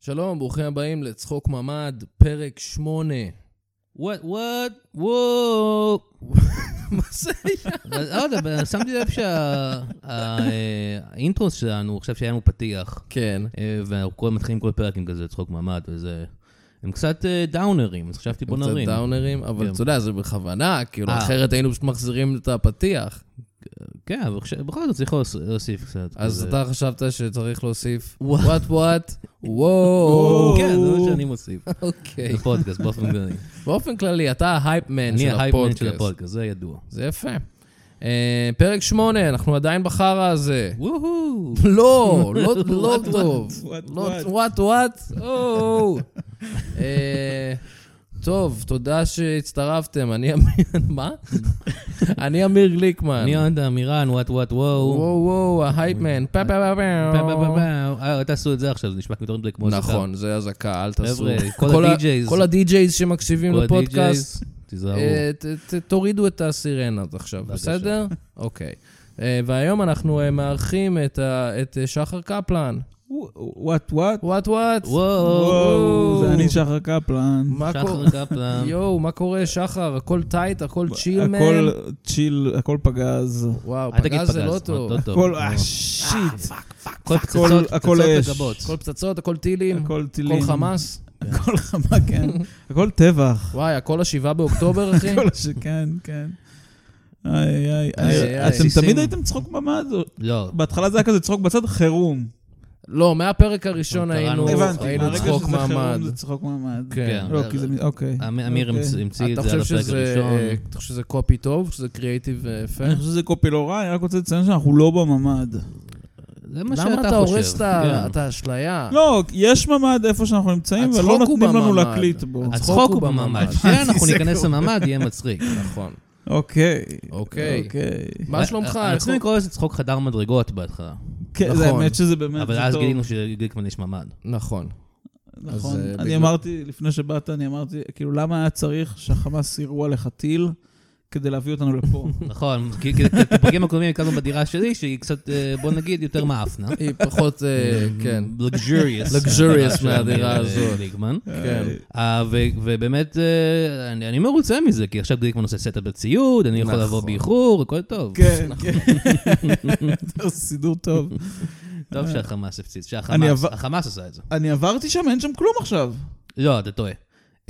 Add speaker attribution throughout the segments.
Speaker 1: שלום, ברוכים הבאים לצחוק ממ"ד, פרק 8.
Speaker 2: וואט, וואט, וואו.
Speaker 1: מה זה היה?
Speaker 2: אבל לא יודע, אבל שמתי לב שהאינטרוס שלנו, עכשיו שהיה לנו פתיח,
Speaker 1: כן.
Speaker 2: אה, ואנחנו כל מתחילים כל פרק עם כזה צחוק ממ"ד וזה, הם קצת אה, דאונרים, אז חשבתי בוא
Speaker 1: קצת
Speaker 2: נרים.
Speaker 1: דאונרים, אבל
Speaker 2: כן.
Speaker 1: אתה יודע, זה בכוונה, כאילו,
Speaker 2: אה.
Speaker 1: אחרת היינו פשוט מחזירים את הפתיח.
Speaker 2: כן, אבל כש- בכל זאת צריך להוס- להוסיף קצת.
Speaker 1: אז
Speaker 2: כזה.
Speaker 1: אתה חשבת שצריך להוסיף
Speaker 2: וואו.
Speaker 1: וואט וואט, וואו.
Speaker 2: כן, זה מה שאני מוסיף.
Speaker 1: אוקיי.
Speaker 2: בפודקאסט, באופן כללי.
Speaker 1: באופן כללי, אתה ההייפמן
Speaker 2: אני
Speaker 1: של
Speaker 2: ההייפמן של
Speaker 1: הפודקאסט.
Speaker 2: הפודקאסט, זה ידוע.
Speaker 1: זה יפה. אה, פרק 8, אנחנו עדיין בחרא הזה.
Speaker 2: וואו.
Speaker 1: לא, לא, לא טוב.
Speaker 3: what,
Speaker 1: לא,
Speaker 3: what?
Speaker 1: what, what? או. אה, טוב, תודה שהצטרפתם. אני אמיר... מה? אני אמיר גליקמן.
Speaker 2: אני אוהד אמירן, וואט וואט
Speaker 1: וואו,
Speaker 2: וואו.
Speaker 1: וואו, ההייפמן. פה, פה, פה,
Speaker 2: פה, פה, פה,
Speaker 1: פה.
Speaker 2: פה. אה, תעשו את זה עכשיו, זה נשמע כמו דברים כמו שיחה.
Speaker 1: נכון, זה אזעקה, אל תעשו.
Speaker 2: חבר'ה, כל
Speaker 1: ה-
Speaker 2: ה-DJs.
Speaker 1: כל ה-DJs שמקשיבים
Speaker 2: כל
Speaker 1: לפודקאסט,
Speaker 2: ה-DJs, תיזהרו.
Speaker 1: אה, ת- ת- תורידו את הסירנות עכשיו,
Speaker 2: בבקשה.
Speaker 1: בסדר? אוקיי. אה, והיום אנחנו אה, מארחים את ה- את אה, שחר קפלן.
Speaker 3: וואט וואט?
Speaker 1: וואט וואט.
Speaker 2: וואו.
Speaker 3: וואו, זה אני שחר קפלן.
Speaker 1: מה קורה?
Speaker 2: שחר קפלן.
Speaker 1: יואו, מה קורה, שחר? הכל טייט, הכל צ'יל, מן?
Speaker 3: הכל צ'יל, הכל פגז.
Speaker 1: וואו,
Speaker 2: אל תגיד
Speaker 1: פגז זה לא טוב.
Speaker 2: לא
Speaker 3: הכל
Speaker 2: לא.
Speaker 3: אה, שיט.
Speaker 2: הכל
Speaker 3: הכל-
Speaker 2: פצצות,
Speaker 3: הכל
Speaker 2: פצצות
Speaker 3: אש.
Speaker 2: וגבות.
Speaker 1: הכל פצצות, הכל טילים,
Speaker 3: הכל טילים.
Speaker 1: הכל חמאס.
Speaker 3: הכל חמה, כן. הכל טבח.
Speaker 1: וואי, הכל השבעה באוקטובר, אחי?
Speaker 3: הכל ש... כן, כן. איי, איי,
Speaker 1: איי,
Speaker 3: איי.
Speaker 1: איי.
Speaker 3: אתם
Speaker 2: סיסים.
Speaker 3: תמיד הייתם צחוק ממ"ד?
Speaker 2: לא.
Speaker 3: בהתחלה זה היה כזה צחוק בצד חירום.
Speaker 1: לא, מהפרק הראשון
Speaker 2: קראנו-
Speaker 1: היינו
Speaker 3: הבנתי.
Speaker 1: היינו
Speaker 3: מהרגע
Speaker 1: צחוק
Speaker 3: שזה
Speaker 1: מעמד.
Speaker 3: חירום זה צחוק מעמד.
Speaker 1: כן. אה,
Speaker 2: כן.
Speaker 3: לא, כי זה... מ- אוקיי.
Speaker 2: אמ- אמיר
Speaker 3: אוקיי.
Speaker 2: המצ- המציא
Speaker 1: אתה
Speaker 2: את זה על
Speaker 1: חושב
Speaker 2: הפרק
Speaker 1: שזה, אה,
Speaker 2: הראשון.
Speaker 1: אתה חושב שזה קופי טוב? שזה קריאיטיב אה, יפה?
Speaker 3: אני חושב שזה קופי לא רע, אני רק רוצה לציין שאנחנו לא בממ"ד.
Speaker 2: זה מה שאתה חושב.
Speaker 1: למה אתה הורס את ה-
Speaker 2: כן.
Speaker 1: את האשליה?
Speaker 3: לא, יש ממ"ד איפה שאנחנו נמצאים,
Speaker 1: אה. הצחוק
Speaker 3: ולא
Speaker 1: הוא
Speaker 3: נותנים לנו
Speaker 1: בממ"ד.
Speaker 3: להקליט בו.
Speaker 1: הצ-
Speaker 2: הצחוק הוא בממ"ד. כשאנחנו
Speaker 3: זה
Speaker 2: ניכנס לממ"ד יהיה מצחיק.
Speaker 1: נכון.
Speaker 3: אוקיי.
Speaker 1: אוקיי.
Speaker 3: אוקיי.
Speaker 1: מה שלומך?
Speaker 2: אה, אנחנו
Speaker 1: איך-
Speaker 2: צריכים לקרוא לזה צחוק חדר מדרגות בהתחלה.
Speaker 3: כן,
Speaker 1: נכון.
Speaker 3: זה האמת שזה באמת...
Speaker 2: אבל
Speaker 3: זה
Speaker 2: אז
Speaker 3: טוב.
Speaker 2: גילינו שגליקמן יש ממ"ד.
Speaker 1: נכון.
Speaker 3: נכון.
Speaker 1: אז, אה, בגלל-
Speaker 3: אני אמרתי, לפני שבאת, אני אמרתי, כאילו, למה היה צריך שהחמאס יירו עליך טיל כדי להביא אותנו לפה?
Speaker 2: נכון, כי כי- כי את הפרקים הקודמים הקלטנו בדירה שלי, שהיא קצת, אה, בוא נגיד, יותר מאפנה. Mm,
Speaker 1: היא פחות, אה, כן.
Speaker 2: לגז'וריוס.
Speaker 1: Luxurious מהדירה הזאת.
Speaker 2: אה, גליקמן.
Speaker 1: כן.
Speaker 2: אה, ו- ובאמת, אה, אני אני מרוצה מזה, כי עכשיו גליקמן עושה סטאפ בציוד, אני יכול
Speaker 1: נכון.
Speaker 2: לבוא באיחור, הכל טוב.
Speaker 3: כן, כן. זה סידור טוב.
Speaker 2: טוב שהחמאס הפציץ,
Speaker 3: אני
Speaker 2: שהחמאס
Speaker 3: עבר-
Speaker 2: החמאס עשה את זה.
Speaker 3: אני עברתי שם, אין שם כלום עכשיו.
Speaker 2: לא, אתה טועה.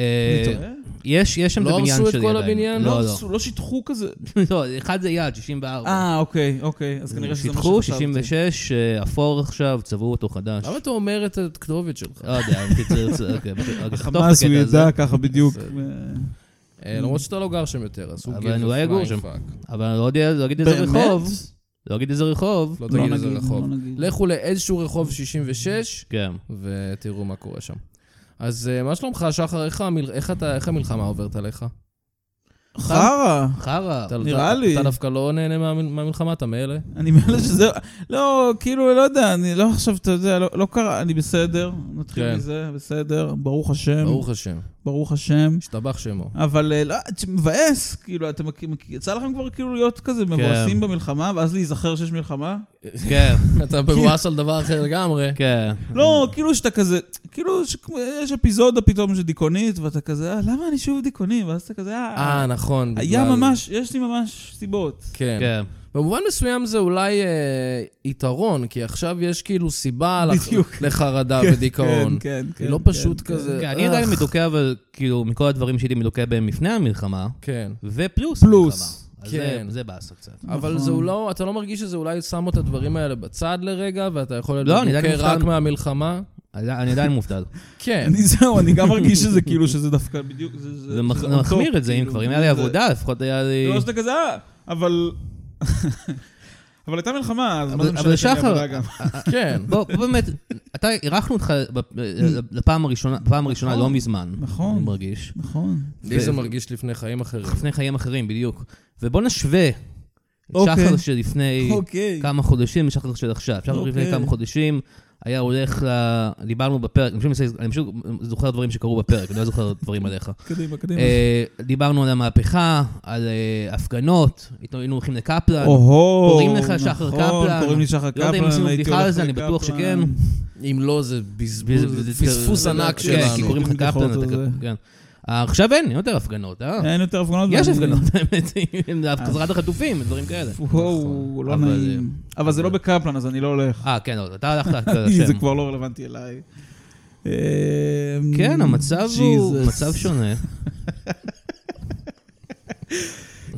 Speaker 2: אה,
Speaker 3: אני טועה?
Speaker 2: יש יש שם את
Speaker 1: לא
Speaker 2: הבניין שלי
Speaker 1: הרסו את
Speaker 2: עדיין.
Speaker 1: כל הבניין?
Speaker 2: לא,
Speaker 3: הרסו,
Speaker 2: לא.
Speaker 3: לא שיטחו כזה.
Speaker 2: לא, אחד זה יעד,
Speaker 1: לא.
Speaker 2: 64.
Speaker 3: אה, אוקיי, אוקיי. אז כנראה שזה מה
Speaker 2: שיטחו,
Speaker 3: שחשבתי.
Speaker 2: 66, אה, אפור עכשיו, צבעו אותו חדש.
Speaker 1: למה אתה אומר את הכתובת שלך?
Speaker 2: לא יודע, אבל תצא- תצא- אוקיי, אוקיי, תחתוך את
Speaker 3: חמאס, הוא
Speaker 2: הקטע הזה.
Speaker 3: ידע ככה בדיוק.
Speaker 1: אה, למרות שאתה לא גר שם יותר, אז הוא
Speaker 2: אבל
Speaker 1: give
Speaker 2: אני
Speaker 1: a
Speaker 2: אולי אגור
Speaker 1: flying
Speaker 2: שם.
Speaker 1: fuck.
Speaker 2: אבל אני לא יודע להגיד איזה
Speaker 3: באמת?
Speaker 2: רחוב. לא אגיד איזה רחוב.
Speaker 1: לא
Speaker 3: לא
Speaker 1: תגיד איזה
Speaker 3: נגיד,
Speaker 1: רחוב.
Speaker 3: לא נגיד.
Speaker 1: לכו לאיזשהו רחוב 66,
Speaker 2: כן.
Speaker 1: ותראו מה קורה שם. אז אה, מה שלומך, שחר? איך המל- איך אתה- איך המלחמה עוברת עליך?
Speaker 3: חרא.
Speaker 2: חרא.
Speaker 1: אתה-
Speaker 3: נראה
Speaker 1: אתה-
Speaker 3: לי.
Speaker 1: אתה דווקא לא נהנה מה- מהמלחמה, אתה מאלה?
Speaker 3: אני מאלה שזה... לא, כאילו, לא יודע, אני לא עכשיו, אתה יודע, לא, לא קרה, אני בסדר, נתחיל
Speaker 1: כן.
Speaker 3: מזה, בסדר, ברוך השם, ברוך,
Speaker 1: ברוך השם,
Speaker 3: ברוך השם.
Speaker 1: השתבח שמו.
Speaker 3: אבל אה, לא, זה מבאס, כאילו, אתם, מכ- מכ- יצא לכם כבר כאילו להיות כזה מבואסים במלחמה, ואז להיזכר שיש מלחמה?
Speaker 2: כן,
Speaker 1: אתה מבואס על דבר אחר לגמרי.
Speaker 2: כן.
Speaker 3: לא, כאילו שאתה כזה, כאילו שכמו- יש אפיזודה פתאום שדיכאונית, ואתה כזה, אה, למה אני שוב דיכאוני? ואז אתה כזה, אה,
Speaker 1: אה, נכון.
Speaker 3: היה
Speaker 1: בגלל-
Speaker 3: ממש, יש לי ממש סיבות.
Speaker 1: כן.
Speaker 2: כן.
Speaker 1: במובן מסוים זה אולי אה, יתרון, כי עכשיו יש כאילו סיבה לח-
Speaker 3: בדיוק.
Speaker 1: לחרדה
Speaker 3: כן,
Speaker 1: ודיכאון.
Speaker 3: כן, כן,
Speaker 1: היא
Speaker 3: כן,
Speaker 1: אה, לא
Speaker 3: כן,
Speaker 1: פשוט
Speaker 3: כן.
Speaker 1: כזה...
Speaker 2: כן, אני
Speaker 1: אה,
Speaker 2: עדיין מדוכא, אבל כאילו, מכל הדברים שהייתי מדוכא בהם לפני המלחמה,
Speaker 1: כן.
Speaker 2: ופלוס
Speaker 3: פלוס.
Speaker 2: המלחמה. אז
Speaker 1: כן.
Speaker 2: זה- זה באסה קצת.
Speaker 1: אבל
Speaker 3: נכון.
Speaker 1: זהו לא, אתה לא מרגיש שזה אולי שם את הדברים האלה בצד לרגע, ואתה יכול
Speaker 2: לא, אני
Speaker 1: לדבר
Speaker 2: עדיין
Speaker 1: רק
Speaker 2: מופתע.
Speaker 1: מהמלחמה?
Speaker 2: אני אני עדיין מובטל.
Speaker 1: כן.
Speaker 3: אני זהו, אני גם מרגיש שזה כאילו, שזה דווקא בדיוק, זה- זה
Speaker 2: זה מח-
Speaker 3: שזה
Speaker 2: זה
Speaker 3: on
Speaker 2: מחמיר
Speaker 3: top,
Speaker 2: את זה, אם
Speaker 3: כאילו.
Speaker 2: כבר, אם היה לי
Speaker 3: זה-
Speaker 2: עבודה, לפחות היה לי...
Speaker 3: לא שאתה כזה, "אה, אבל... אבל הייתה מלחמה, אז מה
Speaker 2: אבל-
Speaker 3: זה
Speaker 2: אבל
Speaker 3: משנה שאני
Speaker 2: שחר- אה,
Speaker 3: עבודה גם?
Speaker 1: כן.
Speaker 2: בוא, בוא באמת, אתה, אירחנו אותך בפ- לפעם הראשונה, בפעם הראשונה לא
Speaker 3: נכון,
Speaker 2: מזמן.
Speaker 3: נכון.
Speaker 2: אני מרגיש.
Speaker 3: נכון.
Speaker 1: לי זה
Speaker 2: ו-
Speaker 1: מרגיש לפני חיים אחרים.
Speaker 2: לפני חיים אחרים, בדיוק. ובוא נשווה את
Speaker 3: אוקיי.
Speaker 2: שחר שלפני
Speaker 3: אוקיי.
Speaker 2: כמה חודשים לשחר של עכשיו. שחר
Speaker 3: אוקיי.
Speaker 2: לפני כמה חודשים היה הולך, ל- דיברנו בפרק, אני פשוט- אני פשוט זוכר דברים שקרו בפרק, אני לא זוכר דברים עליך.
Speaker 3: קדימה, קדימה.
Speaker 2: אה, דיברנו על המהפכה, על אה, הפגנות, היינו היינו הולכים לקפלן.
Speaker 3: אוהו,
Speaker 2: קוראים לך שחר קפלן.
Speaker 3: נכון, קוראים לי שחר קפלן.
Speaker 2: לא יודע אם עשינו
Speaker 3: הייתי
Speaker 2: בדיחה
Speaker 3: הולך
Speaker 2: על זה, אני
Speaker 3: לקפלן.
Speaker 2: בטוח שכן.
Speaker 1: אם לא, זה בזבוז, פספוס ענק
Speaker 2: כן, כי
Speaker 1: שלנו.
Speaker 2: קוראים לך
Speaker 3: בדיחות
Speaker 2: קפלן, אתה
Speaker 3: על זה.
Speaker 2: כן. אה, עכשיו אין, אין יותר הפגנות, אה?
Speaker 3: אין יותר הפגנות.
Speaker 2: יש
Speaker 3: ואני-
Speaker 2: הפגנות, האמת, עם החזרת החטופים, דברים כאלה.
Speaker 3: וואו, לא
Speaker 2: נכון. אבל-
Speaker 3: נעים. אבל זה לא בקפלן, אז אני לא הולך.
Speaker 2: אה, כן, לא, אתה הלכת על
Speaker 3: אני- זה
Speaker 2: השם.
Speaker 3: כבר לא רלוונטי אליי. אמ,
Speaker 2: כן, המצב הוא
Speaker 3: Jesus.
Speaker 2: מצב שונה.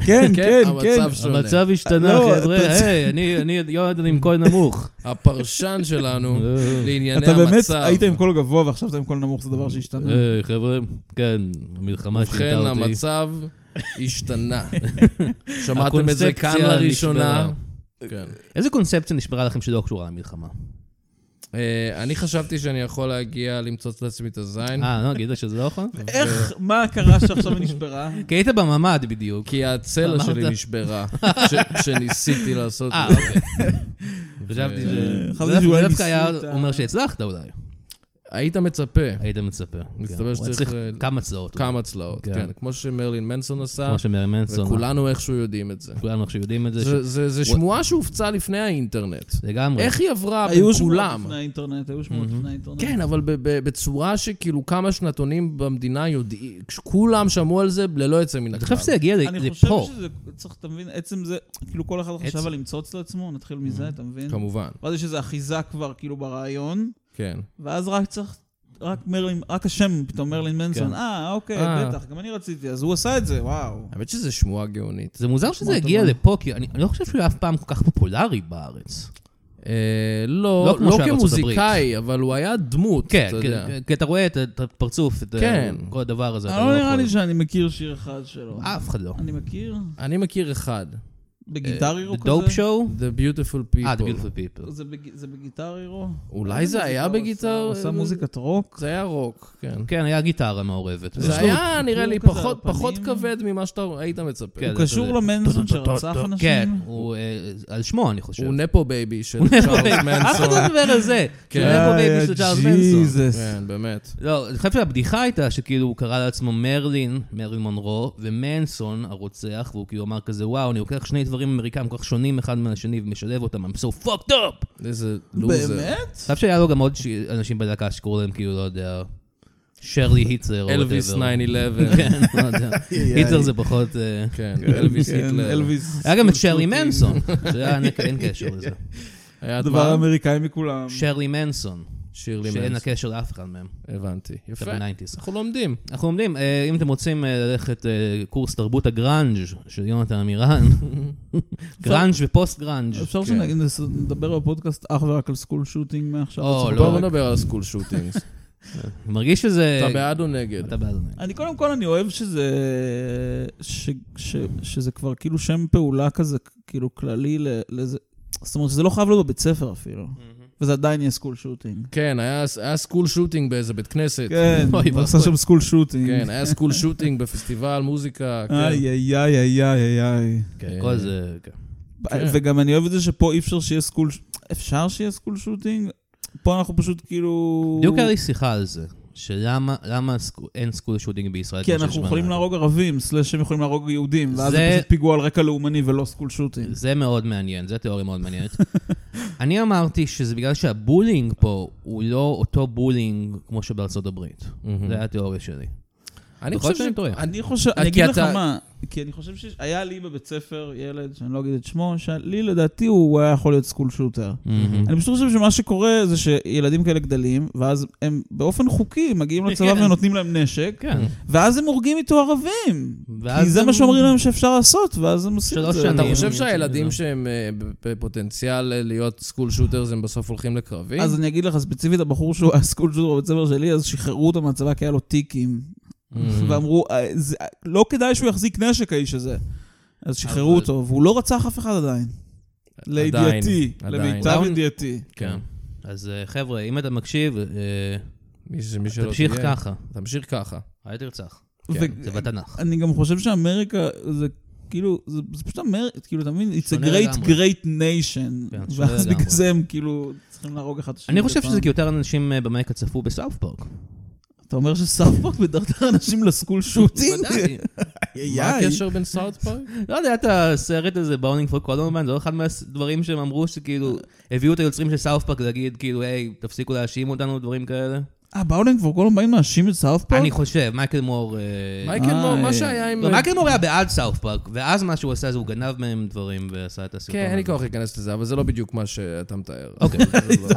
Speaker 3: כן, כן, כן.
Speaker 1: המצב שונה.
Speaker 2: המצב השתנה,
Speaker 3: לא,
Speaker 2: חבר'ה,
Speaker 3: אתה-
Speaker 2: היי, אני- אני יועד עם קול נמוך.
Speaker 1: הפרשן שלנו
Speaker 2: אה,
Speaker 1: לענייני
Speaker 3: אתה
Speaker 1: המצב.
Speaker 3: באמת היית עם קול גבוה ועכשיו אתה עם קול נמוך, זה דבר שהשתנה.
Speaker 2: היי, חבר'ה, כן, המלחמה שינתה
Speaker 1: ובכן,
Speaker 2: אותי.
Speaker 1: המצב השתנה. שמעתם את זה כאן
Speaker 2: הקונספציה
Speaker 1: לראשונה.
Speaker 2: נשברה.
Speaker 1: כן.
Speaker 2: איזה קונספציה נשברה לכם שלא קשורה למלחמה?
Speaker 1: אה, אני חשבתי שאני יכול להגיע למצוץ לעצמי את הזין,
Speaker 2: אה, לא, נגיד שזה לא יכול?
Speaker 3: כן. איך, מה קרה שעכשיו היא נשברה?
Speaker 2: כי היית בממ"ד בדיוק.
Speaker 1: כי הצלע
Speaker 2: אמרת.
Speaker 1: שלי נשברה, כשניסיתי לעשות
Speaker 2: אה,
Speaker 1: את זה.
Speaker 2: אוקיי. חשבתי ש...
Speaker 3: אה, חשבתי
Speaker 2: זה
Speaker 3: שאולי
Speaker 2: דווקא היה
Speaker 3: ניסית.
Speaker 2: אומר שהצלחת אולי.
Speaker 1: היית מצפה
Speaker 2: היית מצפה. כן.
Speaker 1: מסתבר
Speaker 2: הוא
Speaker 1: שצריך,
Speaker 2: צריך
Speaker 1: אה,
Speaker 2: כמה צלעות.
Speaker 1: כמה צלעות,
Speaker 2: כן.
Speaker 1: כן, כמו שמרלין מנסון עשה,
Speaker 2: כמו שמרי מנסון.
Speaker 1: וכולנו איכשהו יודעים את זה.
Speaker 2: כולנו עכשיו יודעים את זה.
Speaker 1: זה-
Speaker 2: ש-
Speaker 1: זה זה שמועה שהופצה לפני האינטרנט.
Speaker 2: לגמרי.
Speaker 1: איך היא עברה בין
Speaker 3: היו שמועות
Speaker 1: כולם?
Speaker 3: לפני האינטרנט, היו שמועות לפני האינטרנט.
Speaker 1: כן, אבל ב- ב- בצורה שכאילו כמה שנתונים במדינה יודעים, כולם שמעו על זה ללא יוצא מן
Speaker 2: אני
Speaker 1: הכלל.
Speaker 2: חושב שזה יגיע ל-
Speaker 3: אני חושב
Speaker 2: לפה.
Speaker 3: שזה, צריך, אתה מבין, עצם זה, כאילו כל אחד
Speaker 2: עצם.
Speaker 3: חשב על למצוץ לעצמו, נתחיל מזה, אתה מבין?
Speaker 1: כמובן,
Speaker 3: ואז יש איזו אחיזה כבר, כאילו, ברעיון,
Speaker 1: כן.
Speaker 3: ואז רק צריך, רק מרלין, רק השם, פתאום מרלין מנסון, אה, אוקיי,
Speaker 1: אה.
Speaker 3: בטח, גם אני רציתי, אז הוא עשה את זה, וואו.
Speaker 1: האמת שזו שמועה גאונית.
Speaker 2: זה מוזר שזה
Speaker 3: כמו
Speaker 2: יגיע
Speaker 3: אתה
Speaker 2: לפה, כי אני אני לא חושב שהוא היה אף פעם כל כך פופולרי בארץ.
Speaker 1: אה, לא,
Speaker 2: לא כמו
Speaker 1: לא
Speaker 2: שהיה בארצות
Speaker 1: כמוזיקאי, אבל הוא היה דמות,
Speaker 2: כן,
Speaker 1: אתה יודע.
Speaker 2: כן, כי אתה רואה את את הפרצוף, את
Speaker 1: כן.
Speaker 2: ה- כל הדבר הזה. אתה
Speaker 3: לא נראה
Speaker 2: יכול-
Speaker 3: לי שאני מכיר שיר אחד שלו.
Speaker 2: אף אחד לא.
Speaker 1: כאילו
Speaker 3: אני מכיר?
Speaker 1: אני מכיר אחד,
Speaker 3: בגיטר הירו
Speaker 2: The
Speaker 3: כזה?
Speaker 2: Dope Show?
Speaker 1: The Beautiful
Speaker 2: אה, The
Speaker 1: People.
Speaker 2: Beautiful אה, People.
Speaker 3: זה בג- זה בגיטר הירו?
Speaker 1: אולי זה היה בגיטר...
Speaker 3: הוא עשה מוזיקת רוק?
Speaker 1: זה היה רוק, כן.
Speaker 2: כן, היה גיטרה מעורבת. לא.
Speaker 1: זה היה נראה לי
Speaker 3: הוא כזה
Speaker 1: פחות-
Speaker 3: על
Speaker 1: פחות
Speaker 3: הפנים.
Speaker 1: כבד ממה שאתה היית מצפה.
Speaker 2: כן,
Speaker 3: הוא
Speaker 2: זה-
Speaker 3: קשור
Speaker 2: זה-
Speaker 3: למנסון שרצח
Speaker 2: כן,
Speaker 3: אנשים?
Speaker 2: הוא אה, על שמו, אני חושב.
Speaker 1: הוא נפו בייבי של
Speaker 2: הוא נפו
Speaker 1: צ'ארלס
Speaker 2: בייבי. אף אחד
Speaker 1: מנסון.
Speaker 2: לא מדבר על זה.
Speaker 1: כן.
Speaker 2: שהוא נפו בייבי של צ'ארלס מנסון.
Speaker 3: ג'יזוס.
Speaker 1: כן, באמת.
Speaker 2: לא, אני חושב שהבדיחה הייתה שכאילו הוא קרא לעצמו מרלין, מרלין מונרו, ומנסון הרוצח, והוא כאילו אמר כזה, וואו, אני לוקח שני דברים אמריקאים כל כך שונים אחד מהשני ומשלב אותם, I'm so fucked up!
Speaker 1: איזה לוזר.
Speaker 3: באמת?
Speaker 2: אני חושב שהיה לו גם עוד ש- אנשים בדקה שקראו להם כאילו, לא יודע, שרלי היטלר או
Speaker 1: אלוויס 9-11.
Speaker 2: whatever. כן, לא יודע. היטלר זה פחות... אה,
Speaker 1: כן, אלוויס
Speaker 3: כן,
Speaker 1: היטלר.
Speaker 3: אלוויס.
Speaker 2: היה גם את שרלי מנסון, שהיה ענק, אין קשר לזה.
Speaker 1: היה את
Speaker 3: הדבר
Speaker 1: מה?
Speaker 3: האמריקאי מכולם.
Speaker 2: שרלי מנסון,
Speaker 1: שירלי
Speaker 2: שאין לה
Speaker 1: מנסון.
Speaker 2: קשר לאף אחד מהם.
Speaker 1: הבנתי. יפה.
Speaker 2: זה בניינטיז.
Speaker 1: אנחנו לומדים.
Speaker 2: אנחנו עומדים, אה, אם אתם רוצים אה, ללכת אה, קורס תרבות הגראנג' של יונתן עמירן, גראנג' ופוסט גראנג'.
Speaker 3: אפשר
Speaker 1: כן.
Speaker 3: שנגיד, נדבר בפודקאסט אך ורק על סקול שוטינג מעכשיו?
Speaker 2: או,
Speaker 3: עד סוף
Speaker 2: לא.
Speaker 1: בואו
Speaker 3: הפרק?
Speaker 1: נדבר על סקול שוטינגס.
Speaker 2: אני מרגיש שזה...
Speaker 1: אתה בעד או נגד?
Speaker 2: אתה בעד. אני.
Speaker 3: אני קודם כל, אני אוהב שזה... ש- ש- שזה כבר כאילו שם פעולה כזה, כאילו כללי ל- לזה. זאת אומרת, שזה לא חייב להיות בבית ספר אפילו. וזה עדיין יהיה סקול שוטינג.
Speaker 1: כן, היה- היה סקול שוטינג באיזה בית כנסת.
Speaker 3: כן,
Speaker 2: אוי,
Speaker 3: הוא עשה
Speaker 2: ואבוי.
Speaker 3: שם סקול שוטינג.
Speaker 1: כן, היה סקול שוטינג בפסטיבל מוזיקה.
Speaker 2: אה,
Speaker 1: כן.
Speaker 2: אוקיי.
Speaker 3: איי, איי, איי, איי, איי, איי.
Speaker 1: אוקיי.
Speaker 2: כן, כל זה... כן.
Speaker 1: כן.
Speaker 3: וגם אני אוהב את זה שפה אי אפשר שיהיה סקול... ש- אפשר שיהיה סקול שוטינג? פה אנחנו פשוט כאילו...
Speaker 2: בדיוק היה לי שיחה על זה, שלמה למה סקו- אין סקול שוטינג בישראל.
Speaker 3: כי
Speaker 2: כמו שיש
Speaker 3: כן, אנחנו יכולים
Speaker 2: בנאטו.
Speaker 3: להרוג ערבים, סלאש הם יכולים להרוג יהודים, ואז
Speaker 2: זה-
Speaker 3: זה פשוט פיגוע על רקע לאומני ולא סקול שוטינג.
Speaker 2: זה מאוד מעניין, זו תיאוריה מאוד מעניינת. אני אמרתי שזה בגלל שהבולינג פה הוא לא אותו בולינג כמו שבארצות הברית.
Speaker 1: מהמם.
Speaker 2: זו הייתה התיאוריה שלי.
Speaker 1: אני
Speaker 2: יכול
Speaker 1: חושב
Speaker 2: להיות
Speaker 1: ש...
Speaker 2: שאני טועה.
Speaker 3: אני אה, חושב,
Speaker 1: כי
Speaker 3: אני אגיד לך
Speaker 1: אתה-
Speaker 3: מה, כי אני חושב שהיה לי בבית ספר ילד, שאני לא אגיד את שמו, שלי לדעתי הוא היה יכול להיות סקול שוטר. אני פשוט חושב שמה שקורה זה שילדים כאלה גדלים, ואז הם באופן חוקי מגיעים לצבא
Speaker 2: כן.
Speaker 3: ונותנים להם נשק,
Speaker 2: כן.
Speaker 3: ואז הם הורגים איתו ערבים.
Speaker 2: ואז
Speaker 3: כי זה
Speaker 2: הם-
Speaker 3: מה שאומרים להם שאפשר לעשות, ואז הם עושים את
Speaker 2: שלוש
Speaker 3: זה.
Speaker 1: אתה
Speaker 2: אני-
Speaker 1: חושב
Speaker 2: אני-
Speaker 1: שהילדים
Speaker 2: לא.
Speaker 1: שהם אה, בפוטנציאל אה, להיות סקול שוטרס הם בסוף הולכים לקרבי?
Speaker 3: אז אני אגיד לך, ספציפית, הבחור שהוא היה סקול שוטר בבית ספר שלי, אז שחררו אותו מהצבא כי היה לו טיקים.
Speaker 2: Mm.
Speaker 3: ואמרו, "אה, זה- לא כדאי שהוא יחזיק נשק, האיש הזה. אז שחררו
Speaker 2: אבל-
Speaker 3: אותו, והוא לא רצח אף אחד עדיין. לידיעתי,
Speaker 1: עדיין.
Speaker 3: למיטב
Speaker 2: עדיין.
Speaker 3: ידיעתי.
Speaker 1: כן.
Speaker 2: אז אה, חבר'ה, אם אתה מקשיב, אה,
Speaker 1: מי ש- מי שלא
Speaker 2: תמשיך
Speaker 1: תהיה.
Speaker 2: ככה,
Speaker 1: תמשיך ככה.
Speaker 2: אל תרצח.
Speaker 1: כן,
Speaker 3: ו-
Speaker 2: זה בתנ"ך.
Speaker 3: אני גם חושב שאמריקה, זה כאילו, זה, זה פשוט אומר, כאילו, אתה מבין? It's a
Speaker 2: שונה
Speaker 3: great
Speaker 2: לגמרי.
Speaker 3: great nation.
Speaker 2: כן, שונה
Speaker 3: ואז בגלל
Speaker 2: לגמרי.
Speaker 3: זה הם כאילו צריכים להרוג אחד את השני.
Speaker 2: אני חושב
Speaker 3: מדי פעם.
Speaker 2: שזה כי יותר אנשים אה, במקה צפו בסאוף פארק.
Speaker 3: אתה אומר שסארפוק מדרדר אנשים לסקול שוטינג?
Speaker 2: בוודאי.
Speaker 1: מה הקשר בין סאוט פארק?
Speaker 2: לא יודע, את הסרט הזה, באונינג פור קולומבן, זה לא אחד מהדברים שהם אמרו שכאילו, הביאו את היוצרים של סאוף פארק להגיד, כאילו, היי, תפסיקו להאשים אותנו, דברים כאלה.
Speaker 3: אה, באולינג כבר כל הזמן באים מאשים את סארפוק?
Speaker 2: אני חושב, מייקל מור... אה,
Speaker 1: מייקל מור,
Speaker 3: אה,
Speaker 1: מה שהיה עם...
Speaker 2: לא, מייקל מור היה בעד סאוף פארק, ואז מה שהוא עשה זה הוא גנב מהם דברים ועשה את הסרטון.
Speaker 1: כן, אין לי
Speaker 2: הזה.
Speaker 1: כוח להיכנס לזה, אבל זה לא בדיוק מה שאתה מתאר. לא-
Speaker 2: אוקיי.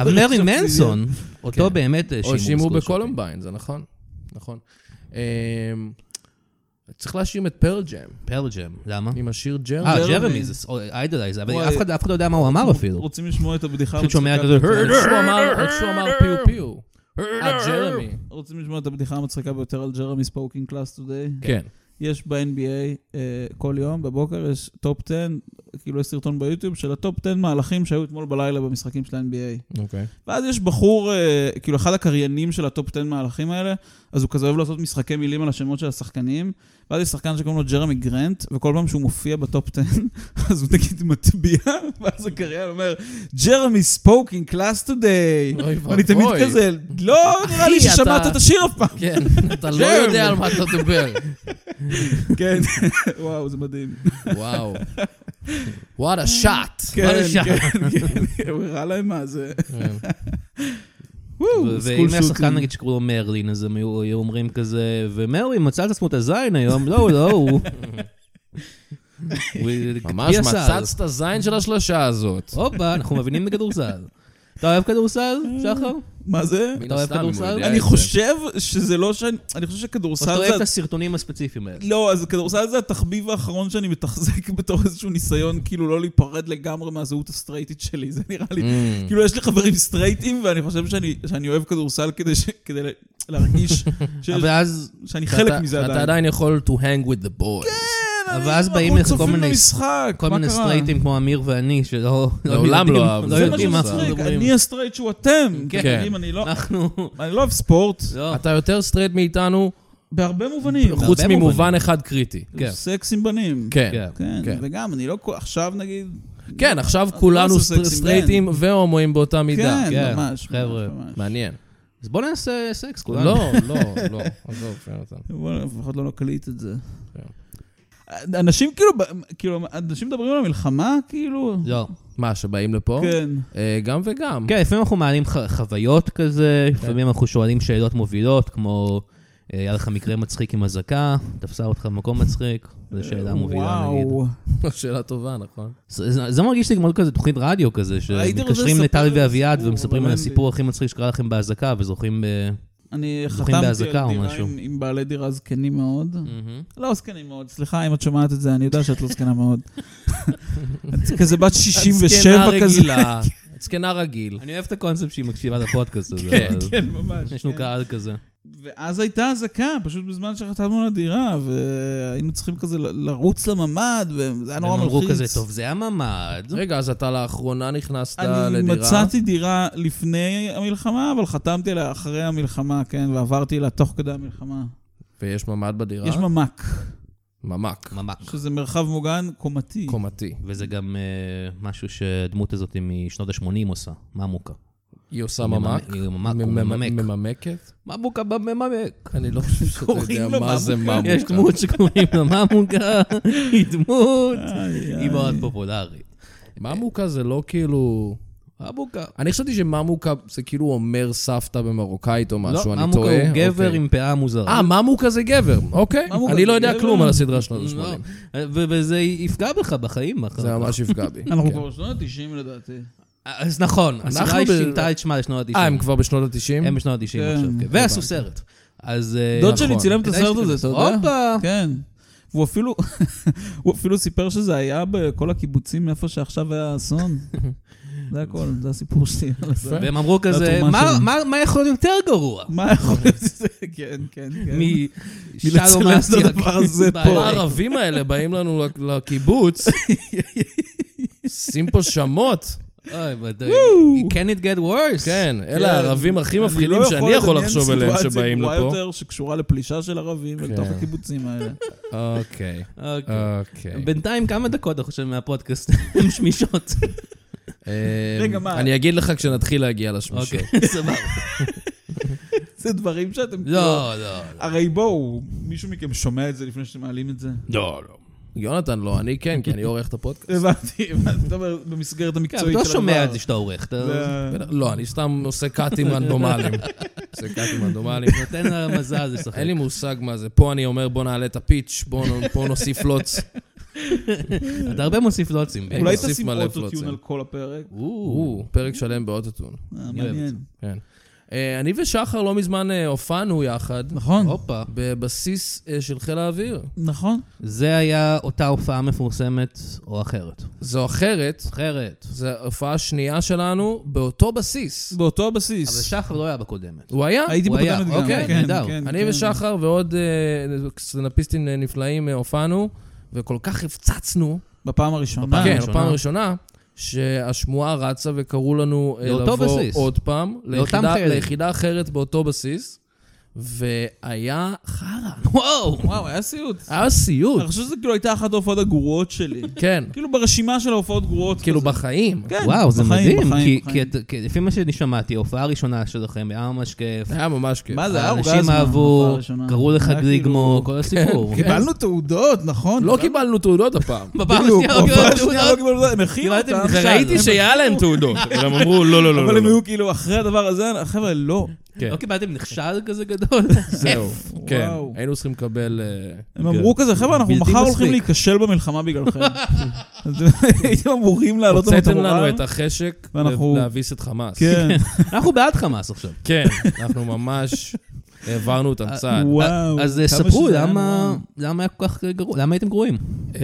Speaker 2: אבל מרלין מנסון, אותו באמת אה, האשימו
Speaker 1: כן. או שימו
Speaker 2: בסקול
Speaker 1: בקולומביין, זה נכון, נכון. אמ, צריך להאשים את פרל ג'ם,
Speaker 2: שוטינג. פרל ג'ם, למה?
Speaker 1: עם השיר ג'רם.
Speaker 2: אה,
Speaker 3: ג'רמי.
Speaker 2: ג'רמי זה איידלייז, אבל
Speaker 3: וואי.
Speaker 2: אף אחד- אף אחד לא יודע מה הוא אמר אפילו.
Speaker 3: רוצים לשמוע את הבדיחה
Speaker 2: פשוט שומע
Speaker 3: המצחיקה
Speaker 2: כזה,
Speaker 3: ביותר-
Speaker 1: עוד שהוא
Speaker 2: אה,
Speaker 1: אמר- עוד שהוא אמר פיו פיו. אה, ג'רמי.
Speaker 3: רוצים לשמוע את הבדיחה המצחיקה ביותר על ג'רמי ספוקינג קלאס טודיי?
Speaker 1: כן.
Speaker 3: יש ב-NBA אה, כל יום, בבוקר יש טופ 10, כאילו יש סרטון ביוטיוב של הטופ 10 מהלכים שהיו אתמול בלילה במשחקים של ה-NBA.
Speaker 1: אוקיי.
Speaker 3: ואז יש בחור, אה, כאילו אחד הקריינים של הטופ 10 מהלכים האלה, אז הוא כזה אוהב לעשות משחקי מילים על השמות של השחקנים, ואז יש שחקן שקוראים לו ג'רמי גרנט, וכל פעם שהוא מופיע בטופ 10, אז הוא נגיד מטביע, ואז הקריין אומר, ג'רמי ספוקינג קלאס טודיי.
Speaker 1: אוי
Speaker 3: ואני תמיד
Speaker 1: ואבוי.
Speaker 3: כזה, לא נראה לי
Speaker 1: אחי,
Speaker 3: ששמעת
Speaker 1: אתה-
Speaker 3: את השיר אף פעם.
Speaker 1: כן, אתה לא יודע על מה אתה מדבר.
Speaker 3: כן, וואו, זה מדהים.
Speaker 1: וואו. וואט a shot.
Speaker 3: כן,
Speaker 2: השעה.
Speaker 3: כן, כן, הוא הראה להם מה זה.
Speaker 1: כן.
Speaker 3: וואו,
Speaker 2: ו- ואם
Speaker 3: סקול
Speaker 2: היה שחקן
Speaker 3: שוטינג.
Speaker 2: נגיד שקראו לו מרלין, אז הם היו היו אומרים כזה, ומרלין מצא את עצמו את הזין היום, לא, לא, הוא... הוא
Speaker 1: ממש
Speaker 2: הקפיא סל.
Speaker 1: מצצת זין של השלושה הזאת.
Speaker 2: הופה, אנחנו מבינים בכדורסל. אתה אוהב כדורסל,
Speaker 3: אה,
Speaker 2: שחר?
Speaker 3: מה זה?
Speaker 1: מן
Speaker 2: אתה אוהב
Speaker 1: הסתם, אם הוא
Speaker 2: כדורסל?
Speaker 1: יודע
Speaker 3: אני
Speaker 1: את זה.
Speaker 3: חושב שזה לא שאני... אני חושב
Speaker 2: או שאתה
Speaker 3: שכדורסל
Speaker 2: אוהב את
Speaker 3: זה...
Speaker 2: הסרטונים הספציפיים האלה?
Speaker 3: לא, אז כדורסל זה התחביב האחרון שאני מתחזק בתור איזשהו ניסיון כאילו לא להיפרד לגמרי מהזהות הסטרייטית שלי, זה נראה לי...
Speaker 1: Mm.
Speaker 3: כאילו, יש לי חברים סטרייטים, ואני חושב שאני שאני אוהב כדורסל כדי ש- כדי להרגיש שיש-
Speaker 2: אבל אז...
Speaker 3: שאני חלק
Speaker 1: אתה-
Speaker 3: מזה עדיין.
Speaker 1: אתה עדיין יכול to hang with the boys.
Speaker 3: כן,
Speaker 2: אבל
Speaker 3: אני-
Speaker 2: אז באים
Speaker 3: אנחנו
Speaker 2: לך כל
Speaker 3: צופים
Speaker 2: מיני-
Speaker 3: במשחק,
Speaker 2: כל
Speaker 3: מה
Speaker 2: מיני
Speaker 3: קרה?
Speaker 2: סטרייטים כמו אמיר ואני, שלא... לא
Speaker 1: לעולם
Speaker 2: יודעים-
Speaker 1: לא אהב.
Speaker 2: לא
Speaker 1: זה
Speaker 3: זה מה
Speaker 2: יודעים מה אנחנו
Speaker 3: שמצחיק,
Speaker 2: מדברים.
Speaker 3: אני הסטרייט שהוא אתם.
Speaker 2: כן.
Speaker 3: אתם יודעים, אני לא...
Speaker 2: אנחנו...
Speaker 3: אני לא אוהב ספורט,
Speaker 2: לא.
Speaker 1: אתה יותר סטרייט מאיתנו,
Speaker 3: בהרבה מובנים.
Speaker 1: חוץ
Speaker 2: בהרבה
Speaker 1: ממובן
Speaker 2: מובנים.
Speaker 1: אחד קריטי.
Speaker 2: כן.
Speaker 3: סקס עם בנים.
Speaker 1: כן.
Speaker 2: כן.
Speaker 3: כן,
Speaker 1: כן.
Speaker 3: וגם, אני לא... כל- עכשיו נגיד...
Speaker 1: כן, עכשיו
Speaker 3: לא
Speaker 1: כולנו
Speaker 3: עושה
Speaker 1: סטר-
Speaker 3: סקס עם
Speaker 1: סטרייטים והומואים באותה מידה.
Speaker 3: כן,
Speaker 2: כן,
Speaker 3: ממש.
Speaker 2: חבר'ה.
Speaker 3: ממש, ממש.
Speaker 1: מעניין.
Speaker 2: אז בוא נעשה סקס, כולנו.
Speaker 1: לא, לא, לא. עזוב, יונתן.
Speaker 3: בוא, לפחות לא נקליט את זה.
Speaker 1: כן.
Speaker 3: אנשים כאילו, ב- כאילו, אנשים מדברים על המלחמה, כאילו...
Speaker 2: לא.
Speaker 1: מה, שבאים לפה?
Speaker 3: כן.
Speaker 1: אה, גם וגם.
Speaker 2: כן, לפעמים אנחנו מעלים ח- חוויות כזה, לפעמים אנחנו שואלים שאלות מובילות, כמו, אה, היה לך מקרה מצחיק עם אזעקה, תפסה אותך במקום מצחיק, זו שאלה מובילה נגיד.
Speaker 3: וואו.
Speaker 1: שאלה טובה, נכון?
Speaker 2: זה- זה זה מרגיש לי כמו כזה תוכנית רדיו כזה,
Speaker 3: הייתי רוצה
Speaker 2: שמתקשרים
Speaker 3: לספר
Speaker 2: לטל
Speaker 3: איזה
Speaker 2: ואביעד
Speaker 3: סיפור,
Speaker 2: ומספרים
Speaker 3: אבל
Speaker 2: על
Speaker 3: אין לי.
Speaker 2: הסיפור הכי מצחיק שקרה לכם באזעקה, וזוכרים ב...
Speaker 3: אני
Speaker 2: זוכים
Speaker 3: חתמתי על
Speaker 2: באזעקה או
Speaker 3: דירה
Speaker 2: משהו. Mm.
Speaker 3: עם, עם בעלי דירה זקנים מאוד. לא זקנים מאוד, סליחה אם את שומעת את זה, אני יודע שאת לא זקנה מאוד. את כזה בת 67
Speaker 1: זקנה
Speaker 3: כזה.
Speaker 1: רגילה. זקנה רגיל.
Speaker 2: אני אוהב את הקונספט שהיא מקשיבה לפודקאסט הזה.
Speaker 1: כן,
Speaker 2: אבל
Speaker 3: כן, ממש.
Speaker 2: יש לנו
Speaker 3: כן.
Speaker 2: קהל כזה.
Speaker 3: ואז הייתה אזעקה, פשוט בזמן שחתמנו על הדירה, והיינו צריכים כזה ל- לרוץ לממ"ד, וזה היה
Speaker 2: הם
Speaker 3: נורא מלחיץ.
Speaker 2: אמרו כזה, טוב, זה הממ"ד.
Speaker 1: רגע, אז אתה לאחרונה נכנסת
Speaker 3: אני
Speaker 1: לדירה?
Speaker 3: מצאתי דירה לפני המלחמה, אבל חתמתי עליה אחרי המלחמה, כן, ועברתי אליה תוך כדי המלחמה.
Speaker 1: ויש ממ"ד בדירה?
Speaker 3: יש ממ"ק,
Speaker 1: ממ"ק.
Speaker 2: ממ"ק.
Speaker 3: שזה מרחב מוגן קומתי.
Speaker 1: קומתי.
Speaker 2: וזה גם אה, משהו שהדמות הזאת משנות ה-80 עושה, ממוקה.
Speaker 1: היא עושה
Speaker 2: ממ-
Speaker 1: ממ"ק?
Speaker 2: היא ממ"ק, הוא
Speaker 1: ממ-
Speaker 2: מממק.
Speaker 1: מממקת?
Speaker 2: ממוקה בממק.
Speaker 1: אני לא חושב שאתה
Speaker 3: קוראים
Speaker 1: יודע
Speaker 3: לו
Speaker 1: מה זה
Speaker 3: ממוקה.
Speaker 1: ממוקה.
Speaker 2: יש דמות שקוראים לה ממוקה, היא דמות,
Speaker 3: איי,
Speaker 2: היא מאוד פופולרית.
Speaker 1: ממוקה זה לא כאילו...
Speaker 2: ממוקה.
Speaker 1: אני חשבתי שממוקה זה כאילו אומר סבתא במרוקאית או
Speaker 2: לא,
Speaker 1: משהו, אני
Speaker 2: ממוקה
Speaker 1: טועה.
Speaker 2: הוא גבר
Speaker 1: אוקיי.
Speaker 2: עם פאה מוזרה.
Speaker 1: אה, ממוקה זה גבר, אוקיי.
Speaker 3: ממוקה
Speaker 1: אני
Speaker 3: זה
Speaker 1: לא יודע
Speaker 3: גבר.
Speaker 1: כלום על הסדרה שנות
Speaker 2: לא.
Speaker 1: ה-80.
Speaker 2: ו- וזה יפגע בך בחיים. אחר
Speaker 1: זה
Speaker 2: כך.
Speaker 1: ממש יפגע בי.
Speaker 3: אנחנו
Speaker 1: כן.
Speaker 3: כבר בשנות ה-90 לדעתי.
Speaker 2: אז נכון, הסדרה היא
Speaker 1: ב-
Speaker 2: שינתה את שמה לשנות ה-90.
Speaker 1: אה, הם כבר בשנות
Speaker 2: הם
Speaker 1: ה-90?
Speaker 2: בשנות ה-90
Speaker 3: כן.
Speaker 2: עכשיו, כן. ועשו סרט. אז... אה,
Speaker 3: דוד שלי
Speaker 1: נכון.
Speaker 3: צילם את
Speaker 2: כדאי
Speaker 3: הסרט הזה, אתה
Speaker 2: שתיכנס.
Speaker 3: יודע?
Speaker 2: הופה!
Speaker 3: כן. והוא אפילו, הוא אפילו סיפר שזה היה בכל הקיבוצים איפה שעכשיו היה האסון. זה הכל, זה הסיפור שלי. על הסרט.
Speaker 2: והם אמרו כזה,
Speaker 3: כן. התרומה
Speaker 2: "מה-
Speaker 3: שלנו."
Speaker 2: מה- מה יכול להיות יותר גרוע?
Speaker 3: מה יכול להיות זה? כן, כן, כן.
Speaker 2: משלום
Speaker 3: מלצלם את
Speaker 2: אסיאק.
Speaker 3: הדבר הזה פה.
Speaker 1: כל הערבים האלה באים לנו לק- לקיבוץ, שים פה שמות.
Speaker 2: אוי, but uh, it can it get worse.
Speaker 1: כן, אלה הערבים הכי
Speaker 3: אני
Speaker 1: מפחידים
Speaker 3: לא
Speaker 1: שאני יכול
Speaker 3: לדמיין
Speaker 1: לחשוב עליהם
Speaker 3: סיטואציה
Speaker 1: שבאים
Speaker 3: גרועה
Speaker 1: לפה.
Speaker 3: יותר שקשורה לפלישה של ערבים לתוך הקיבוצים האלה.
Speaker 1: אוקיי,
Speaker 2: אוקיי.
Speaker 1: אוקיי.
Speaker 2: בינתיים כמה דקות, אני חושב, מהפודקאסט הן שמישות.
Speaker 1: אה,
Speaker 3: רגע, מה?
Speaker 1: אני אגיד לך כשנתחיל להגיע לשמישות.
Speaker 2: אוקיי, סבבה.
Speaker 3: זה דברים שאתם... כאילו-
Speaker 2: לא, לא.
Speaker 3: הרי בואו, מישהו מכם שומע את זה לפני שאתם מעלים את זה?
Speaker 1: לא, לא. יונתן לא, אני כן, כי אני עורך את הפודקאסט.
Speaker 3: הבנתי, הבנתי, אתה אומר, במסגרת
Speaker 2: כן,
Speaker 3: המקצועית
Speaker 2: אבל
Speaker 3: של
Speaker 2: אתה
Speaker 3: הדבר.
Speaker 2: לא שומע את זה שאתה עורך. אתה
Speaker 3: זה-
Speaker 1: לא, אני סתם עושה קאטים רנדומליים. עושה קאטים רנדומליים.
Speaker 2: נותן למזל לשחק.
Speaker 1: אין לי מושג מה זה. פה אני אומר, בוא נעלה את הפיץ', בוא נ- פה נוסיף לוץ.
Speaker 2: אתה הרבה מוסיף לוצים. בי.
Speaker 1: אני
Speaker 3: אולי
Speaker 1: מוסיף
Speaker 3: תשים
Speaker 1: מלא
Speaker 3: אוטוטיון
Speaker 1: פלוצים.
Speaker 3: על כל הפרק?
Speaker 2: או,
Speaker 1: או, פרק שלם באוטוטון.
Speaker 3: אה,
Speaker 2: אני אוהב את
Speaker 3: מעניין.
Speaker 2: זה.
Speaker 1: כן. אה, אני ושחר לא מזמן אה, הופענו יחד.
Speaker 3: נכון,
Speaker 2: הופה.
Speaker 1: בבסיס אה, של חיל האוויר.
Speaker 3: נכון.
Speaker 2: זה היה אותה הופעה מפורסמת או אחרת.
Speaker 1: זו אחרת,
Speaker 2: אחרת.
Speaker 1: זו הופעה שנייה שלנו באותו בסיס.
Speaker 3: באותו
Speaker 2: אבל
Speaker 3: הבסיס.
Speaker 2: שחר לא היה בקודמת.
Speaker 1: הוא היה?
Speaker 3: הייתי
Speaker 2: הוא היה,
Speaker 3: בקודמת גם.
Speaker 2: אוקיי,
Speaker 3: כן,
Speaker 2: נהדר.
Speaker 3: כן,
Speaker 1: אני
Speaker 3: כן.
Speaker 1: ושחר ועוד אה, סטנדאפיסטים אה, נפלאים אה, הופענו, וכל כך הפצצנו,
Speaker 3: בפעם הראשונה.
Speaker 2: בפעם
Speaker 1: כן,
Speaker 2: הראשונה.
Speaker 1: בפעם הראשונה, שהשמועה רצה וקראו לנו אה,
Speaker 2: לאותו
Speaker 1: לבוא
Speaker 2: בסיס.
Speaker 1: עוד פעם,
Speaker 2: לאותם
Speaker 1: ליחידה-
Speaker 2: חיילים.
Speaker 1: ליחידה אחרת באותו בסיס, והיה חרא.
Speaker 3: כן.
Speaker 2: וואו!
Speaker 3: וואו, היה סיוט.
Speaker 1: היה סיוט,
Speaker 3: אני חושב שזה כאילו הייתה אחת ההופעות הגרועות שלי.
Speaker 1: כן,
Speaker 3: כאילו ברשימה של ההופעות גרועות.
Speaker 1: כאילו
Speaker 3: כזה.
Speaker 1: בחיים.
Speaker 3: כן,
Speaker 2: וואו, זה
Speaker 3: בחיים,
Speaker 2: מדהים,
Speaker 3: בחיים,
Speaker 2: כי-
Speaker 3: בחיים.
Speaker 2: כי את- כי לפי מה שאני שמעתי, ההופעה הראשונה שלכם היה ממש כיף.
Speaker 1: היה ממש כיף.
Speaker 3: מה אה, זה, היה אורגזמה.
Speaker 2: האנשים
Speaker 3: ההופעה
Speaker 2: אהבו,
Speaker 3: הראשונה.
Speaker 2: קראו לך
Speaker 3: היה
Speaker 2: גליגמו,
Speaker 3: כאילו-
Speaker 2: כל הסיפור.
Speaker 3: קיבלנו תעודות, נכון? כאילו,
Speaker 1: לא קיבלנו תעודות הפעם.
Speaker 2: בפעם
Speaker 3: בדיוק,
Speaker 2: השנייה לא
Speaker 3: בהופעה
Speaker 2: כן. קיבלנו
Speaker 3: השנייה לא
Speaker 2: תעודות.
Speaker 3: קיבלנו תעודות. הם הכינו
Speaker 2: קיבלתם
Speaker 3: אותם.
Speaker 2: נכשל.
Speaker 1: וראיתי שהיה להם תעודות, אבל הם אמרו, לא, לא,
Speaker 3: אבל הם היו כאילו, אחרי הדבר הזה, חבר'ה, לא.
Speaker 1: כן.
Speaker 2: לא קיבלתם נכשל כזה גדול?
Speaker 1: זהו, כן.
Speaker 3: וואו.
Speaker 1: היינו צריכים לקבל... אה,
Speaker 3: הם אמרו כזה, חבר'ה, אנחנו
Speaker 2: כן. בלתי
Speaker 3: מחר
Speaker 2: מספיק.
Speaker 3: הולכים להיכשל במלחמה בגללכם. אז הייתם אמורים להעלות לנו את
Speaker 1: הוצאתם
Speaker 3: המורל.
Speaker 1: לנו את החשק
Speaker 3: לא ואנחנו-
Speaker 1: להביס את חמאס.
Speaker 3: כן,
Speaker 2: אנחנו בעד חמאס עכשיו.
Speaker 1: כן, אנחנו ממש העברנו אותם צעד.
Speaker 3: וואו.
Speaker 2: אה, אז
Speaker 3: כמה
Speaker 2: ספרו
Speaker 3: שזה היה
Speaker 2: למה
Speaker 3: נורא.
Speaker 2: למה היה כל כך גרוע, למה הייתם גרועים?
Speaker 1: אה,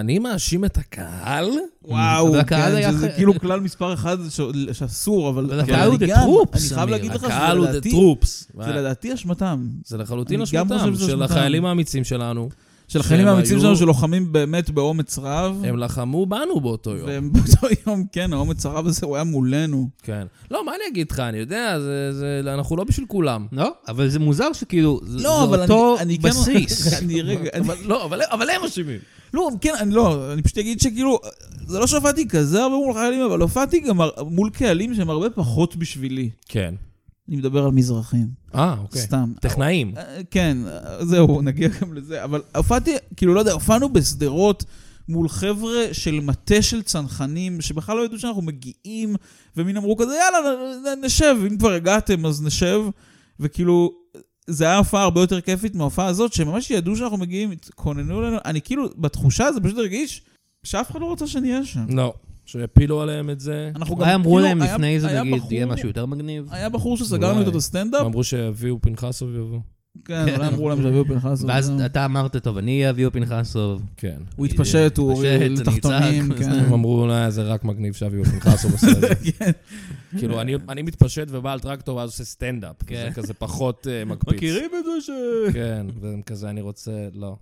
Speaker 1: אני מאשים את הקהל?
Speaker 3: וואו,
Speaker 2: אבל הקהל
Speaker 3: כן,
Speaker 2: היה
Speaker 3: שזה
Speaker 2: אחרי-
Speaker 3: כאילו כלל מספר אחד ש- שאסור, אבל...
Speaker 2: אבל
Speaker 3: כן.
Speaker 2: הקהל הוא
Speaker 3: אני
Speaker 2: the
Speaker 3: גם-
Speaker 2: troops,
Speaker 3: אני חייב
Speaker 2: אמיר.
Speaker 3: להגיד לך
Speaker 1: הקהל
Speaker 3: שזה
Speaker 1: הוא the
Speaker 3: לדעתי-
Speaker 1: troops.
Speaker 3: זה לדעתי אשמתם.
Speaker 1: זה לחלוטין
Speaker 3: אני גם
Speaker 1: אשמתם
Speaker 3: חושב שזה
Speaker 1: של
Speaker 3: אשמתם.
Speaker 1: החיילים האמיצים שלנו.
Speaker 3: של החיילים
Speaker 1: שהם
Speaker 3: האמיצים
Speaker 1: היו-
Speaker 3: שלנו שלוחמים באמת באומץ רב.
Speaker 1: הם לחמו בנו באותו יום.
Speaker 3: והם באותו יום, כן, האומץ הרב הזה, הוא היה מולנו.
Speaker 1: כן. לא, מה אני אגיד לך? אני יודע, זה- זה- אנחנו לא בשביל כולם.
Speaker 2: לא, אבל זה מוזר שכאילו, זה זה
Speaker 3: לא, אבל אני...
Speaker 2: אותו
Speaker 3: אני כן-
Speaker 2: בסיס.
Speaker 3: אני רגע... אני-
Speaker 1: אבל לא, אבל- אבל הם אשמים.
Speaker 3: לא, כן, אני לא, אני פשוט אגיד שכאילו, זה לא שהופעתי כזה הרבה מול חיילים, אבל הופעתי גם הר- מול קהלים שהם הרבה פחות בשבילי.
Speaker 1: כן.
Speaker 3: אני מדבר על מזרחים,
Speaker 1: אה, אוקיי.
Speaker 3: סתם.
Speaker 1: טכנאים.
Speaker 3: אה, כן, אה, זהו, נגיע גם לזה. אבל הופעתי, כאילו, לא יודע, הופענו בשדרות מול חבר'ה של מטה של צנחנים, שבכלל לא ידעו שאנחנו מגיעים, ומין אמרו כזה, יאללה, נ- נ- נשב, אם כבר הגעתם, אז נשב. וכאילו, זה היה הופעה הרבה יותר כיפית מההופעה הזאת, שממש ידעו שאנחנו מגיעים, התכוננו לנו, אני כאילו, בתחושה זה פשוט הרגיש שאף אחד לא רוצה שנהיה שם.
Speaker 1: לא. שהפילו עליהם את זה.
Speaker 3: אנחנו
Speaker 2: אולי אמרו
Speaker 3: כאילו,
Speaker 2: להם
Speaker 3: היה-
Speaker 2: לפני זה,
Speaker 3: היה
Speaker 2: נגיד,
Speaker 3: בחור-
Speaker 2: יהיה משהו יותר מגניב?
Speaker 1: אה,
Speaker 3: היה בחור שסגרנו
Speaker 1: אולי.
Speaker 3: איתו את הסטנדאפ,
Speaker 1: אמרו שיביאו פנחסוב ויבוא.
Speaker 3: כן, אולי אמרו להם שיביאו פנחס.
Speaker 2: ואז
Speaker 3: זהו.
Speaker 2: אתה אמרת, טוב, אני אביאו פנחסוב.
Speaker 1: כן.
Speaker 3: הוא התפשט, הוא
Speaker 2: התפשט,
Speaker 3: הוריד
Speaker 2: אני
Speaker 3: תחתונים,
Speaker 2: אצעק.
Speaker 3: כן.
Speaker 1: הם אמרו, לא, זה רק מגניב שאביו פנחס עושה את זה.
Speaker 3: כן.
Speaker 1: כאילו, אני- אני מתפשט ובא על טרקטור ואז עושה סטנדאפ.
Speaker 2: כן.
Speaker 1: זה כזה פחות אה, מקפיץ.
Speaker 2: את זה ש...
Speaker 1: כן, והם כזה, אני רוצה, לא.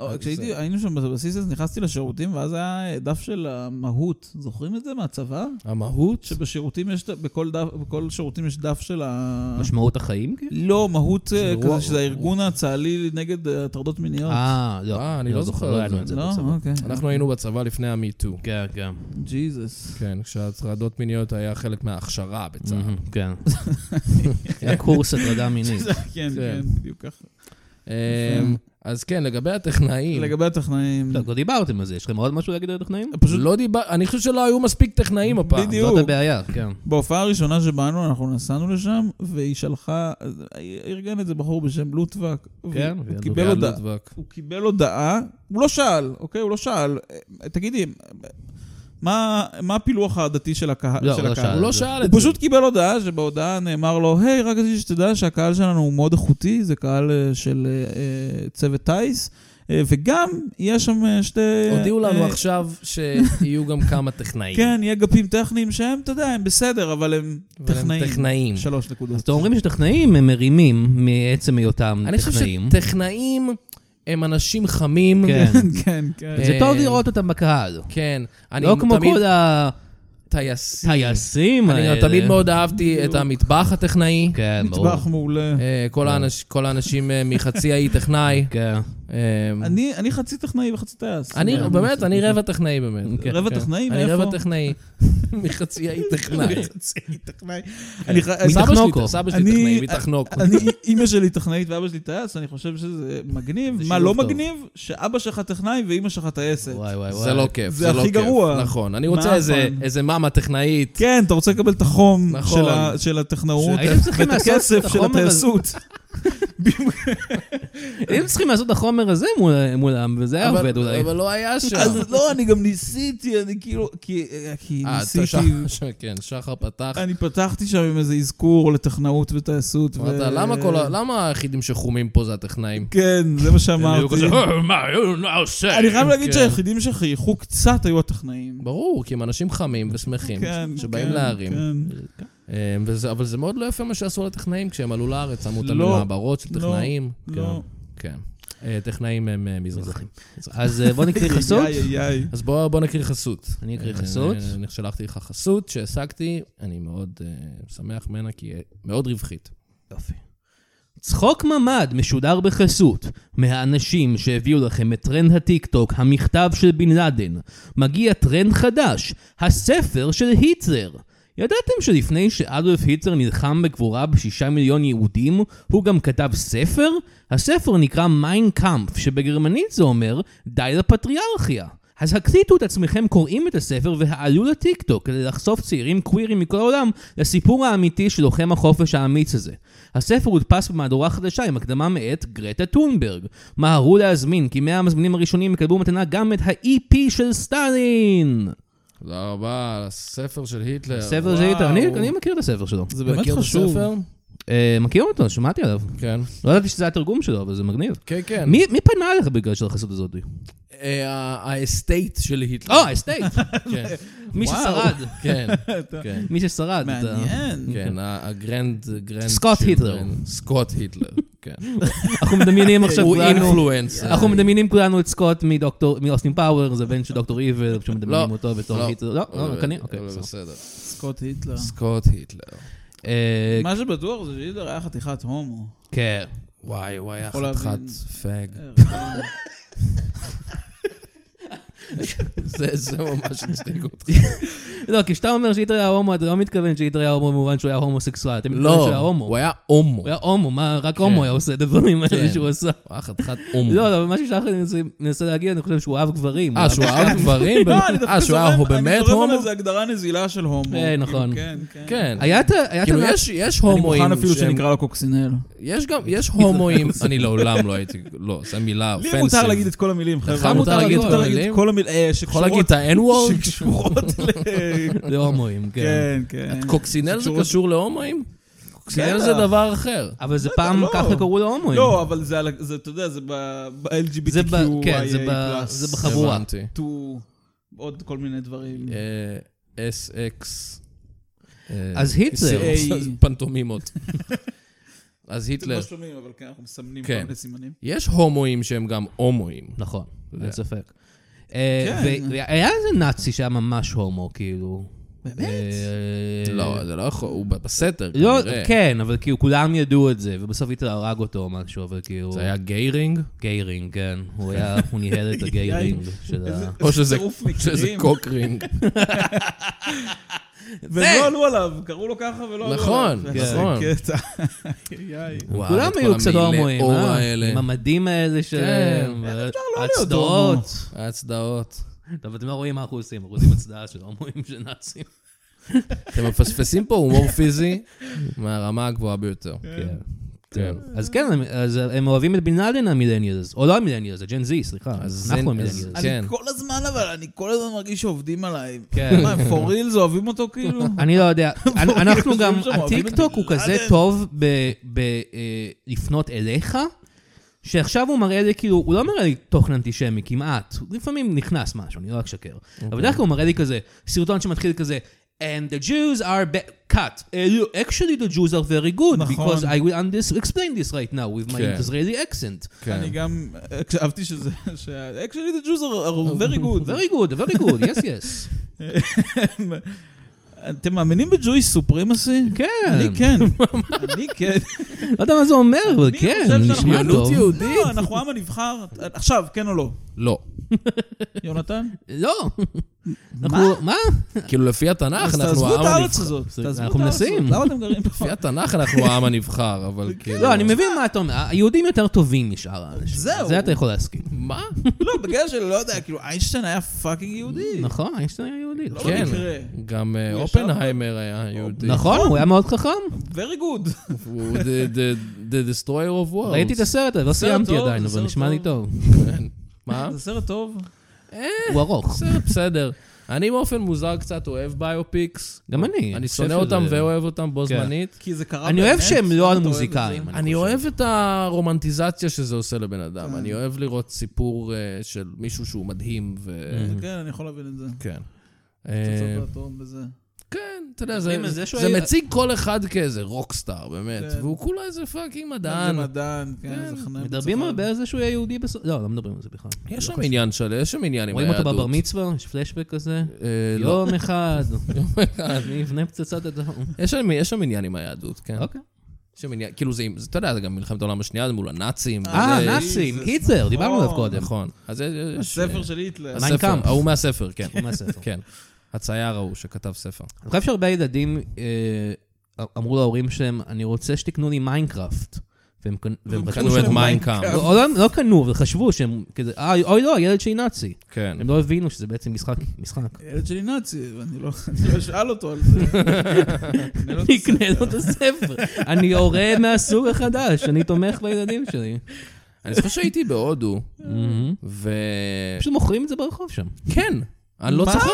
Speaker 3: או,
Speaker 1: אז
Speaker 3: כשהייתי,
Speaker 1: זה-
Speaker 3: היינו שם בבסיס, אז נכנסתי לשירותים, ואז היה דף של המהות. זוכרים את זה מהצבא?
Speaker 1: המהות?
Speaker 3: שבשירותים יש, בכל דף, בכל שירותים יש דף של ה...
Speaker 2: משמעות החיים? כאילו?
Speaker 3: לא, מהות אה,
Speaker 1: של רוע-
Speaker 3: כזה, שזה הארגון הצה"לי נגד אה, הטרדות מיניות.
Speaker 2: אה, לא.
Speaker 1: אה, אני לא זוכר
Speaker 2: לא
Speaker 1: את
Speaker 2: ידענו
Speaker 1: זה.
Speaker 2: את זה
Speaker 3: לא?
Speaker 2: בצבא.
Speaker 3: אוקיי.
Speaker 1: אנחנו היינו בצבא לפני ה-MeToo.
Speaker 2: כן, כן.
Speaker 3: ג'יזוס.
Speaker 1: כן, כשהטרדות מיניות היה חלק מההכשרה בצה"ל.
Speaker 2: Mhm, כן. היה קורס הטרדה מינית.
Speaker 3: כן,
Speaker 1: כן.
Speaker 3: כן, בדיוק ככה.
Speaker 1: אמ, אז כן, לגבי הטכנאים,
Speaker 3: לגבי הטכנאים,
Speaker 2: לא, כבר דיברתם על זה, יש לכם עוד משהו להגיד על הטכנאים?
Speaker 3: פשוט
Speaker 1: לא דיבר... אני חושב שלא היו מספיק טכנאים הפעם.
Speaker 3: בדיוק.
Speaker 2: זאת הבעיה, כן.
Speaker 3: בהופעה הראשונה שבאנו, אנחנו נסענו לשם, והיא שלחה, ארגן איזה בחור בשם לוטבק.
Speaker 2: כן,
Speaker 3: הוא
Speaker 1: זה
Speaker 3: קיבל
Speaker 1: היה
Speaker 3: הודעה.
Speaker 1: לוטבק.
Speaker 3: הוא קיבל הודעה, הוא לא שאל, אוקיי? הוא לא שאל. אה, תגידי, מה, מה הפילוח העדתי של הקהל?
Speaker 2: לא,
Speaker 3: של
Speaker 2: הוא לא
Speaker 3: הקהל?
Speaker 2: שאל.
Speaker 1: הוא לא
Speaker 2: זה-
Speaker 1: שאל את
Speaker 3: אה, הוא
Speaker 1: זה.
Speaker 3: פשוט קיבל הודעה שבהודעה נאמר לו, היי, רק רציתי שתדע שהקהל שלנו הוא מאוד איכותי, זה קהל אה, של אה, אה, צוות טיס, אה, וגם יש שם אה, שתי...
Speaker 1: הודיעו לנו
Speaker 3: אה,
Speaker 1: עכשיו שיהיו גם כמה טכנאים.
Speaker 3: כן, יהיה אגפים טכניים שהם, אתה יודע, הם בסדר, אבל הם
Speaker 1: אבל הם
Speaker 3: טכנאים.
Speaker 1: טכנאים.
Speaker 3: שלוש נקודות.
Speaker 2: אז אתם אומרים שטכנאים הם מרימים מעצם היותם
Speaker 1: אני חושב
Speaker 2: טכנאים.
Speaker 1: שטכנאים הם אנשים חמים.
Speaker 2: כן.
Speaker 3: כן, כן.
Speaker 2: זה טוב לראות אותם בקהל.
Speaker 1: כן. אני
Speaker 2: לא כמו
Speaker 1: תמיד-
Speaker 2: כל ה...
Speaker 1: טייסים.
Speaker 2: טייסים
Speaker 1: אני
Speaker 2: האלה.
Speaker 1: גם תמיד מאוד אהבתי את המטבח הטכנאי.
Speaker 2: כן, ברור.
Speaker 3: מטבח מעולה.
Speaker 1: אה, כל האנש- כל האנשים אה, מחצי האי טכנאי.
Speaker 2: כן.
Speaker 1: אה,
Speaker 3: אני אני חצי טכנאי וחצי טייס.
Speaker 1: אני
Speaker 3: כן.
Speaker 1: באמת, אני רבע טכנאי באמת.
Speaker 2: כן,
Speaker 3: רבע
Speaker 1: כן.
Speaker 3: טכנאי?
Speaker 1: אני
Speaker 3: מאיפה?
Speaker 1: רבע טכנאי. מחצי האי טכנאי.
Speaker 3: טכנאי. אני ח- אני-
Speaker 1: אה, סבא
Speaker 2: מתחנוקו.
Speaker 1: שלי, סבא שלי
Speaker 3: אני- אה,
Speaker 1: טכנאי, מתחנוקו.
Speaker 3: אני, אימא שלי טכנאית ואבא שלי טייס, אני חושב שזה מגניב.
Speaker 2: זה
Speaker 3: מה לא
Speaker 2: שילוב טוב.
Speaker 3: מגניב? שאבא שלך טכנאי ואימא שלך טייסת.
Speaker 2: וואי, וואי, וואי.
Speaker 1: זה לא כיף,
Speaker 3: אה, זה
Speaker 1: זה לא
Speaker 3: הכי
Speaker 1: כיף.
Speaker 3: גרוע.
Speaker 1: נכון. אני
Speaker 3: מה
Speaker 1: רוצה איזה-
Speaker 3: הפעם?
Speaker 1: איזה מאמה טכנאית.
Speaker 3: כן, אתה רוצה לקבל את החום
Speaker 1: נכון.
Speaker 3: של ה- של הטכנאות
Speaker 2: הייתם צריכים
Speaker 3: ואת
Speaker 2: לעשות את
Speaker 3: הכסף של
Speaker 2: החומר הזה-
Speaker 3: הטייסות.
Speaker 2: אם צריכים לעשות את החומר הזה מול- מולם, וזה היה
Speaker 1: אבל-
Speaker 2: עובד אולי.
Speaker 1: אבל לא היה שם.
Speaker 3: אז לא, אני גם ניסיתי, אני כאילו, כי כי
Speaker 1: אה, אתה
Speaker 3: ניסיתי,
Speaker 1: שח- ש- כן, שחר פתח.
Speaker 3: אני פתחתי שם עם איזה אזכור לטכנאות וטייסות. ו-
Speaker 1: אמרת, "למה כל ה- למה היחידים שחומים פה זה הטכנאים?
Speaker 3: כן, זה מה
Speaker 2: בדיוק,
Speaker 3: שאמרתי.
Speaker 2: כזה, "אה, מה, אה, מה עושה?
Speaker 3: אני חייב להגיד
Speaker 1: כן.
Speaker 3: שהיחידים שחייכו קצת היו הטכנאים.
Speaker 1: ברור, כי הם אנשים חמים ושמחים,
Speaker 3: כן,
Speaker 1: שבאים
Speaker 3: כן,
Speaker 1: להרים.
Speaker 3: כן.
Speaker 1: אה, וזה- אבל זה מאוד לא יפה מה שעשו לטכנאים כשהם עלו לארץ, שמו אותם
Speaker 3: לא,
Speaker 1: במעברות של
Speaker 3: לא,
Speaker 1: טכנאים.
Speaker 3: לא.
Speaker 1: כן. אה, טכנאים הם אה, מזרחים.
Speaker 2: אז אה, בוא נקריא חסות.
Speaker 3: איי, איי, איי.
Speaker 1: אז בוא בוא נקריא חסות.
Speaker 2: אני אקריא
Speaker 1: אה,
Speaker 2: חסות.
Speaker 1: אה, אני שלחתי לך חסות שהשגתי, אני מאוד אה, שמח ממנה, כי היא מאוד רווחית.
Speaker 2: יופי. צחוק ממ"ד משודר בחסות, מהאנשים שהביאו לכם את טרנד הטיקטוק, המכתב של בן לאדן. מגיע טרנד חדש, הספר של היטלר. ידעתם שלפני שאדולף היטלר נלחם בגבורה בשישה מיליון יהודים, הוא גם כתב ספר? הספר נקרא מיינקאמפף, שבגרמנית זה אומר די לפטריארכיה. אז הקליטו את עצמכם קוראים את הספר והעלו לטיקטוק כדי לחשוף צעירים קווירים מכל העולם לסיפור האמיתי של לוחם החופש האמיץ הזה. הספר הודפס במהדורה חדשה עם הקדמה מאת גרטה טונברג. מהרו להזמין, כי 100 המזמינים הראשונים יקבלו מתנה גם את ה-EP של סטלין!
Speaker 1: תודה רבה על הספר של היטלר.
Speaker 2: ספר זה יותר, אני אני מכיר את הספר שלו.
Speaker 3: זה באמת
Speaker 1: מכיר את
Speaker 3: חשוב.
Speaker 1: הספר?
Speaker 2: אה, מכיר אותו, שמעתי עליו.
Speaker 1: כן.
Speaker 2: לא ידעתי שזה התרגום שלו, אבל זה מגניב.
Speaker 1: כן, כן.
Speaker 2: מי מי פנה אליך בגלל של החסות הזאת?
Speaker 1: אה, ה- האסטייט של היטלר.
Speaker 2: או, אסטייט!
Speaker 1: אה, כן.
Speaker 2: מי
Speaker 3: וואו.
Speaker 2: ששרד.
Speaker 1: כן, כן.
Speaker 2: מי ששרד. אתה-
Speaker 3: מעניין.
Speaker 1: כן, ה- הגרנד... גרנד
Speaker 2: סקוט היטלר.
Speaker 1: children. סקוט היטלר, כן.
Speaker 2: אנחנו מדמיינים עכשיו
Speaker 1: הוא
Speaker 2: כולנו...
Speaker 1: אינפלואנסר.
Speaker 2: אנחנו מדמיינים כולנו את סקוט מדוקטור- מאוסטין פאוור, זה בן של דוקטור איבל, כשמדמיינים
Speaker 1: לא,
Speaker 2: אותו בתור
Speaker 1: לא. אה,
Speaker 2: היטלר. לא, לא, כנראה, אוקיי,
Speaker 1: אבל
Speaker 2: בסדר.
Speaker 1: בסדר.
Speaker 3: סקוט היטלר.
Speaker 1: סקוט היטלר.
Speaker 2: אה,
Speaker 3: מה שבטוח זה שהיטלר היה חתיכת הומו.
Speaker 2: כן.
Speaker 1: וואי, הוא היה
Speaker 3: יכול להבין.
Speaker 1: חתיכת פאג. זה זה ממש מצדיק אותך.
Speaker 2: לא, כשאתה אומר שהיטלר היה הומו, אתה לא מתכוון שהיטלר היה הומו במובן שהוא היה הומוסקסואל, אתה מתכוון שהוא היה
Speaker 1: לא,
Speaker 2: הומו.
Speaker 1: הוא היה הומו.
Speaker 2: הוא היה הומו, מה, רק הומו היה עושה את הדברים האלה
Speaker 1: כן.
Speaker 2: שהוא עשה.
Speaker 1: הוא היה חתיכת הומו.
Speaker 2: לא, אבל מה ששחר מנסה- מנסה להגיד, אני חושב שהוא אהב גברים.
Speaker 1: אה, שהוא אהב גברים?
Speaker 3: לא, אני דווקא
Speaker 1: אה, שהוא היה
Speaker 3: זורם- אני
Speaker 1: באמת
Speaker 3: זורם
Speaker 1: הומו?
Speaker 3: על איזה הגדרה נזילה של הומו.
Speaker 2: אה,
Speaker 3: כאילו,
Speaker 2: נכון.
Speaker 3: כן, כן.
Speaker 1: כן.
Speaker 2: היה את ה... היה את
Speaker 1: כאילו,
Speaker 2: הנאצ-
Speaker 1: יש- יש
Speaker 3: אני
Speaker 1: הומואים
Speaker 3: מוכן אפילו
Speaker 1: שהם
Speaker 3: שנקרא לו קוקסינל.
Speaker 1: יש גם, יש הומואים, אני לעולם לא הייתי, לא, זו מילה
Speaker 3: לי
Speaker 1: אופנסיב.
Speaker 3: מותר להגיד את כל המילים, חבר'ה.
Speaker 1: לך מותר להגיד את כל המילים?
Speaker 3: כל המילים? אה,
Speaker 1: יכול
Speaker 3: שקשורות-
Speaker 1: להגיד את ה-N-word?
Speaker 3: שקשורות ל...
Speaker 2: להומואים, כן.
Speaker 3: כן, כן.
Speaker 1: קוקסינל זה
Speaker 3: שקשורות-
Speaker 1: קשור להומואים? קוקסינל
Speaker 3: בטח.
Speaker 1: זה דבר אחר.
Speaker 2: אבל זה פעם
Speaker 3: לא.
Speaker 2: ככה קראו להומואים.
Speaker 3: לא, אבל זה, על ה- זה, אתה יודע, זה
Speaker 2: זה ב- כן, זה ב-
Speaker 3: ב-LGBTQIA+.
Speaker 2: זה בחבורה.
Speaker 1: הבנתי.
Speaker 3: עוד כל מיני דברים.
Speaker 1: אה, SX. אה,
Speaker 2: אז היטלר.
Speaker 1: זה פנטומימות. אז
Speaker 3: אתם לא
Speaker 1: היטלר.
Speaker 3: שומעים, אבל כן, אנחנו מסמנים כל
Speaker 1: כן.
Speaker 3: מיני סימנים.
Speaker 1: יש הומואים שהם גם הומואים.
Speaker 2: נכון, אין
Speaker 1: יודע.
Speaker 2: ספק. אה,
Speaker 3: כן.
Speaker 2: ו- והיה איזה נאצי שהיה ממש הומו, כאילו. אה,
Speaker 1: לא, זה לא יכול, הוא בסתר,
Speaker 2: לא,
Speaker 1: כנראה.
Speaker 2: כן, אבל כאילו כולם ידעו את זה, ובסוף היטלר הרג אותו או משהו, אבל כאילו...
Speaker 1: זה היה גיירינג?
Speaker 2: גיירינג, כן. הוא היה, הוא ניהל את הגיירינג של ה...
Speaker 1: אה. או שזה-
Speaker 3: צירוף
Speaker 1: שזה
Speaker 3: מקרים.
Speaker 1: קוקרינג.
Speaker 3: ולא עלו עליו, קראו לו ככה ולא עלו
Speaker 1: אה! נכון,
Speaker 3: עליו.
Speaker 1: כן.
Speaker 3: איזה
Speaker 1: נכון.
Speaker 3: קטע. איי, איי.
Speaker 1: וואו,
Speaker 2: כולם
Speaker 1: את כל
Speaker 2: היו קצת
Speaker 1: המעילי
Speaker 2: הומואים,
Speaker 1: אור
Speaker 2: אה?
Speaker 1: האלה.
Speaker 2: עם המדים האלה כן. שלהם.
Speaker 3: לא להיות
Speaker 2: הצדעות.
Speaker 1: ההצדעות.
Speaker 2: טוב, אתם לא רואים מה אנחנו עושים, אנחנו עושים הצדעה של הומואים של נאצים.
Speaker 1: אתם מפספסים פה הומור פיזי מהרמה הגבוהה ביותר.
Speaker 2: כן.
Speaker 1: כן.
Speaker 2: אז כן, הם- אז הם אוהבים את בן לאדן המילניאלס, או לא המילניאלס, הג'ן זי, סליחה,
Speaker 1: אז
Speaker 2: אנחנו
Speaker 1: זה-
Speaker 2: המילניאלס.
Speaker 1: אז- כן.
Speaker 3: אני כל הזמן, אבל אני כל הזמן מרגיש שעובדים עליי.
Speaker 2: כן.
Speaker 3: מה, הם for real זה אוהבים אותו כאילו?
Speaker 2: אני לא יודע, אנ- אנחנו גם,
Speaker 3: יושבים שם, אוהבים את
Speaker 2: הטיקטוק הוא
Speaker 3: בן
Speaker 2: כזה
Speaker 3: לאדן.
Speaker 2: טוב בלפנות אליך, שעכשיו הוא מראה לי כאילו, הוא לא מראה לי תוכן אנטישמי כמעט, הוא לפעמים נכנס משהו, אני לא אשקר. אבל
Speaker 3: אוקיי.
Speaker 2: בדרך כלל הוא מראה לי כזה, סרטון שמתחיל כזה, And the Jews are ba- cut. Uh, you- actually the Jews are very good,
Speaker 3: נכון.
Speaker 2: because I will under- explain this right now with my
Speaker 1: כן.
Speaker 2: Israeli accent.
Speaker 1: כן.
Speaker 3: אני גם הקשבתי שזה... שה- actually the Jews are are very good.
Speaker 2: Very good, very good, yes, yes.
Speaker 3: אתם מאמינים בג'וי סופרימסי?
Speaker 2: כן.
Speaker 3: אני כן. אני כן.
Speaker 2: לא יודע מה זה אומר, אבל
Speaker 3: אני
Speaker 2: כן,
Speaker 3: חושב שאנחנו
Speaker 2: נשמע
Speaker 1: עלות
Speaker 2: טוב.
Speaker 1: יהודית?
Speaker 3: לא, אנחנו העם הנבחר. עכשיו, כן או לא?
Speaker 1: לא.
Speaker 3: יונתן?
Speaker 2: לא. אנחנו- מה?
Speaker 1: כאילו, לפי התנ"ך,
Speaker 3: אז
Speaker 1: אנחנו העם הנבחר.
Speaker 3: תעזבו את הארץ הזאת. תעזבו את
Speaker 2: אנחנו
Speaker 3: הארץ הזאת.
Speaker 2: מנסים.
Speaker 3: למה אתם גרים פה?
Speaker 1: לפי התנ"ך אנחנו העם הנבחר, אבל כאילו...
Speaker 2: לא, אני מבין מה אתה אומר. היהודים יותר טובים משאר האנשים.
Speaker 3: זהו.
Speaker 2: זה אתה יכול להסכים.
Speaker 1: מה?
Speaker 3: לא, בגלל שלא יודע, כאילו, איינשטיין היה פאקינג יהודי.
Speaker 2: נכון, איינשטיין היה יהודי.
Speaker 3: לא
Speaker 2: נכון.
Speaker 1: כן.
Speaker 3: במקרה.
Speaker 1: גם אה,
Speaker 3: ישב-
Speaker 1: אופנהיימר היה יהודי.
Speaker 2: נכון, הוא היה מאוד חכם.
Speaker 3: Very good.
Speaker 1: הוא the- the- the destroyer of worlds.
Speaker 2: ראיתי את הסרט הזה, לא
Speaker 3: סרט
Speaker 2: סיימתי
Speaker 3: טוב,
Speaker 2: עדיין, אבל
Speaker 3: סרט
Speaker 2: נשמע לי טוב.
Speaker 1: הסרט. מה?
Speaker 3: זה סרט טוב.
Speaker 2: הוא ארוך.
Speaker 1: סרט בסדר. אני באופן מוזר קצת אוהב ביופיקס.
Speaker 2: גם אני.
Speaker 1: אני
Speaker 2: חושב
Speaker 1: שונא
Speaker 2: שזה-
Speaker 1: אותם ואוהב אותם בו
Speaker 2: כן.
Speaker 1: זמנית.
Speaker 3: כי זה קרה
Speaker 2: אני אוהב
Speaker 3: באמת,
Speaker 2: שהם
Speaker 3: אתה
Speaker 2: לא על
Speaker 3: אוהב את זה?
Speaker 2: מוזיקאים.
Speaker 1: אני אוהב את הרומנטיזציה שזה עושה לבן
Speaker 2: כן.
Speaker 1: אדם. אני אוהב לראות סיפור אה, של מישהו שהוא מדהים ו...
Speaker 3: כן, אני יכול להבין את זה.
Speaker 1: כן. אה,
Speaker 3: פצצות באטום וזה.
Speaker 1: כן, אתה יודע,
Speaker 2: מדברים על
Speaker 1: זה,
Speaker 2: זה שהוא
Speaker 1: זה
Speaker 2: היה-
Speaker 1: מציג כל אחד כאיזה רוקסטאר, באמת.
Speaker 3: כן.
Speaker 1: והוא כולה איזה פאקינג מדען.
Speaker 3: זה מדען, כן, זה חנן.
Speaker 2: מדברים
Speaker 3: בצבא.
Speaker 2: הרבה על זה שהוא היה יהודי בסוף. לא, לא מדברים על זה בכלל.
Speaker 1: יש שם עניין שלו, יש שם עניין עם
Speaker 2: רואים
Speaker 1: היהדות.
Speaker 2: אותו בבר מצווה? יש פלשבק כזה?
Speaker 1: אה, לא.
Speaker 2: יום אחד. אני אבנה פצצת אדום.
Speaker 1: יש שם- יש שם עניין עם היהדות, כן.
Speaker 2: אוקיי.
Speaker 1: יש שם עניין, כאילו זה, עם- זה- אתה יודע, זה גם מלחמת העולם השנייה, זה מול הנאצים.
Speaker 2: אה,
Speaker 1: וזה-
Speaker 2: נאצים,
Speaker 3: זה-
Speaker 2: היטלר, דיברנו עליו
Speaker 3: נכון.
Speaker 2: קודם.
Speaker 1: נכון. אז יש- יש...
Speaker 3: הספר של היטלר.
Speaker 1: הספר,
Speaker 2: מיינקאמפ.
Speaker 1: ההוא מהספר, כן.
Speaker 2: הוא מהספר.
Speaker 1: כן. הצייר ההוא שכתב ספר.
Speaker 2: אני חושב שהרבה ילדים אה, אמרו להורים שלהם, אני רוצה שתקנו לי מיינקראפט. והם קנ- והם
Speaker 3: והם
Speaker 2: חשבו
Speaker 1: קנו את
Speaker 2: שהם...
Speaker 3: שם
Speaker 1: מיינקאמפ.
Speaker 3: מיינקאמפ.
Speaker 2: לא, לא- לא קנו, אבל חשבו שהם כזה, "אה, אוי לא, הילד שלי נאצי.
Speaker 1: כן.
Speaker 2: הם לא הבינו שזה בעצם משחק, משחק.
Speaker 3: הילד שלי נאצי, ואני לא אני לא אשאל אותו על זה. אני לא
Speaker 2: אני אקנה לו את הספר. אני הורה מהסוג החדש, אני תומך בילדים שלי.
Speaker 1: אני זוכר שהייתי בהודו,
Speaker 2: מהמם.
Speaker 1: ו...
Speaker 2: פשוט מוכרים את זה ברחוב שם.
Speaker 1: כן, אני לא
Speaker 3: מה?
Speaker 1: צוחק.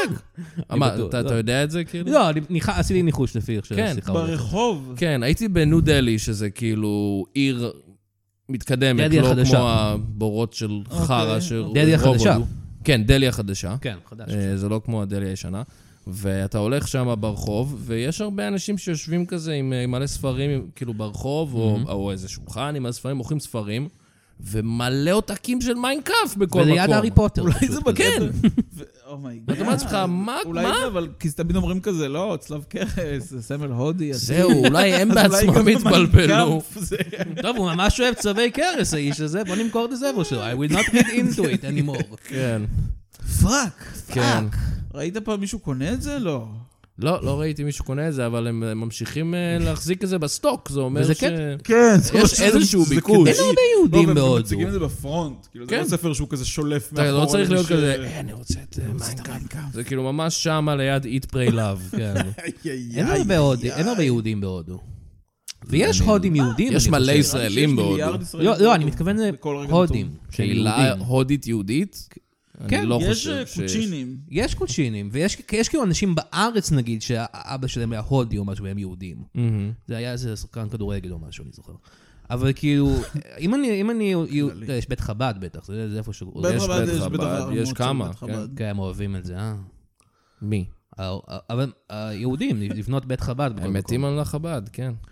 Speaker 1: מה,
Speaker 2: בטוח,
Speaker 1: אתה-
Speaker 2: לא.
Speaker 1: אתה יודע את זה, כאילו?
Speaker 2: לא, אני ניח- עשיתי ניחוש לפי איך
Speaker 1: כן,
Speaker 2: שהשיחה עובדת.
Speaker 3: ברחוב.
Speaker 1: כן, הייתי בניו דלהי, שזה כאילו עיר מתקדמת,
Speaker 2: דלהי
Speaker 1: לא
Speaker 2: החדשה.
Speaker 1: כמו הבורות של
Speaker 3: אוקיי,
Speaker 1: חרא של רוב
Speaker 2: דלהי החדשה.
Speaker 1: הודו. כן, דלהי החדשה.
Speaker 2: כן, חדש.
Speaker 1: אה, זה לא כמו הדלהי הישנה. ואתה הולך שם ברחוב, ויש הרבה אנשים שיושבים כזה עם אה, מלא ספרים, כאילו ברחוב, או- או איזה שולחן עם מלא ספרים, מוכרים ספרים, ומלא עותקים של מיינקאף בכל מקום.
Speaker 2: וליד הארי פוטר. כן.
Speaker 3: אולי
Speaker 2: פשוט
Speaker 3: זה
Speaker 2: כזה.
Speaker 3: בגדר. כן. ו- אומייגאד.
Speaker 1: ואתה אומר לעצמך, מה?
Speaker 3: אולי
Speaker 1: מה?
Speaker 3: זה, אבל כי תמיד אומרים כזה, לא, צלב קרס, זה סמל הודי. אז-
Speaker 1: זהו, אולי הם
Speaker 3: אז אולי
Speaker 1: בעצמם
Speaker 3: גם
Speaker 1: התבלבלו.
Speaker 3: המיינקאמפ זה-
Speaker 2: טוב, הוא ממש אוהב צווי קרס, האיש הזה, בוא נמכור את הספר שלו. I will not get into it anymore.
Speaker 1: כן,
Speaker 3: פאק. אה,
Speaker 1: כן.
Speaker 3: ראית פעם מישהו קונה את זה? לא.
Speaker 1: לא, לא ראיתי מישהו קונה את זה, אבל הם אה, ממשיכים אה, להחזיק את זה בסטוק, זה אומר
Speaker 2: וזה
Speaker 1: ש...
Speaker 2: קטע.
Speaker 3: כן.
Speaker 1: יש איזשהו
Speaker 3: כאילו-
Speaker 1: ביקוש.
Speaker 2: אין הרבה יהודים בהודו.
Speaker 3: לא, מציגים את זה בפרונט. כאילו, זה
Speaker 1: כן.
Speaker 3: לא ספר שהוא כזה שולף מאחורה.
Speaker 1: אתה לא צריך
Speaker 3: למי
Speaker 1: להיות
Speaker 3: נכון, ש-
Speaker 1: כזה, "אה, אני רוצה את אה, מיינקאמפ.
Speaker 3: מיינקאמפ.
Speaker 1: זה כאילו ממש שמה ליד eat pray love. כן.
Speaker 3: איי, איי,
Speaker 2: אין
Speaker 3: איי,
Speaker 2: הרבה הודים,
Speaker 3: איי.
Speaker 2: אין הרבה יהודים בהודו. ויש הודים יהודים,
Speaker 1: יש
Speaker 2: אני
Speaker 1: מלא
Speaker 2: חושב.
Speaker 1: ישראל. ישראלים
Speaker 3: יש
Speaker 1: בהודו.
Speaker 3: מיליארד ישראלים
Speaker 2: לא, לא, אני
Speaker 3: בהודו.
Speaker 2: מתכוון
Speaker 3: בכל רגע
Speaker 2: להודים.
Speaker 3: נתון.
Speaker 1: קהילה
Speaker 2: שיהודים.
Speaker 1: הודית יהודית?
Speaker 2: כן,
Speaker 1: אני לא
Speaker 3: יש
Speaker 1: חושב
Speaker 3: אה,
Speaker 1: שיש.
Speaker 3: קוצ'ינים.
Speaker 2: יש קוצ'ינים, ויש יש כאילו אנשים בארץ, נגיד, שהאבא שלהם היה הודי או משהו, והם יהודים.
Speaker 1: מהמם.
Speaker 2: זה היה איזה שחקן כדורגל או משהו, אני זוכר. אבל כאילו, אם אני, אם אני, אתה יודע, יש בית חב"ד בטח, זה זה איפה ש...
Speaker 3: בית
Speaker 1: יש
Speaker 3: חב"ד
Speaker 1: בית
Speaker 3: יש
Speaker 1: חב"ד,
Speaker 3: בית חב"ד,
Speaker 1: יש
Speaker 3: מועצת
Speaker 1: כמה,
Speaker 3: בית חב"ד.
Speaker 2: כן, הם אוהבים את זה, אה?
Speaker 1: מי?
Speaker 2: ה- ה- אה, אבל היהודים, לבנות בית חב"ד. בכל
Speaker 1: הם מתים על חב"ד, כן.
Speaker 2: מקום.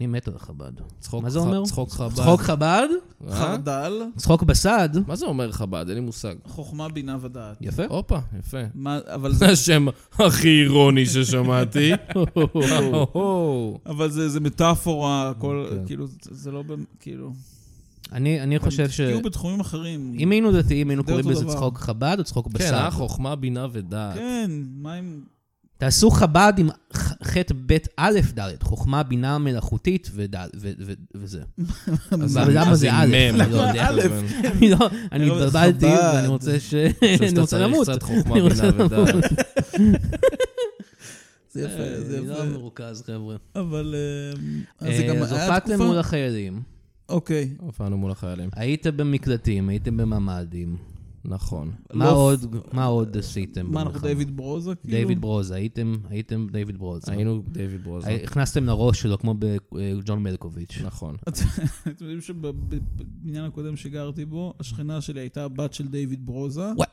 Speaker 2: אני מת על חב"ד.
Speaker 1: צחוק
Speaker 2: מה זה
Speaker 1: ח-
Speaker 2: אומר?
Speaker 1: צחוק חב"ד.
Speaker 2: צחוק חב"ד?
Speaker 1: אה?
Speaker 3: חרדל,
Speaker 2: צחוק בסד?
Speaker 1: מה זה אומר חב"ד? אין לי מושג.
Speaker 3: חוכמה, בינה ודעת.
Speaker 2: יפה.
Speaker 1: הופה, יפה.
Speaker 3: מה- אבל
Speaker 1: זה
Speaker 3: זה-
Speaker 1: השם הכי אירוני ששמעתי. אוהו. כן,
Speaker 3: אבל זה זה מטאפורה, הכל, כאילו, זה- זה לא, במ- כאילו...
Speaker 2: אני אני חושב ש...
Speaker 3: כאילו בתחומים אחרים.
Speaker 2: אם היינו דתיים, היינו
Speaker 3: זה
Speaker 2: קוראים
Speaker 3: אותו
Speaker 2: לזה
Speaker 3: דבר.
Speaker 2: צחוק חב"ד או צחוק
Speaker 1: כן,
Speaker 2: בסד.
Speaker 1: אה, חוכמה, בינה ודעת.
Speaker 3: כן, מה עם...
Speaker 2: תעשו חב"ד עם ח- ח' ב' א' ד', חוכמה, בינה מלאכותית וד'- ו- ו- וזה.
Speaker 1: אז
Speaker 2: אבל למה זה א'?
Speaker 1: מם,
Speaker 2: לא
Speaker 1: אבל-
Speaker 2: יודע.
Speaker 1: אבל-
Speaker 2: אני לא, אני
Speaker 3: לא,
Speaker 2: התבלבלתי,
Speaker 3: חב"ד.
Speaker 2: ואני רוצה ש...
Speaker 1: חושב
Speaker 2: אני
Speaker 1: שאתה
Speaker 2: רוצה
Speaker 1: צריך
Speaker 2: למות.
Speaker 1: קצת חוכמה,
Speaker 2: אני רוצה
Speaker 1: בינה ודעת.
Speaker 3: זה
Speaker 1: אה,
Speaker 3: יפה, זה
Speaker 2: אני לא
Speaker 3: יפה.
Speaker 2: מרוכז, חבר'ה.
Speaker 3: אבל... אמ, אז זה גם
Speaker 2: אה, אז
Speaker 3: היה
Speaker 2: הופעתם
Speaker 3: תקופה...
Speaker 2: מול החיילים,
Speaker 3: אוקיי.
Speaker 1: הופענו מול החיילים.
Speaker 2: היית במקלטים, הייתם בממ"דים.
Speaker 1: נכון.
Speaker 2: מה
Speaker 3: לא-
Speaker 2: עוד- מה עוד עשיתם
Speaker 3: מה, אנחנו
Speaker 2: במלחמה?
Speaker 3: דיוויד ברוזה? כאילו?
Speaker 2: דיוויד ברוזה, הייתם הייתם דיוויד ברוזה.
Speaker 1: היינו דיוויד ברוזה.
Speaker 2: הי- הכנסתם לראש שלו כמו בג'ון מלקוביץ'.
Speaker 1: נכון.
Speaker 3: אתם יודעים שבבניין הקודם שגרתי בו, השכנה שלי הייתה הבת של דיוויד ברוזה.
Speaker 2: וואי.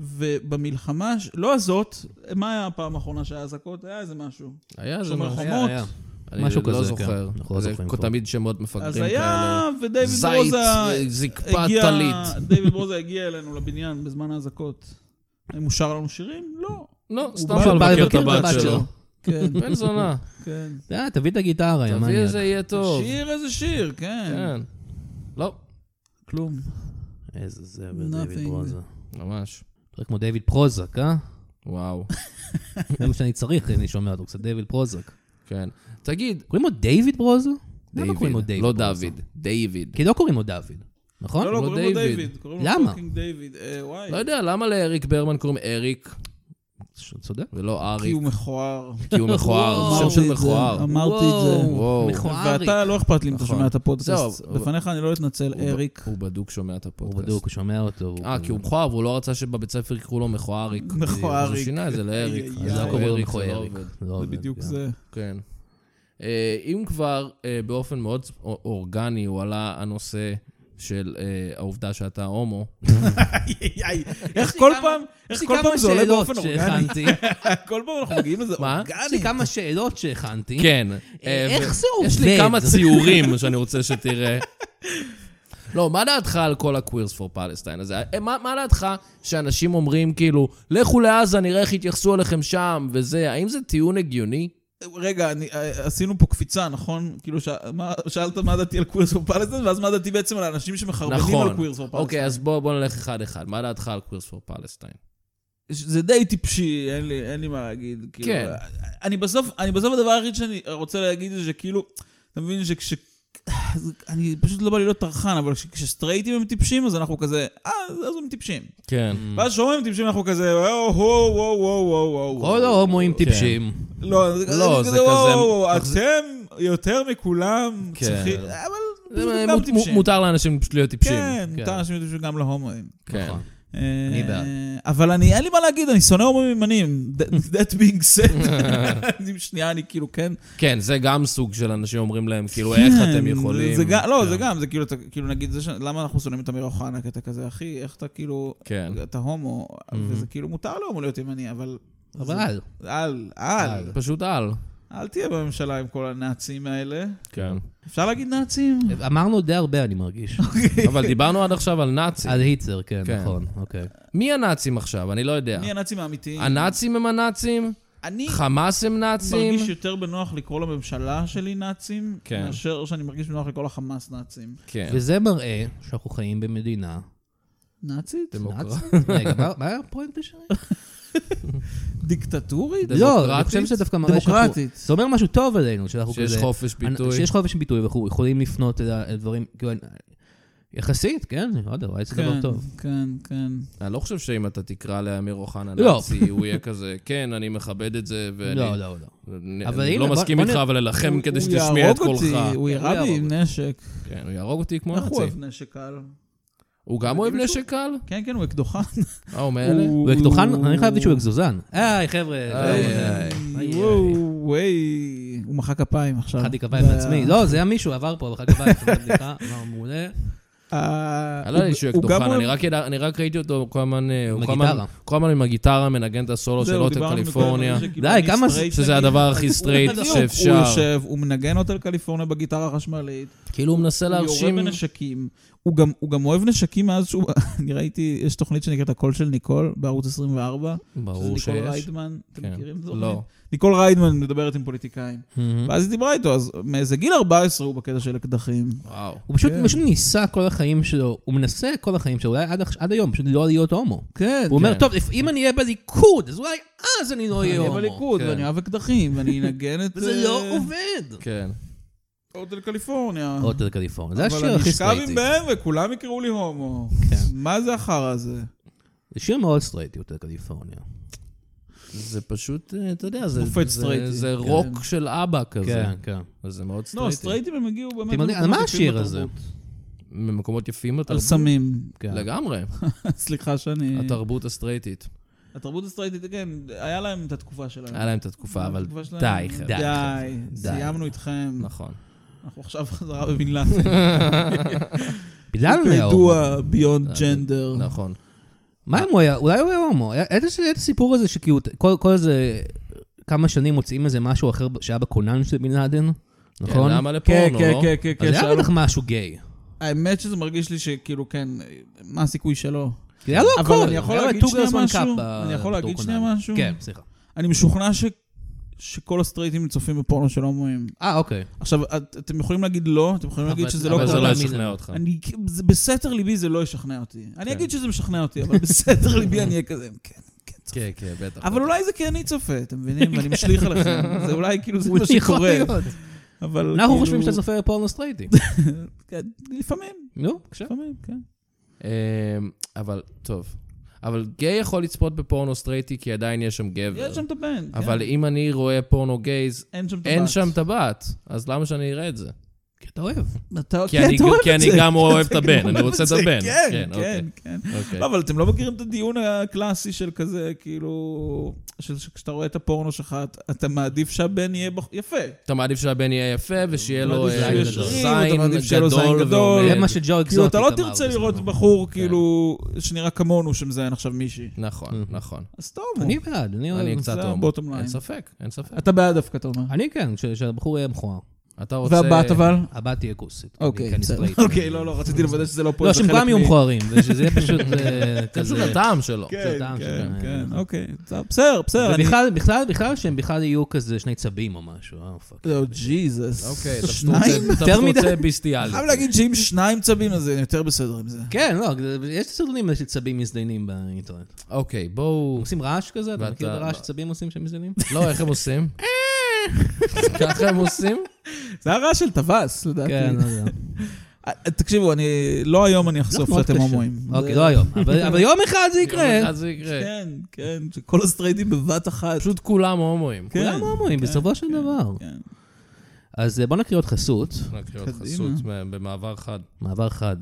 Speaker 3: ובמלחמה, ש- לא הזאת, מה היה הפעם האחרונה שהיה אזעקות? היה איזה משהו.
Speaker 1: היה זה
Speaker 3: שומר
Speaker 1: משהו.
Speaker 3: חומות.
Speaker 1: אני
Speaker 2: משהו
Speaker 1: לא
Speaker 2: כזה,
Speaker 1: זוכר.
Speaker 2: כן. אנחנו לא
Speaker 1: זה
Speaker 2: זוכרים
Speaker 1: כל-
Speaker 2: כבר.
Speaker 1: תמיד שמות מפגרים
Speaker 3: אז
Speaker 1: כאלה.
Speaker 3: היה, ודייוויד
Speaker 1: זית,
Speaker 3: ברוזה
Speaker 1: זקפה
Speaker 3: הגיע,
Speaker 1: טלית.
Speaker 3: דיוויד ברוזה הגיע אלינו לבניין בזמן האזעקות. האם הוא שר לנו שירים? לא.
Speaker 1: לא, סתם בא
Speaker 3: בא-
Speaker 2: בא
Speaker 1: לבקר את
Speaker 2: לבקר
Speaker 1: הבת שלו.
Speaker 3: כן,
Speaker 1: בן זונה.
Speaker 3: כן.
Speaker 2: אה, תביא את הגיטרה, יא
Speaker 1: תביא
Speaker 2: מניאק.
Speaker 1: איזה יהיה טוב.
Speaker 3: שיר איזה שיר, כן.
Speaker 1: כן. לא,
Speaker 3: כלום.
Speaker 2: איזה זבל,
Speaker 3: Nothing.
Speaker 2: דיוויד פרוזה.
Speaker 1: ממש.
Speaker 2: אתה כמו דיוויד פרוזק, אה?
Speaker 1: וואו.
Speaker 2: זה מה שאני צריך, אה, אני שומע אותו קצת דיוויד פרוזק.
Speaker 1: כן. תגיד,
Speaker 2: קוראים לו דיוויד פרוזק? למה קוראים לו
Speaker 1: דיוויד,
Speaker 2: דיוויד
Speaker 1: לא
Speaker 2: פרוזה?
Speaker 1: דוד, דיוויד.
Speaker 2: כי לא קוראים לו דוד, נכון?
Speaker 3: לא, לא,
Speaker 1: לא
Speaker 3: קוראים לו
Speaker 1: דיוויד.
Speaker 3: דיוויד. קוראים לו
Speaker 2: למה?
Speaker 3: פאקינג דיוויד. אה, וואי.
Speaker 1: לא יודע, למה לאריק ברמן קוראים אריק
Speaker 2: ש- צודק.
Speaker 1: ולא
Speaker 3: כי
Speaker 1: אריק?
Speaker 3: הוא מכוער.
Speaker 1: כי הוא מכוער, זה שם
Speaker 3: וואו.
Speaker 1: של
Speaker 3: אמרתי את זה.
Speaker 1: מכוער.
Speaker 3: אמרתי את זה.
Speaker 2: וואו,
Speaker 1: וואו.
Speaker 2: מכועריק.
Speaker 3: ואתה, לא אכפת לי אם אתה
Speaker 1: נכון.
Speaker 3: שומע את הפודקאסט.
Speaker 1: זהו, אבל-
Speaker 3: לפניך אני לא אתנצל,
Speaker 1: הוא ב-
Speaker 3: אריק.
Speaker 1: הוא בדוק שומע את
Speaker 2: הוא
Speaker 1: הפודקאסט.
Speaker 2: בדיוק, הוא שומע אותו. הוא
Speaker 1: אה, כי הוא מכוער, והוא לא רצה שבבית ספר יקראו לו מכועריק. אז
Speaker 3: מכועריק.
Speaker 1: הוא שינה את זה לאריק.
Speaker 3: איי,
Speaker 2: אז
Speaker 3: איי,
Speaker 2: לא
Speaker 1: הוא
Speaker 2: קוראים לו
Speaker 1: אריק, זה לא
Speaker 2: מכועריק.
Speaker 1: עובד.
Speaker 2: לא
Speaker 3: זה
Speaker 2: עובד,
Speaker 3: בדיוק
Speaker 2: כן.
Speaker 3: זה.
Speaker 1: כן. אה, אם כבר אה, באופן מאוד א- אורגני הועלה הנושא של אה, העובדה שאתה הומו,
Speaker 3: איי, איי, איך כל
Speaker 2: כמה-
Speaker 3: פעם, איך
Speaker 2: יש לי
Speaker 3: כל פעם
Speaker 2: כמה
Speaker 3: זה עולה
Speaker 2: שאלות
Speaker 3: באופן אורגני?
Speaker 2: שהכנתי.
Speaker 3: כל פעם אנחנו מגיעים לזה
Speaker 1: מה?
Speaker 2: יש לי
Speaker 3: אורגני.
Speaker 2: כמה שאלות שהכנתי.
Speaker 1: כן.
Speaker 2: אה,
Speaker 1: אה,
Speaker 2: איך
Speaker 1: ו-
Speaker 2: זה
Speaker 1: יש לי
Speaker 2: עובד?
Speaker 1: כמה ציורים שאני רוצה שתראה. לא, מה דעתך על כל ה-Queers for Palestine הזה? אה, מה, מה דעתך שאנשים אומרים, כאילו, לכו לעזה, נראה איך יתייחסו אליכם שם וזה, האם זה טיעון הגיוני?
Speaker 3: רגע, אני- אה, עשינו פה קפיצה, נכון? כאילו, ש- מה- שאלת מה דעתי על קווירס פור פלסטיין, ואז מה דעתי בעצם על האנשים שמחרבנים על
Speaker 1: נכון.
Speaker 3: קווירס פור פלסטיין.
Speaker 1: אוקיי, אז בוא, בוא נלך אחד-אחד. מה דעתך על Queers for Palestine?
Speaker 3: זה די טיפשי, אין לי, אין לי מה להגיד. כאילו,
Speaker 1: כן.
Speaker 3: אני בסוף, אני בסוף הדבר היחיד שאני רוצה להגיד זה שכאילו, אתה מבין שכש... אני פשוט לא בא לי להיות טרחן, אבל כש- כשסטרייטים הם טיפשים, אז אנחנו כזה, אה, אז הם טיפשים.
Speaker 1: כן.
Speaker 3: ואז שומעים הם טיפשים, אנחנו כזה, "אה, וואו, וואו, וואו, וואו, וואו, וואו.
Speaker 2: כל ההומואים
Speaker 1: כן.
Speaker 2: טיפשים.
Speaker 3: לא, זה כזה,
Speaker 1: לא,
Speaker 3: זה
Speaker 1: זה
Speaker 3: כזה,
Speaker 1: כזה-
Speaker 3: וואו, וואו,
Speaker 1: מחז-
Speaker 3: אתם יותר מכולם
Speaker 1: כן.
Speaker 3: צריכים... אבל פשוט
Speaker 1: זה
Speaker 3: הם גם
Speaker 1: מ- מ-
Speaker 3: טיפשים.
Speaker 1: מותר לאנשים פשוט להיות טיפשים.
Speaker 3: כן, מותר אנשים טיפשים גם להומואים.
Speaker 1: כן.
Speaker 2: נכון.
Speaker 3: אה,
Speaker 2: אני בעד.
Speaker 3: אבל אני, אין לי מה להגיד, אני שונא הומואים ימניים. That- That being said, אני- שנייה, אני כאילו, כן.
Speaker 1: כן, זה גם סוג של אנשים אומרים להם, כאילו, איך אתם
Speaker 3: כן,
Speaker 1: יכולים...
Speaker 3: זה גם- לא, זה גם, זה כאילו, אתה- כאילו, נגיד, זה ש- למה אנחנו שונאים את אמיר אוחנה? כי אתה כזה, אחי, איך אתה כאילו,
Speaker 1: כן.
Speaker 3: אתה הומו, וזה כאילו מותר להומו להיות ימני, אבל...
Speaker 2: אבל, אה,
Speaker 3: אל, אל,
Speaker 1: פשוט על.
Speaker 3: אל תהיה בממשלה עם כל הנאצים האלה.
Speaker 1: כן.
Speaker 3: אפשר להגיד נאצים?
Speaker 2: אמרנו די הרבה, אני מרגיש.
Speaker 3: אוקיי.
Speaker 1: אבל דיברנו עד עכשיו על נאצים.
Speaker 2: על היטלר, כן,
Speaker 1: כן.
Speaker 2: נכון, אוקיי.
Speaker 1: מי הנאצים עכשיו? אני לא יודע.
Speaker 3: מי הנאצים האמיתיים?
Speaker 1: הנאצים הם הנאצים?
Speaker 3: אני
Speaker 1: חמאס הם נאצים?
Speaker 3: מרגיש יותר בנוח לקרוא לממשלה שלי נאצים,
Speaker 1: כן.
Speaker 3: מאשר שאני מרגיש בנוח לקרוא לחמאס נאצים.
Speaker 1: כן.
Speaker 2: וזה מראה שאנחנו חיים במדינה
Speaker 3: נאצית?
Speaker 1: דמוקרטיה.
Speaker 2: נאצית. רגע, מה- מה הפואנטה שלי?
Speaker 3: דיקטטורית?
Speaker 2: לא, אני חושב שזה דווקא מראה שאנחנו...
Speaker 3: דמוקרטית.
Speaker 2: זה אומר משהו טוב עלינו, שאנחנו כזה...
Speaker 1: שיש חופש ביטוי.
Speaker 2: שיש חופש ביטוי, ואנחנו יכולים לפנות אל ה- אל דברים, כאילו, אני- יחסית, כן, לא יודע, אולי זה דבר
Speaker 3: כן,
Speaker 2: טוב.
Speaker 3: כן, כן.
Speaker 1: אני לא חושב שאם אתה תקרא לאמיר אוחנה
Speaker 2: לא.
Speaker 1: נאצי, הוא יהיה כזה, כן, אני מכבד את זה, ואני
Speaker 2: לא, לא, לא.
Speaker 1: אני-
Speaker 2: אבל
Speaker 1: אני
Speaker 2: הנה,
Speaker 1: לא
Speaker 2: בוא-
Speaker 1: מסכים
Speaker 2: בוא נ-
Speaker 1: איתך, אבל אלחם כדי
Speaker 3: הוא
Speaker 1: שתשמיע
Speaker 3: יהרוג
Speaker 1: את קולך.
Speaker 3: אותי, הוא
Speaker 2: הוא
Speaker 3: ירה
Speaker 2: יהרוג
Speaker 3: בי עם נשק.
Speaker 1: כן, הוא יהרוג אותי כמו
Speaker 3: איך הוא אוהב
Speaker 1: נאצי.
Speaker 3: נשק על?
Speaker 1: הוא גם אוהב
Speaker 3: יודעים
Speaker 1: נשק קל?
Speaker 3: כן, כן, הוא אקדוחן.
Speaker 1: אה, הוא מאלה?
Speaker 2: הוא אקדוחן, אני חייב להגיד שהוא אקזוזן. היי, חבר'ה. לא,
Speaker 1: איי, איי.
Speaker 2: איי,
Speaker 3: וואו, וואי. הוא מחא כפיים עכשיו.
Speaker 2: אחת כפיים
Speaker 3: זה-
Speaker 2: לעצמי. לא, זה היה מישהו, עבר פה, אחת כפיים, חזר בדיקה, אמר מעולה.
Speaker 3: אה,
Speaker 1: אני לא יודע לי שהוא
Speaker 3: הוא גם
Speaker 1: אקדוחן,
Speaker 3: אוהב-
Speaker 1: אני רק ידע- אני רק ראיתי אותו כל הזמן... אה, הוא
Speaker 2: עם
Speaker 1: כל הזמן-
Speaker 2: הגיטרה.
Speaker 1: כל הזמן עם הגיטרה מנגן את הסולו של
Speaker 3: זהו,
Speaker 1: רותם
Speaker 3: דיברנו מקודם
Speaker 1: קליפורניה,
Speaker 3: על זה שכאילו
Speaker 2: די,
Speaker 3: אני
Speaker 2: כמה זה-
Speaker 3: סטרייט,
Speaker 1: שזה
Speaker 3: נגיד.
Speaker 1: הדבר הכי סטרייט
Speaker 3: בדיוק, הוא
Speaker 1: שאפשר.
Speaker 3: יושב, הוא מנגן אותה לקליפורניה בגיטרה החשמלית,
Speaker 1: כאילו הוא מנסה
Speaker 3: הוא יורה
Speaker 1: להרשים...
Speaker 3: בנשקים, הוא גם, הוא גם אוהב נשקים מאז שהוא... אני ראיתי, יש תוכנית שנקראת הקול של ניקול בערוץ 24.
Speaker 1: ברור
Speaker 3: שזה ניקול
Speaker 1: שיש.
Speaker 3: ריידמן, אתם
Speaker 1: כן.
Speaker 3: מכירים את זה?
Speaker 1: לא.
Speaker 3: ניקול ריידמן מדברת עם פוליטיקאים.
Speaker 2: מהמם.
Speaker 3: ואז היא דיברה איתו, אז מאיזה גיל 14 הוא בקטע של אקדחים.
Speaker 1: וואו.
Speaker 2: הוא פשוט
Speaker 3: כן.
Speaker 2: פשוט ניסה כל החיים שלו, הוא מנסה כל החיים שלו, אולי עד עכש- עד היום, פשוט לא להיות הומו.
Speaker 3: כן.
Speaker 2: הוא אומר,
Speaker 1: כן.
Speaker 2: טוב, אם אני אהיה בליכוד, אז אולי אז אני לא
Speaker 3: אני
Speaker 2: אהיה
Speaker 3: אוהב
Speaker 2: הומו.
Speaker 3: הליכוד,
Speaker 1: כן.
Speaker 3: ואני אוהב אקדחים, ואני אנגן את...
Speaker 2: וזה לא עובד.
Speaker 1: כן.
Speaker 3: הוטל קליפורניה.
Speaker 2: הוטל קליפורניה, זה
Speaker 3: אבל
Speaker 2: השיר
Speaker 3: אני
Speaker 2: הכי
Speaker 3: אשכב עם
Speaker 2: סטרייטי.
Speaker 3: בן וכולם יקראו לי הומו. מה זה החרא הזה?
Speaker 2: זה שיר מאוד סטרייטי, הוטל קליפורניה.
Speaker 1: זה פשוט, אה, אתה יודע, זה,
Speaker 3: מופת
Speaker 1: זה,
Speaker 3: סטרייטי.
Speaker 1: זה
Speaker 3: כן.
Speaker 1: רוק של אבא כזה.
Speaker 2: כן, כן.
Speaker 1: אז זה מאוד
Speaker 3: לא,
Speaker 1: סטרייטי.
Speaker 3: סטרייטים הם הגיעו באמת...
Speaker 2: אתם יודעים, על
Speaker 3: למקומות
Speaker 2: מה
Speaker 3: יפים
Speaker 2: השיר הזה?
Speaker 3: בתרבות.
Speaker 1: ממקומות יפים
Speaker 3: על אה.
Speaker 1: בתרבות.
Speaker 3: סמים.
Speaker 2: כן.
Speaker 1: לגמרי,
Speaker 3: סליחה שאני...
Speaker 1: התרבות הסטרייטית.
Speaker 3: התרבות הסטרייטית, כן, היה להם את התקופה שלהם.
Speaker 1: היה להם את התקופה, אבל
Speaker 3: התקופה שלהם-
Speaker 1: די, חבר'ה.
Speaker 3: די,
Speaker 2: די.
Speaker 3: סיימנו איתכם.
Speaker 1: נכון.
Speaker 3: אנחנו עכשיו חזרה בבן לאדן.
Speaker 2: בגלל הוא היה הומו.
Speaker 3: ידוע ביונד ג'נדר.
Speaker 1: נכון.
Speaker 2: מה אם הוא היה, אולי הוא היה הומו. היה היה את הסיפור הזה שכאילו, כל כל איזה כמה שנים מוצאים איזה משהו אחר שהיה בקונן של בן לאדן, נכון?
Speaker 1: כן, למה
Speaker 3: כן,
Speaker 1: לפורנו,
Speaker 3: כן,
Speaker 1: לא?
Speaker 3: כן, כן,
Speaker 2: אז
Speaker 3: כן.
Speaker 2: היה
Speaker 3: שאלו-
Speaker 2: בטח משהו גיי.
Speaker 3: האמת שזה מרגיש לי שכאילו, כן, מה הסיכוי שלו?
Speaker 2: כי היה לו הכל.
Speaker 3: אבל אני יכול
Speaker 2: היה לו את
Speaker 3: להגיד
Speaker 2: טוגרס
Speaker 3: שנייה
Speaker 2: וואן
Speaker 3: משהו?
Speaker 2: קאפ
Speaker 3: אני יכול להגיד
Speaker 2: בדוקונאלי.
Speaker 3: שנייה משהו?
Speaker 2: כן, סליחה.
Speaker 3: אני משוכנע ש... שכל הסטרייטים צופים בפורנו של הומואים.
Speaker 2: אה, אוקיי.
Speaker 3: עכשיו, את, אתם יכולים להגיד לא, אתם יכולים להגיד
Speaker 2: אבל-
Speaker 3: שזה לא
Speaker 1: אבל זה
Speaker 3: קורה.
Speaker 1: לא
Speaker 2: קורה.
Speaker 1: ישכנע אותך.
Speaker 3: אני, זה, בסתר ליבי זה לא ישכנע אותי. אני אגיד שזה משכנע אותי, אבל בסתר ליבי אני אהיה כזה, כן, כן, צופה.
Speaker 1: כן, כן, בטח.
Speaker 3: אבל לא אולי זה כי אני צופה, אתם מבינים? ואני משליך עליכם. זה אולי כאילו זה מה
Speaker 2: יכול
Speaker 3: שקורה.
Speaker 2: להיות.
Speaker 3: אבל
Speaker 2: אנחנו
Speaker 3: כאילו-
Speaker 2: חושבים שאתה צופה בפורנו סטרייטי.
Speaker 3: כן, לפעמים,
Speaker 2: נו, בבקשה.
Speaker 3: לפעמים, כן.
Speaker 1: אמ, אבל, טוב. אבל גיי יכול לצפות בפורנו סטרייטי, כי עדיין יש שם גבר.
Speaker 3: יש שם את הבן.
Speaker 1: אבל
Speaker 3: כן.
Speaker 1: אם אני רואה פורנו גייז,
Speaker 3: אין שם את
Speaker 1: אין
Speaker 3: הבת.
Speaker 1: שם טבעת, אז למה שאני אראה את זה?
Speaker 2: כי אתה אוהב.
Speaker 3: אתה-
Speaker 1: כי
Speaker 3: כן,
Speaker 1: אני-
Speaker 3: אתה אוהב
Speaker 1: כי
Speaker 3: את
Speaker 1: אני
Speaker 3: זה.
Speaker 1: גם
Speaker 3: כן,
Speaker 1: אוהב
Speaker 3: אתה
Speaker 1: את הבן,
Speaker 3: גם
Speaker 1: אני
Speaker 3: אוהב
Speaker 1: רוצה
Speaker 3: את
Speaker 1: את
Speaker 3: זה.
Speaker 1: הבן. כן,
Speaker 3: כן,
Speaker 1: אוקיי.
Speaker 3: כן, כן.
Speaker 1: אוקיי.
Speaker 3: לא, אבל אתם לא מכירים את הדיון הקלאסי של כזה, כאילו, של- שכשאתה רואה את הפורנו שלך, אתה- אתה מעדיף שהבן יהיה בח- יפה.
Speaker 1: אתה מעדיף שהבן יהיה יפה ושיהיה לו
Speaker 3: מעדיף
Speaker 1: אה,
Speaker 2: שיהיה
Speaker 1: זין
Speaker 2: שרירים,
Speaker 3: אתה מעדיף שיהיה לו זין
Speaker 1: גדול
Speaker 3: גדול.
Speaker 1: ועומד.
Speaker 2: זה מה שג'ו
Speaker 3: כאילו,
Speaker 2: אקזוטיק
Speaker 3: אתה
Speaker 2: אמר.
Speaker 3: לא תרצה לראות
Speaker 2: בזמנו.
Speaker 3: בחור,
Speaker 1: כן.
Speaker 3: כאילו, שנראה כמונו שמזיין עכשיו מישהי.
Speaker 1: נכון, נכון.
Speaker 3: אז טוב,
Speaker 2: אני בעד, אני אוהב.
Speaker 1: אני קצת
Speaker 3: זה
Speaker 1: הומו.
Speaker 3: ה-bottom line.
Speaker 1: אין ספק, אין ספק.
Speaker 3: אתה בעד דווקא, אתה אומר.
Speaker 2: אני כן, ש- שהבחור יהיה מכוער.
Speaker 1: אתה לא רוצה...
Speaker 3: והבת אבל?
Speaker 2: הבת תהיה כוסית.
Speaker 3: אוקיי,
Speaker 2: אני כן
Speaker 3: בסדר.
Speaker 2: סטרייט.
Speaker 3: אוקיי, לא, לא, רציתי לוודא שזה לא פה.
Speaker 2: לא,
Speaker 3: זה
Speaker 2: שהם
Speaker 3: חלק
Speaker 2: גם יהיו
Speaker 3: מ-
Speaker 2: מכוערים, ושזה יהיה פשוט אה,
Speaker 1: זה פשוט
Speaker 2: כזה...
Speaker 1: הטעם שלו.
Speaker 3: כן,
Speaker 2: זה טעם
Speaker 3: כן,
Speaker 2: שלהם.
Speaker 3: כן, אוקיי. טוב, בסדר, בסדר. אני-
Speaker 2: ובכלל, בכלל, בכלל שהם בכלל יהיו כזה שני צבים או משהו, אה, פאק.
Speaker 3: לא, ג'יזוס.
Speaker 1: אוקיי, אתה פשוט רוצה-
Speaker 3: שניים?
Speaker 1: אתה
Speaker 2: יותר
Speaker 1: פשוט
Speaker 2: מדי.
Speaker 1: רוצה ביסטיאלי.
Speaker 3: חייב להגיד שאם שניים צבים, אז אני יותר בסדר עם זה.
Speaker 2: כן, לא, זה- יש סרטונים של צבים מזדיינים באינטרנט.
Speaker 1: אוקיי, בואו...
Speaker 2: עושים רעש כזה? אתה
Speaker 1: ואתה-
Speaker 2: מכיר את הרעש
Speaker 1: לא.
Speaker 2: שצבים עושים כשהם מזדיינים?
Speaker 1: לא, איך הם עושים? ככה הם עושים?
Speaker 3: זה הרעש של טווס, לדעתי.
Speaker 2: כן, לא יודע.
Speaker 3: אה, תקשיבו, אני... לא היום אני
Speaker 2: לא,
Speaker 3: אחשוף
Speaker 2: מאוד
Speaker 3: שאתם
Speaker 2: קשה.
Speaker 3: הומואים.
Speaker 2: אוקיי,
Speaker 3: זה-
Speaker 2: לא היום. אבל אבל יום אחד זה יקרה.
Speaker 1: אז זה יקרה.
Speaker 3: כן, כן, שכל הסטרייטים בבת אחת.
Speaker 1: פשוט כולם הומואים.
Speaker 3: כן.
Speaker 2: כולם הומואים,
Speaker 3: כן,
Speaker 2: בסופו של דבר.
Speaker 3: כן.
Speaker 2: אז אה, בוא נקריא עוד חסות.
Speaker 1: נקריא עוד
Speaker 3: קדימה.
Speaker 1: חסות ב- במעבר חד.
Speaker 2: מעבר חד.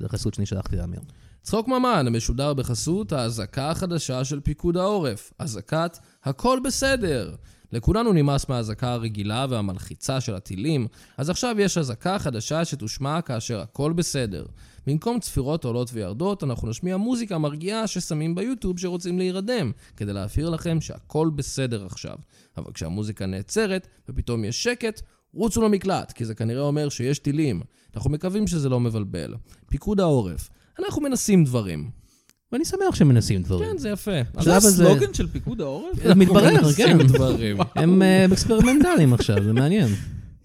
Speaker 2: זה חסות שאני שלחתי לאמיר.
Speaker 1: צחוק ממן, המשודר בחסות האזעקה החדשה של פיקוד העורף, אזעקת הכל בסדר. לכולנו נמאס מהאזעקה הרגילה והמלחיצה של הטילים, אז עכשיו יש אזעקה חדשה שתושמע כאשר הכל בסדר. במקום צפירות עולות וירדות, אנחנו נשמיע מוזיקה מרגיעה ששמים ביוטיוב שרוצים להירדם, כדי להבהיר לכם שהכל בסדר עכשיו. אבל כשהמוזיקה נעצרת, ופתאום יש שקט, רוצו למקלט, כי זה כנראה אומר שיש טילים. אנחנו מקווים שזה לא מבלבל. פיקוד העורף, אנחנו מנסים דברים.
Speaker 2: ואני שמח שהם מנסים דברים.
Speaker 1: כן, זה יפה.
Speaker 2: זה
Speaker 3: זה
Speaker 2: אבל זה-
Speaker 3: הסלוגן של פיקוד העורף?
Speaker 2: זה מתברר,
Speaker 1: אנחנו
Speaker 2: כן.
Speaker 1: מנסים דברים.
Speaker 2: הם אה, אקספרימנטליים עכשיו, זה מעניין.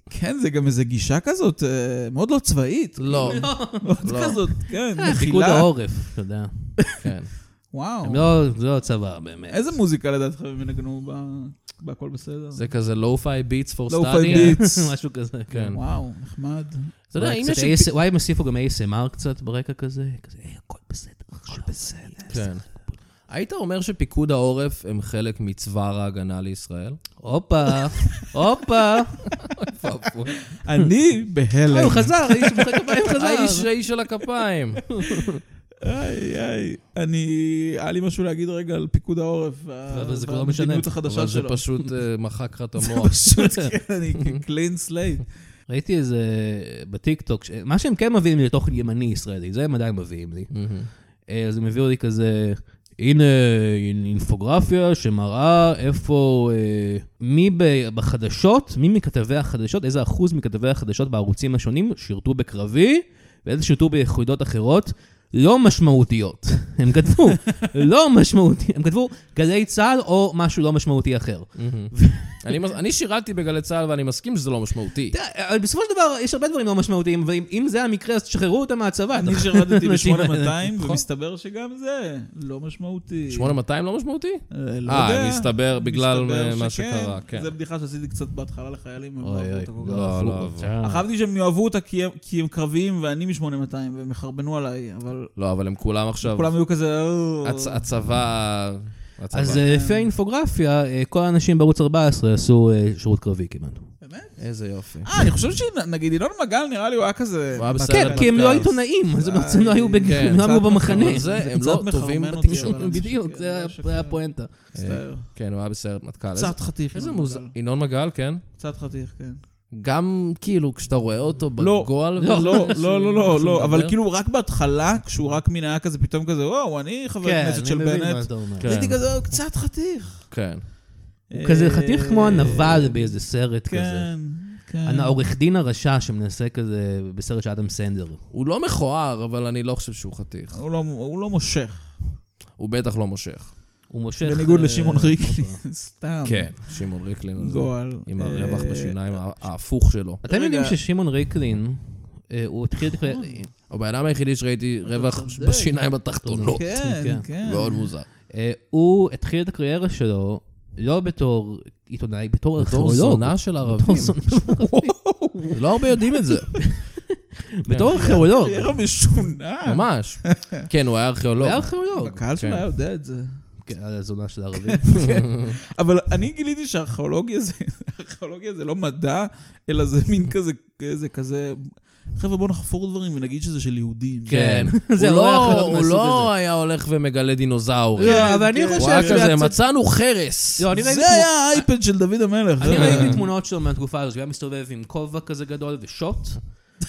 Speaker 3: כן, זה גם איזו גישה כזאת אה, מאוד לא צבאית.
Speaker 1: לא,
Speaker 3: מאוד כזאת, כן,
Speaker 2: אה, פיקוד
Speaker 3: מכילה.
Speaker 2: העורף, אתה יודע.
Speaker 1: כן.
Speaker 3: וואו.
Speaker 2: הם לא, זה לא צבא באמת.
Speaker 3: איזה מוזיקה לדעתך הם ינגנו ב- בהכל בסדר?
Speaker 1: זה כזה לואו-פיי ביטס פור
Speaker 3: Lo-fi
Speaker 1: סטאדי.
Speaker 3: beats. פיץ.
Speaker 2: משהו כזה,
Speaker 1: כן.
Speaker 2: כן.
Speaker 3: וואו, נחמד.
Speaker 1: אתה יודע, אם
Speaker 2: קצת
Speaker 1: יש...
Speaker 2: AS וואי, הם הוסיפו גם ASMR קצת ברקע כזה, כזה, "היי, הכל בסדר, הכל בסדר.
Speaker 1: כן. היית אומר שפיקוד העורף הם חלק מצוואר ההגנה לישראל?
Speaker 2: הופה, הופה.
Speaker 3: אני
Speaker 2: אה,
Speaker 3: בהלם.
Speaker 2: הוא חזר, האיש מחק הבאים
Speaker 1: האיש
Speaker 2: חזר.
Speaker 1: האיש של הכפיים.
Speaker 3: איי, איי. אני... היה לי משהו להגיד רגע על פיקוד העורף.
Speaker 2: אבל זה כבר לא
Speaker 3: והמדיניות
Speaker 2: משנה.
Speaker 3: החדשה
Speaker 1: אבל זה
Speaker 3: שלו.
Speaker 1: פשוט אה, מחק לך את המוח.
Speaker 3: פשוט, כן, אני קלין סלייט.
Speaker 2: ראיתי איזה בטיקטוק, ש- מה שהם כן מביאים לי לתוכן ימני ישראלי, זה הם עדיין מביאים לי.
Speaker 1: מהמם.
Speaker 2: אה, אז הם הביאו לי כזה, הנה אינפוגרפיה שמראה איפה, אה, מי ב- בחדשות, מי מכתבי החדשות, איזה אחוז מכתבי החדשות בערוצים השונים שירתו בקרבי, ואיזה שירתו ביחידות אחרות. לא משמעותיות, הם כתבו, לא משמעותי, הם כתבו גלי צה"ל או משהו לא משמעותי אחר.
Speaker 1: אני מס- אני שירתי בגלי צה"ל ואני מסכים שזה לא משמעותי.
Speaker 2: תראה, אבל בסופו של דבר, יש הרבה דברים לא משמעותיים, ואם אם זה המקרה, אז תשחררו אותם מהצבא.
Speaker 3: אני לא
Speaker 2: אתה-
Speaker 3: שירתתי
Speaker 2: האנשים האלה.
Speaker 1: נכון.
Speaker 3: ב-8200, ומסתבר שגם זה לא משמעותי.
Speaker 1: 8200 לא משמעותי?
Speaker 3: אה, לא יודע.
Speaker 1: אה, מסתבר בגלל
Speaker 3: מסתבר
Speaker 1: מה
Speaker 3: שכן.
Speaker 1: שקרה, כן.
Speaker 3: זו בדיחה שעשיתי קצת בהתחלה לחיילים, הם לא
Speaker 2: אוי
Speaker 3: אהבו
Speaker 2: אוי,
Speaker 3: אותה כל כך.
Speaker 1: לא, לא,
Speaker 2: אה.
Speaker 3: חשבתי שהם יאהבו אותה כי הם- כי הם קרביים ואני מ-8200, והם יחרבנו עליי, אבל
Speaker 1: לא, אבל הם כולם עכשיו...
Speaker 3: כולם היו כזה... "אה,
Speaker 1: הצ- הצבא... הצבא.
Speaker 2: אז אה, לפי האינפוגרפיה, אה, כל האנשים בערוץ 14 עשו אה, שירות קרבי כמעט.
Speaker 3: באמת?
Speaker 1: איזה יופי.
Speaker 3: אה, אני חושב שנגיד ינון מגל נראה לי הוא היה כזה...
Speaker 1: הוא היה בסדר.
Speaker 2: כן, כי הם לא עיתונאים, אז הם בעצם לא היו בג-
Speaker 1: כן,
Speaker 2: הם לא היו
Speaker 3: קצת
Speaker 2: במחנה.
Speaker 1: אבל זה, הם
Speaker 3: קצת
Speaker 1: לא
Speaker 3: מחרמן
Speaker 1: טובים
Speaker 3: אותי,
Speaker 1: בתקשורת.
Speaker 3: אבל-
Speaker 2: בדיוק, זה היה-
Speaker 3: שקר.
Speaker 2: זה היה הפואנטה.
Speaker 3: מצטער.
Speaker 1: כן, הוא היה בסיירת מטכ"ל. איזה-
Speaker 3: קצת חתיך.
Speaker 1: איזה
Speaker 3: ינון מגל.
Speaker 1: מוזר. ינון מגל, כן?
Speaker 3: קצת חתיך, כן.
Speaker 1: גם כאילו כשאתה רואה אותו
Speaker 3: לא,
Speaker 1: בגועל...
Speaker 3: לא, לא, לא, לא, לא,
Speaker 1: שהוא
Speaker 3: לא, אבל
Speaker 1: מדבר.
Speaker 3: כאילו רק בהתחלה, כשהוא רק מן היה כזה, פתאום כזה, וואו, אני חבר
Speaker 2: כן,
Speaker 3: כנסת
Speaker 2: אני
Speaker 3: של
Speaker 2: מבין מה
Speaker 3: בנט.
Speaker 2: אתה אומר.
Speaker 1: כן.
Speaker 3: הייתי כזה, "הוא קצת חתיך.
Speaker 1: כן.
Speaker 2: הוא כזה חתיך כמו הנבל באיזה סרט כזה.
Speaker 3: אה, כן, כן.
Speaker 2: העורך דין הרשע שמנסה כזה בסרט של אדם סנדר.
Speaker 1: הוא לא מכוער, אבל אני לא חושב שהוא חתיך.
Speaker 3: הוא לא- הוא לא מושך.
Speaker 1: הוא בטח לא מושך.
Speaker 2: הוא מושך...
Speaker 3: בניגוד
Speaker 2: אה,
Speaker 3: לשמעון ריקלין, סתם.
Speaker 1: כן, שמעון ריקלין הזה.
Speaker 3: גועל.
Speaker 1: עם
Speaker 3: אה,
Speaker 1: הרווח בשיניים הה- ההפוך שלו.
Speaker 2: אתם יודעים
Speaker 3: רגע.
Speaker 2: ששמעון ריקלין, אה, הוא התחיל... את כל-
Speaker 1: הבן אדם היחידי שראיתי רווח
Speaker 3: צודק.
Speaker 1: בשיניים התחתונות.
Speaker 3: כן,
Speaker 2: כן.
Speaker 3: כן.
Speaker 1: מאוד מוזר.
Speaker 2: אה, הוא התחיל את הקריירה שלו לא בתור עיתונאי,
Speaker 1: בתור
Speaker 2: בתור ארכיאולוג.
Speaker 1: זונה של
Speaker 2: בתור
Speaker 1: ערבים.
Speaker 2: זונה של ערבים.
Speaker 1: לא הרבה יודעים את זה,
Speaker 3: כן.
Speaker 2: בתור ארכיאולוג.
Speaker 3: קריירה משונה.
Speaker 1: ממש. כן, הוא היה ארכיאולוג.
Speaker 2: הוא היה ארכיאולוג.
Speaker 3: הקהל שלו
Speaker 1: כן.
Speaker 3: היה יודע את זה.
Speaker 2: כן, על הזונה של הערבים.
Speaker 3: אבל אני גיליתי שהארכיאולוגיה זה, הארכיאולוגיה זה לא מדע, אלא זה מין כזה, כזה, כזה, חבר'ה בואו נחפור דברים ונגיד שזה של יהודים.
Speaker 1: כן.
Speaker 2: זה,
Speaker 1: הוא
Speaker 2: הוא היה
Speaker 1: לא-
Speaker 2: ארכיאולוג
Speaker 1: הוא
Speaker 2: מהסוג
Speaker 1: לא
Speaker 2: הזה.
Speaker 1: היה הולך ומגלה דינוזאורים.
Speaker 2: לא, אבל אני
Speaker 3: כן.
Speaker 1: הוא היה
Speaker 2: חושב
Speaker 1: כזה,
Speaker 2: שהצד-
Speaker 1: מצאנו חרס.
Speaker 2: לא, אני ראיתי
Speaker 3: זה
Speaker 2: תמונות-
Speaker 3: היה האייפד של דוד המלך.
Speaker 2: אני
Speaker 3: זה-
Speaker 2: ראיתי תמונות שלו מהתקופה הזאת, הוא היה מסתובב עם כובע כזה גדול ושוט,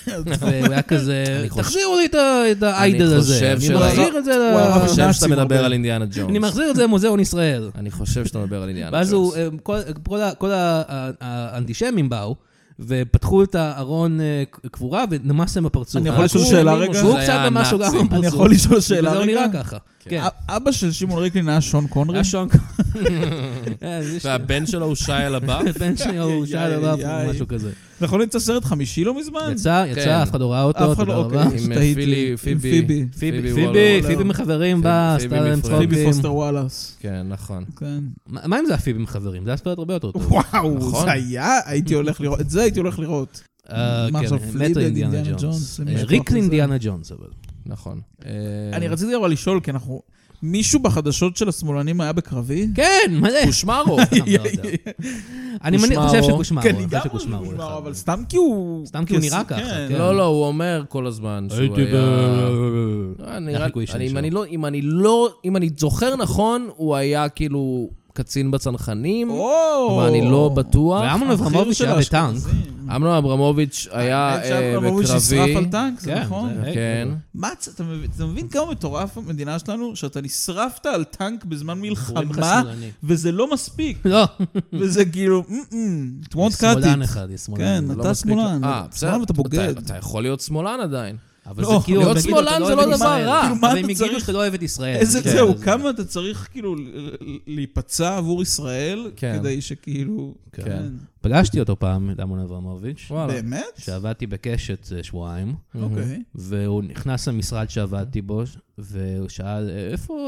Speaker 2: והוא היה כזה,
Speaker 1: חושב-
Speaker 2: תחזירו לי את ה- את האיידל
Speaker 1: אני
Speaker 2: הזה,
Speaker 1: חושב
Speaker 2: אני
Speaker 1: שראיתי-
Speaker 2: מחזיר את זה ל-
Speaker 3: הוא הרב
Speaker 1: אני חושב שאתה
Speaker 3: נאצים
Speaker 1: מדבר
Speaker 3: הרבה.
Speaker 1: על אינדיאנה
Speaker 2: אני
Speaker 1: ג'ונס.
Speaker 2: מחזיר את זה למוזיאון ישראל.
Speaker 1: אני חושב שאתה מדבר על אינדיאנה ג'ונס.
Speaker 2: ואז הוא, אה, כל- כל ה- כל ה- ה- האנטישמים באו, ופתחו את הארון אה, קבורה ונמס להם בפרצוף.
Speaker 3: אני יכול לשאול
Speaker 2: הוא-
Speaker 3: שאלה
Speaker 2: הוא-
Speaker 3: רגע?
Speaker 2: הוא
Speaker 1: זה
Speaker 2: קצת
Speaker 1: היה
Speaker 2: ממש גם
Speaker 1: הנאצים.
Speaker 2: בפרצוף.
Speaker 3: אני יכול לשאול שאלה
Speaker 2: וזה לא
Speaker 3: רגע?
Speaker 2: נראה ככה. כן.
Speaker 3: אבא של שמעון ריקלין היה שון קונרי?
Speaker 2: היה שון
Speaker 3: אה,
Speaker 2: קונרי.
Speaker 1: והבן שלו הוא שי על הבא?
Speaker 2: הבן שלו הוא
Speaker 3: איי,
Speaker 2: שאל עליו
Speaker 3: איי.
Speaker 2: משהו כזה.
Speaker 3: נכון, יצא סרט חמישי לא מזמן?
Speaker 2: יצא, יצא, אף אחד לא ראה אותו,
Speaker 3: אף אחד
Speaker 2: תודה
Speaker 3: לא, אוקיי.
Speaker 2: רבה.
Speaker 1: עם
Speaker 3: שתהיתי.
Speaker 1: פילי,
Speaker 3: עם
Speaker 1: כן. פיבי.
Speaker 3: פיבי.
Speaker 1: וואלה,
Speaker 2: פיבי, פיבי,
Speaker 1: וואלה.
Speaker 2: פיבי מחברים באה,
Speaker 1: פיבי
Speaker 2: עשתה להם
Speaker 1: מפרנק.
Speaker 2: צחוקים.
Speaker 3: פיבי פוסטר וואלאס.
Speaker 1: כן, נכון.
Speaker 3: כן.
Speaker 2: מה מה אם זה הפיבי מחברים? זה היה סרט הרבה יותר טוב.
Speaker 3: וואו,
Speaker 1: נכון.
Speaker 3: זה היה, הייתי הולך לראות, את זה הייתי הולך לראות.
Speaker 2: אה,
Speaker 3: מה
Speaker 2: כן,
Speaker 3: עכשיו,
Speaker 2: מתו
Speaker 3: פלידד,
Speaker 2: אינדיאנה
Speaker 3: אינדיאנה
Speaker 2: ג'ונס.
Speaker 3: ג'ונס,
Speaker 2: אה,
Speaker 3: מישהו
Speaker 2: ריק
Speaker 3: כזה.
Speaker 2: לאינדיאנה ג'ונס, אבל.
Speaker 1: נכון.
Speaker 3: אני רציתי אבל לשאול, כי אנחנו... מישהו בחדשות של השמאלנים היה בקרבי?
Speaker 2: כן, מלא.
Speaker 1: קושמרו.
Speaker 2: אני לא יודע. אני מניח-
Speaker 1: קושמרו.
Speaker 2: חושב שקושמרו.
Speaker 3: כן,
Speaker 2: אני חושב
Speaker 3: לגמרי
Speaker 2: שקושמרו
Speaker 3: קושמרו,
Speaker 2: אחד.
Speaker 3: אבל סתם כי הוא...
Speaker 2: סתם כי הוא נראה ככה, כן.
Speaker 1: לא, לא, הוא אומר כל הזמן שהוא
Speaker 2: הייתי ב...
Speaker 1: היה... אה,
Speaker 2: היה
Speaker 1: נראה
Speaker 2: חיקוי שני
Speaker 1: לי, אם
Speaker 2: שלו.
Speaker 1: אני לא, אם אני לא, אם אני זוכר נכון, הוא היה כאילו קצין בצנחנים,
Speaker 3: או!
Speaker 1: אבל אני לא בטוח.
Speaker 2: ואמנון אברמוביץ'
Speaker 3: של
Speaker 2: היה בטנק.
Speaker 3: האשכנזים.
Speaker 1: אמנון אברמוביץ' היה
Speaker 3: האמת
Speaker 1: אה,
Speaker 3: שאברהם אברמוביץ' נשרף על
Speaker 1: בקרבי.
Speaker 3: טנק, זה
Speaker 2: כן,
Speaker 3: נכון?
Speaker 2: זה-
Speaker 1: כן.
Speaker 3: מה, אתה- אתה מבין- אתה מבין כמה מטורף המדינה שלנו? שאתה נשרפת על טנק בזמן
Speaker 2: קוראים לך
Speaker 3: מלחמה,
Speaker 2: שמאלני.
Speaker 3: וזה לא מספיק.
Speaker 2: לא.
Speaker 3: וזה כאילו, "מ-מ, it won't cut
Speaker 2: שמאלן
Speaker 3: it.
Speaker 2: אחד, יש שמאלן.
Speaker 3: כן,
Speaker 1: לא
Speaker 3: אתה
Speaker 1: מספיק-
Speaker 3: שמאלן.
Speaker 1: אה, בסדר.
Speaker 3: שמאלן ואתה בוגד.
Speaker 1: אתה- אתה יכול להיות שמאלן עדיין.
Speaker 2: אבל
Speaker 3: לא,
Speaker 2: זה כאילו...
Speaker 1: להיות
Speaker 2: הם יגידו, אתה
Speaker 1: שמאלן
Speaker 2: לא
Speaker 1: זה לא
Speaker 2: אוהב את
Speaker 1: דבר
Speaker 2: ישראל.
Speaker 1: רע.
Speaker 3: כאילו, מה
Speaker 2: אבל
Speaker 3: אתה
Speaker 2: הם יגידו
Speaker 3: צריך?
Speaker 2: שאתה לא אוהב את ישראל.
Speaker 3: איזה
Speaker 2: כן,
Speaker 3: זהו,
Speaker 2: אז-
Speaker 3: כמה אתה צריך כאילו ל- ל- להיפצע עבור ישראל,
Speaker 1: כן.
Speaker 3: כדי שכאילו...
Speaker 2: כן.
Speaker 3: כן.
Speaker 2: פגשתי אותו פעם, את אמנון אברמוביץ',
Speaker 1: וואלה.
Speaker 3: באמת?
Speaker 2: שעבדתי בקשת אה, שבועיים,
Speaker 3: אוקיי.
Speaker 2: והוא נכנס למשרד שעבדתי בו, והוא שאל, "אה, איפה